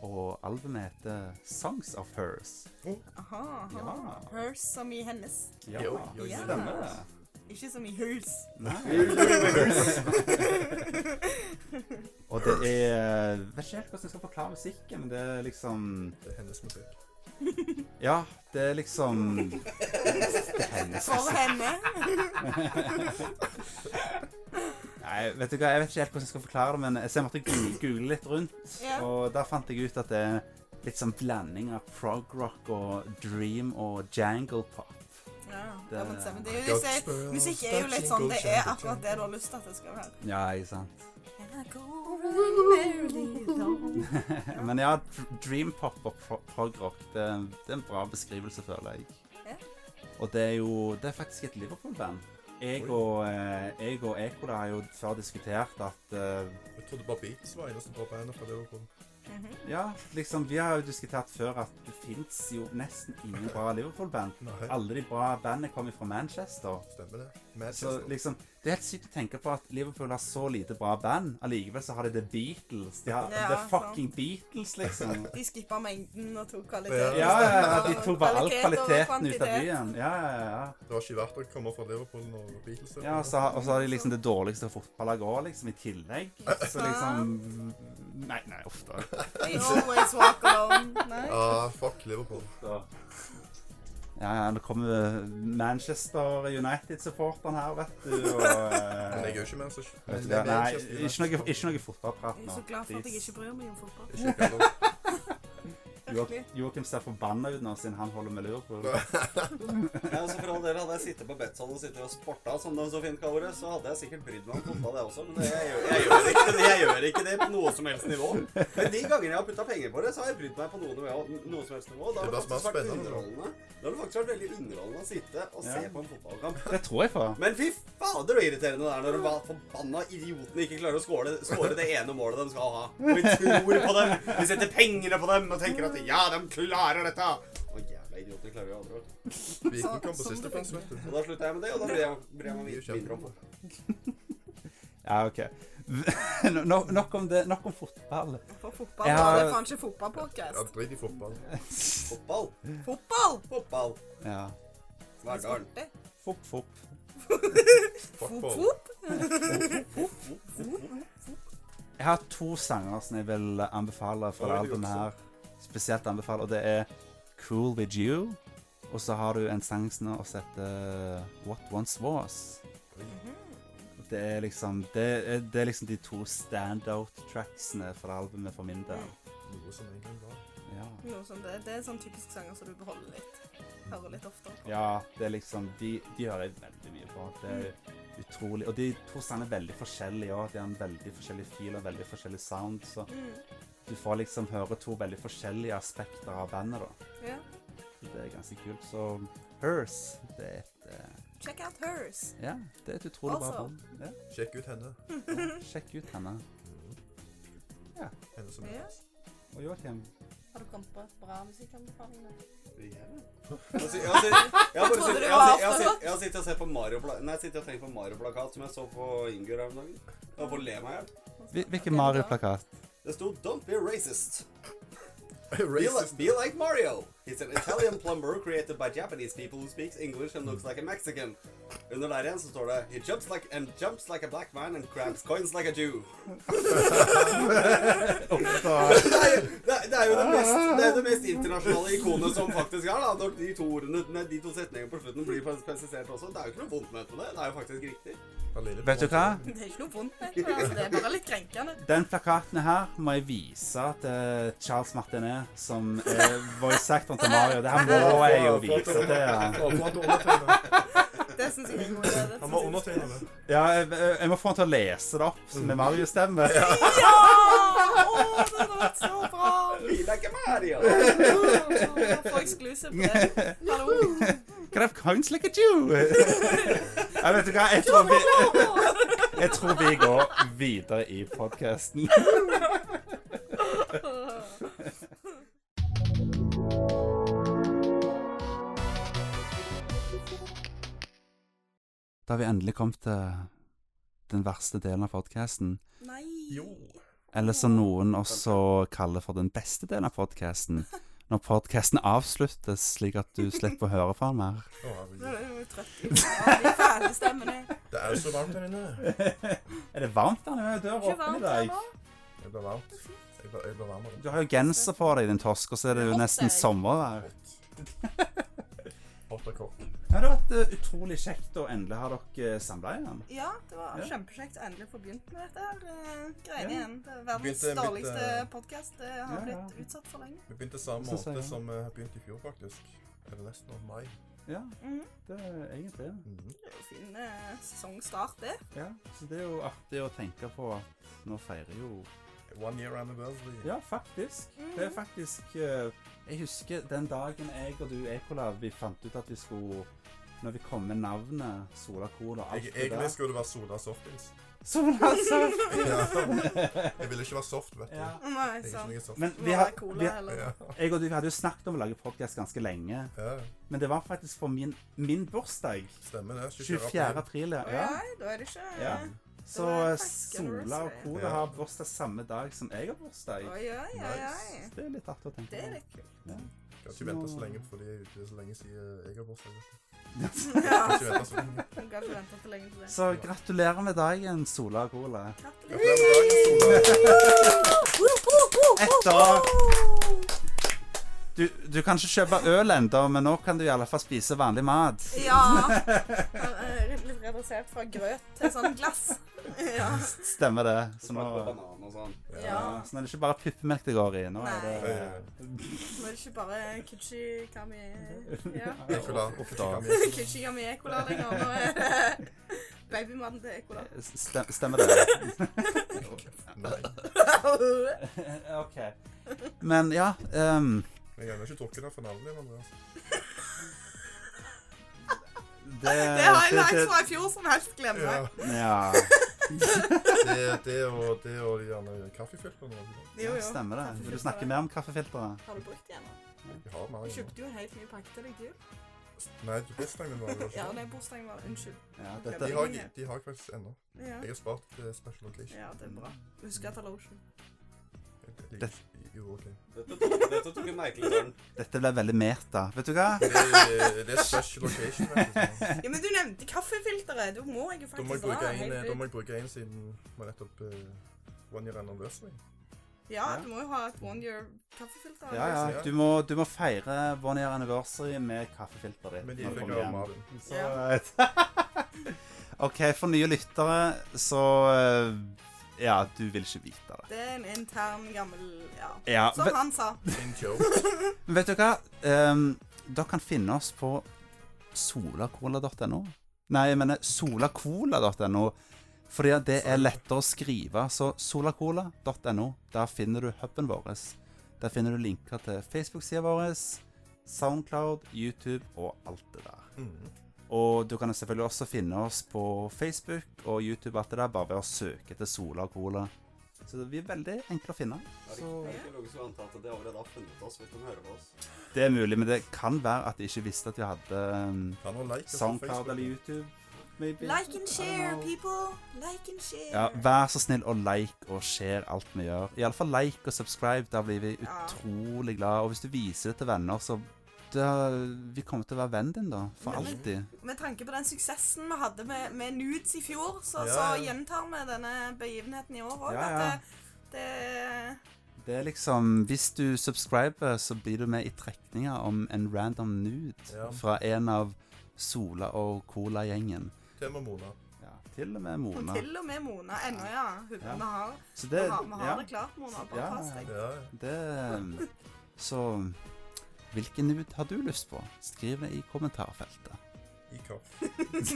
A: Og albumet heter Songs of Hers.
C: aha, aha.
A: Ja.
C: Hers som i hennes.
A: Ja,
B: Jo, jo, jo.
A: stemmer det.
C: Ikke som i hers.
A: Og det er Vet ikke helt hvordan jeg skal forklare musikken, men det er liksom
B: Det er hennes musikk.
A: Ja, det er liksom Det er hennes
C: For henne.
A: Nei, vet du hva, jeg vet ikke helt hvordan jeg skal forklare det, men jeg ser jeg måtte gu- google litt rundt.
C: Ja.
A: Og der fant jeg ut at det er litt sånn blanding av prog rock og dream og jangle pop.
C: Ja,
A: Det-
C: ja, men se, men det er jo disse, musikk er jo litt sånn, det er akkurat det du har lyst til at det skal være.
A: Ja, ikke sant?
C: And I go merrily along.
A: Men ja, dr- dream pop og pro prog rock, det, er- det er en bra beskrivelse, føler jeg.
C: Ja.
A: Og det er jo Det er faktisk et Liverpool-band. Jeg og, eh, jeg og Ekola har jo før diskutert at eh,
B: Jeg trodde bare Beats var eneste bra bandet fra Liverpool.
C: Mhm.
A: Ja, liksom, vi har jo diskutert før at det fins jo nesten ingen bra Liverpool-band.
B: Nei,
A: Alle de bra bandene kommer fra Manchester.
B: stemmer det.
A: Så
B: Manchester.
A: liksom, Det er helt sykt å tenke på at Liverpool har så lite bra band. Allikevel så har de The Beatles. De har
C: Ja,
A: The Fucking Beatles, liksom.
C: De skippa mengden og tok kvalitet.
B: Ja,
A: Ja, ja, ja, de
C: Og
A: tok bare all
C: kvalitet over
A: kvaliteten ut av
C: kvantitet.
A: byen. Ja, ja, ja.
B: Det var ikke verdt å komme fra Liverpool når Beatles er
A: ja og, så,
B: med.
A: har- og så har de liksom det dårligste fotballaget òg, liksom, i tillegg. Så liksom Nei, nei, uff da.
C: They always walk alone. Nei.
B: Ah, fuck Liverpool.
A: Så. Ja, ja, nå kommer Manchester United-supporteren her, vet du. Og,
B: Men jeg er
A: eh,
B: jo ikke Manchester.
A: vet du
B: Jeg
A: hva,
B: er
A: nei,
B: Manchester
A: ikke noe,
B: United.
A: ikke noe fotballprat
C: Jeg er
A: nå.
C: så glad for at jeg
A: please.
C: ikke bryr meg om fotball.
B: Ikke jeg heller.
A: Jo-
C: Virkelig.
A: Joakim ser forbanna ut nå siden han holder med Liverpool.
D: Ja, så for all del Hadde jeg sittet på Betson og sittet og sporta, som det så fint kaller det, så hadde jeg sikkert brydd meg om fotball, jeg også. Men det, jeg, gjør, jeg, gjør ikke, det- jeg gjør ikke det på noe som helst nivå. Men de gangene jeg har putta penger på det, så har jeg brydd meg på noe, nivå, noe som helst nivå. Da har
B: Det er
D: det
B: bare
D: faktisk vært
B: spennende, da.
D: underholdende. Da har det faktisk vært veldig underholdende å sitte og se
A: Ja.
D: på en fotballkamp.
A: Det tror jeg på.
D: Men fy fader så irriterende det er når de bare forbanna idiotene ikke klarer å skåre, skåre det ene målet de skal ha. Og vi tror på dem, vi setter pengene på dem og tenker at ja, de klarer dette. Å, jævla idioter klarer jo aldri å
B: Viking kom på
C: Som
B: siste
C: det
B: plass,
C: blir.
B: vet du.
D: Og da slutta jeg med det, og da bryr jeg, bryr jeg meg
B: Det er jo
D: mindre om
B: kjempebra.
D: det.
A: Ja, OK. No, nok, om det, nok om fotball.
C: For fotball
A: Jeg
C: var
A: har-
C: det faen ikke
B: Ja,
C: fotballpodkast.
B: drit i fotball.
D: Fotball.
C: Fotball!
D: Fotball.
A: Ja.
D: Verdalen.
C: Det-
A: Fopp, fopp.
B: Fuck
C: Fot,
B: ball.
C: fot.
A: Jeg har to sanger som jeg vil anbefale fra det
B: Oi, det
A: albumet
B: også.
A: her. Spesielt anbefale, og det er Cruel With You. Og så har du en sang som også heter eh, What Once Was.
C: Mhm.
A: Og Det er liksom, det er, det er liksom de to standout tracksene fra det albumet for min del.
C: Mm.
B: noe som en gang var.
A: Ja.
C: Noe sånt. Det, det er sånn typisk sanger som du beholder litt. Hører litt oftere på.
A: ja, det er liksom De, de hører jeg veldig mye på. Det er utrolig. Og de to sangene er veldig forskjellige òg. De har en veldig forskjellig feel og veldig forskjellig sound. Så
C: Mm.
A: du får liksom høre to veldig forskjellige aspekter av bandet, da.
C: Ja.
A: Så Det er ganske kult. Så Hers, det er et eh,
C: Check out hers.
A: Ja, det er et utrolig bra
C: Altså.
A: band. Ja.
B: Sjekk ut henne.
A: Sjekk ut henne. Ja.
B: Henne som
C: Ja.
A: Og Joakim.
C: Har du kommet på et bra musikkanbefalinger?
D: Jeg sitter- jeg har sitt- jeg har bare
C: Trodde
D: sitt-
C: du
D: jeg har
C: var
D: sitt- jeg har
C: afternock?
D: sitt- jeg har sittet og sett på Mario-plakat Nei, jeg sitter og tenker på Mario-plakat som jeg så på Ingur her om dagen. Jeg får le meg i hjel.
A: Hvil- Hvilken Mario-plakat?
D: Det sto 'Don't be racist'. Be
B: Racist.
D: like, be like Mario. He's an Italian plumber created by Japanese people who speaks English and looks like a Mexican. Under der igjen så står det He jumps like and jumps like a black man and grabs coins like a Jew.
A: Ofte.
D: Det er jo det, er- det er jo det mest, det, er jo det mest internasjonale ikonet som faktisk er, da. Når de to ordene, nei, de to setningene på slutten blir pres- presisert også. Det er jo ikke noe vondt ment med det. Det er jo faktisk riktig.
B: Alene på
A: Vet du
B: en
A: hva?
B: måte.
C: Det er ikke noe vondt med det. Altså, det er bare litt krenkende.
A: Den plakaten her må jeg vise til Charles Martinet, som er voice-actoren til Mario. Det her må jeg jo vise til han.
B: Å, for at du undertegner.
C: Det syns jeg er en god idé. det
B: Han
C: synes
B: må
C: jeg-
B: undertegne det.
A: Ja, jeg, jeg må få han til å lese det opp med Mario-stemme.
C: Ja! Å, det hadde vært så bra!
D: Be like a Mario.
C: Å, Få exclusive på det. Hallo.
A: Grab coins like a Jew. Jeg vet du hva, jeg tror vi, jeg tror vi går videre i podkasten. Da har vi endelig kommet til den verste delen av podkasten.
C: Nei.
B: Jo.
A: Eller som noen også kaller for den beste delen av podkasten. Når podkasten avsluttes, slik at du slipper å høre på den mer.
B: Å,
C: Nå
B: herregud.
C: er jeg jo trøtt i hodet. de fæle stemmene.
B: det er jo så varmt her inne.
A: Er det varmt der nede? Døra
C: Ikke
A: er åpen i
C: varmt her
A: dag.
C: nå.
B: Jeg blir varmt. Jeg blir, jeg blir varmere.
A: Du har jo genser på deg, din tosk, og så er det jo
C: Hot
A: nesten
C: dog.
A: sommervær.
B: Hot og kort.
A: Ja, det har vært eh, utrolig kjekt å endelig ha dere samla igjen.
C: Ja, det var
A: Ja.
C: kjempekjekt å endelig få begynt med dette her. eh,
A: Ja.
C: Greiene igjen. Det er verdens
B: Begynte mitt,
C: dårligste
B: eh,
C: podkast. Det
A: Ja,
C: har
A: ja.
C: blitt utsatt for lenge.
B: Vi begynte samme
A: Så sier
B: måned
A: jeg.
B: som vi begynte i fjor, faktisk. Eller nesten om mai.
A: Ja,
C: Mhm.
A: det er egentlig det.
B: Mhm.
C: Det er jo fin eh, sesongstart, det.
A: Ja, så det er jo artig å tenke på at nå feirer jo
B: One year anniversary.
A: Ja, faktisk. Det er faktisk eh, Jeg husker den dagen jeg og du, Ekola, vi fant ut at vi skulle Når vi kom med navnet Sola Cola og alt
B: Jeg,
A: det
B: egentlig
A: der.
B: skulle det være Sola Softings.
A: Sola Surf!
B: Ja. Jeg ville ikke være soft, vet du.
A: Ja.
C: Nei,
B: Jeg er ikke
C: sant.
B: noe soft.
A: Men
C: Må
A: vi har,
C: være cola,
A: vi,
C: eller
B: Ja.
A: jeg og du vi hadde jo snakket om å lage podkast ganske lenge.
B: ja,
A: Men det var faktisk for min, min bursdag.
B: stemmer det.
A: 24. april. Ja.
C: ja. Nei, da er det ikke
A: Ja. Så
C: Det er faktisk
A: Sola og
C: anniversary.
A: Cola
B: Ja.
A: har bursdag samme dag som jeg har bursdag.
C: Oi, oi, oi, oi.
A: Så Det er litt artig å tenke
C: Det er
A: på.
C: litt kult.
B: Kan ikke vente så lenge, fordi det er så lenge siden jeg har bursdag. vet du. Kan
C: Ja,
B: ikke vente så lenge.
C: Hun kan ikke vente for lenge til det.
A: Så gratulerer med dagen, Sola og Cola.
B: Gratulerer med dagen, Sola.
A: Ett år. Du, du kan ikke kjøpe øl ennå, men nå kan du i alle fall spise vanlig mat.
C: Ja. Han er Litt redusert fra grøt til sånn glass. Ja.
A: Stemmer det. Så nå,
D: Smak på banan og sånn.
C: ja.
A: ja, så nå er det ikke bare puppemelk det går i. Nå er
B: Ja,
A: det
B: ja, ja.
C: Nå er det ikke bare kuchikami ja.
B: Ekola.
A: Uff da.
C: Kuchikami ekola lenger. Nå er det babymannen til ekola.
A: Stem, stemmer det.
B: Nei,
A: OK. Men ja ehm,
B: jeg har ikke drukket det for navnet altså. ditt, Andreas.
A: det,
C: Det har jeg
A: Eh, det-
C: lært
A: det-
C: fra i fjor som helst glemmer
B: Ja.
C: jeg.
A: Ja,
B: Det, det og, det og de gjerne kaffefiltrene.
C: Jo,
A: ja,
C: jo.
A: stemmer det. Vil du snakke mer om kaffefilteret?
C: Har du brukt det ennå?
B: Jeg har
C: Du
B: mange.
C: kjøpte jo en helt ny pakke til deg, du.
B: Nei, du bursdagen min var det
C: Ja,
B: ikke.
C: nei, bursdagen var Unnskyld.
A: Ja,
B: De
A: dette,
B: har, de har jeg faktisk ennå.
C: Ja.
B: Jeg har spart til special occasion.
C: ja, det er bra. Husk at det er lotion.
B: Jeg liker
A: Det-
B: ikke- Jo, ok.
D: Dette tok, dette tok en merkelig tørn.
A: dette ble veldig meta. Vet du hva?
B: Det, er- det er special occasion, faktisk.
C: Ja, men du nevnte kaffefilteret. Da må jeg jo
B: Da må jeg
C: faktisk
B: bruke
C: dra.
B: en,
C: helt
B: da må
C: ut.
B: jeg bruke en siden vi nettopp uh, One Year Anniversary.
C: Ja,
A: Ja.
C: du må jo ha et one year kaffefilter.
A: Ja, ja. Du må, du må feire one year anniversary med kaffefilteret ditt.
B: Men de
A: når du
B: fikk
A: kommer
B: av
A: hjem.
B: Marvin.
A: Så,
C: Ja.
A: OK, for nye lyttere så eh, Ja, du vil ikke vite det.
C: Det er en intern, gammel Ja.
A: Ja,
C: Som
A: ve-
C: han sa.
B: In joke.
A: Men vet du hva? Ehm, dere kan finne oss på solacola.no. Nei, jeg mener solacola.no. Fordi at det er lettere å skrive. Så solacola.no, der finner du huben vår. Der finner du linker til Facebook-sida vår, Soundcloud, YouTube og alt det der.
B: Mm.
A: Og du kan selvfølgelig også finne oss på Facebook og YouTube og alt det der, bare ved å søke etter Sola Cola. Så vi er veldig enkle å finne.
D: Er det
A: Så
D: er det ikke logisk å anta at de allerede har funnet oss hvis de hører på oss?
A: det er mulig, men det kan være at de ikke visste at vi hadde um,
B: Kan du like oss på
A: SoundCloud
B: Facebook?
A: eller YouTube. Maybe.
C: Like and
A: I
C: share,
A: don't know.
C: people. Like and share.
A: Ja, Vær så snill og like og share alt vi gjør. Iallfall like og subscribe. Da blir vi
C: Ja.
A: utrolig glad. Og hvis du viser det til venner, så da, Vi kommer til å være vennen din, da. For
C: Men-
A: alltid.
C: Med tanke på den suksessen vi hadde med, med nudes i fjor, så,
B: Ja,
C: så
B: ja.
C: gjentar vi denne begivenheten i år òg.
A: Ja, ja.
C: At det, det
A: Det er liksom Hvis du subscriber, så blir du med i trekninga om en random nude
B: Ja.
A: fra en av Sola og Cola-gjengen.
B: Til og med Mona.
A: Ja, til og med
C: og
A: Mona.
C: til og med Mona ennå, ja. Hun,
A: Ja.
C: Vi har,
A: Så
C: vi
A: det
C: har, vi har
A: ja,
C: det klart, Mona. Bare
A: Ja,
C: pass deg.
B: Ja,
A: det um, Så hvilken nude har du lyst på? Skriv det i kommentarfeltet.
B: i kopp.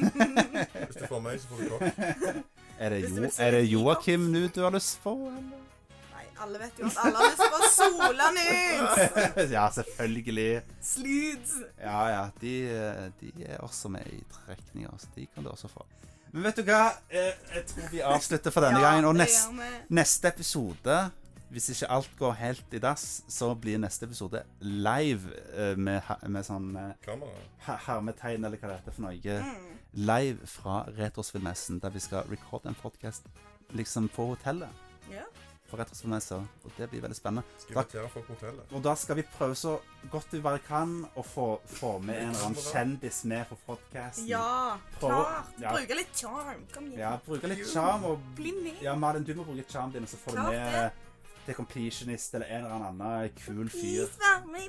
B: Hvis du får meg, så får du kopp.
A: Er det,
C: Hvis du
A: jo,
C: vil se
A: er det
C: et lite opp.
A: Joakim nude du har lyst på, eller?
C: Nei, alle vet jo at alle har lyst på sola nudes!
A: ja, selvfølgelig.
C: Sludes!
A: Ja, ja. De, eh, de er også med i trekninga, så de kan du også få. Men vet du hva? Eh, Jeg tror vi avslutter for denne gangen. Og
C: det
A: neste
C: gjør vi.
A: Neste episode, hvis ikke alt går helt i dass, så blir neste episode live eh, med, her- med sånn eh,
B: Kamera.
A: her- hermetegn, eller hva det heter for noe. eh,
C: Mm.
A: Live fra Retrospillmessen, der vi skal recorde en podkast liksom på hotellet.
C: Ja.
A: På Retrospillmessa. Og det blir veldig spennende.
B: Skal
A: Takk.
B: invitere folk på hotellet.
A: Og da skal vi prøve så godt vi bare kan å få, få med en eller annen kjendis med på podkasten.
C: Ja,
A: Prøv å-
C: klart.
A: ja.
C: Bruke litt charm. Kom igjen.
A: ja, bruke litt sjarm og
C: Bli med.
A: Ja, Malin, du må bruke charmen din, og så får du
C: Klart
A: med The Completionist eller en eller annen kul fyr.
C: Please, vær med i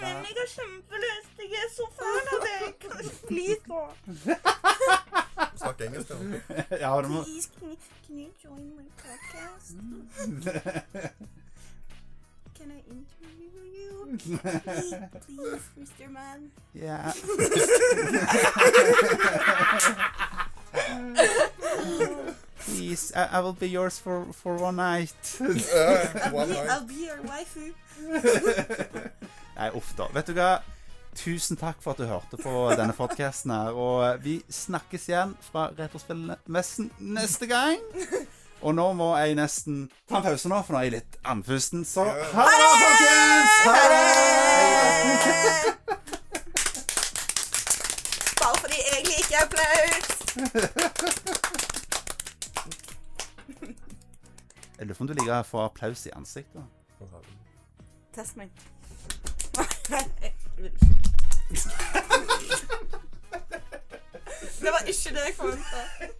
A: Ja,
C: min. Jeg har kjempelyst. Jeg er så fan av deg. Kan du ikke bli på?
B: Snakk engelsk, da.
A: ja, du må
C: Please, can you, can you join my podcast? Can I interview you? Please, please, Mr. Man.
A: Ja. Please, I, I will be yours for, for one night.
B: Eh,
C: I'll
B: One
C: be,
B: night.
C: I'll be your waifu.
A: Nei, uff da. Vet du hva? Tusen takk for at du hørte på denne podcasten her, og eh, vi snakkes igjen fra Retrospillmessen neste gang. Og nå må jeg nesten ta en pause nå, for nå er jeg litt andpusten, så ha det, folkens! Ha det!
C: Bare fordi jeg liker applaus.
A: Jeg lurer på om du liker å få applaus i ansiktet.
C: Test meg. Det var ikke det jeg forventa.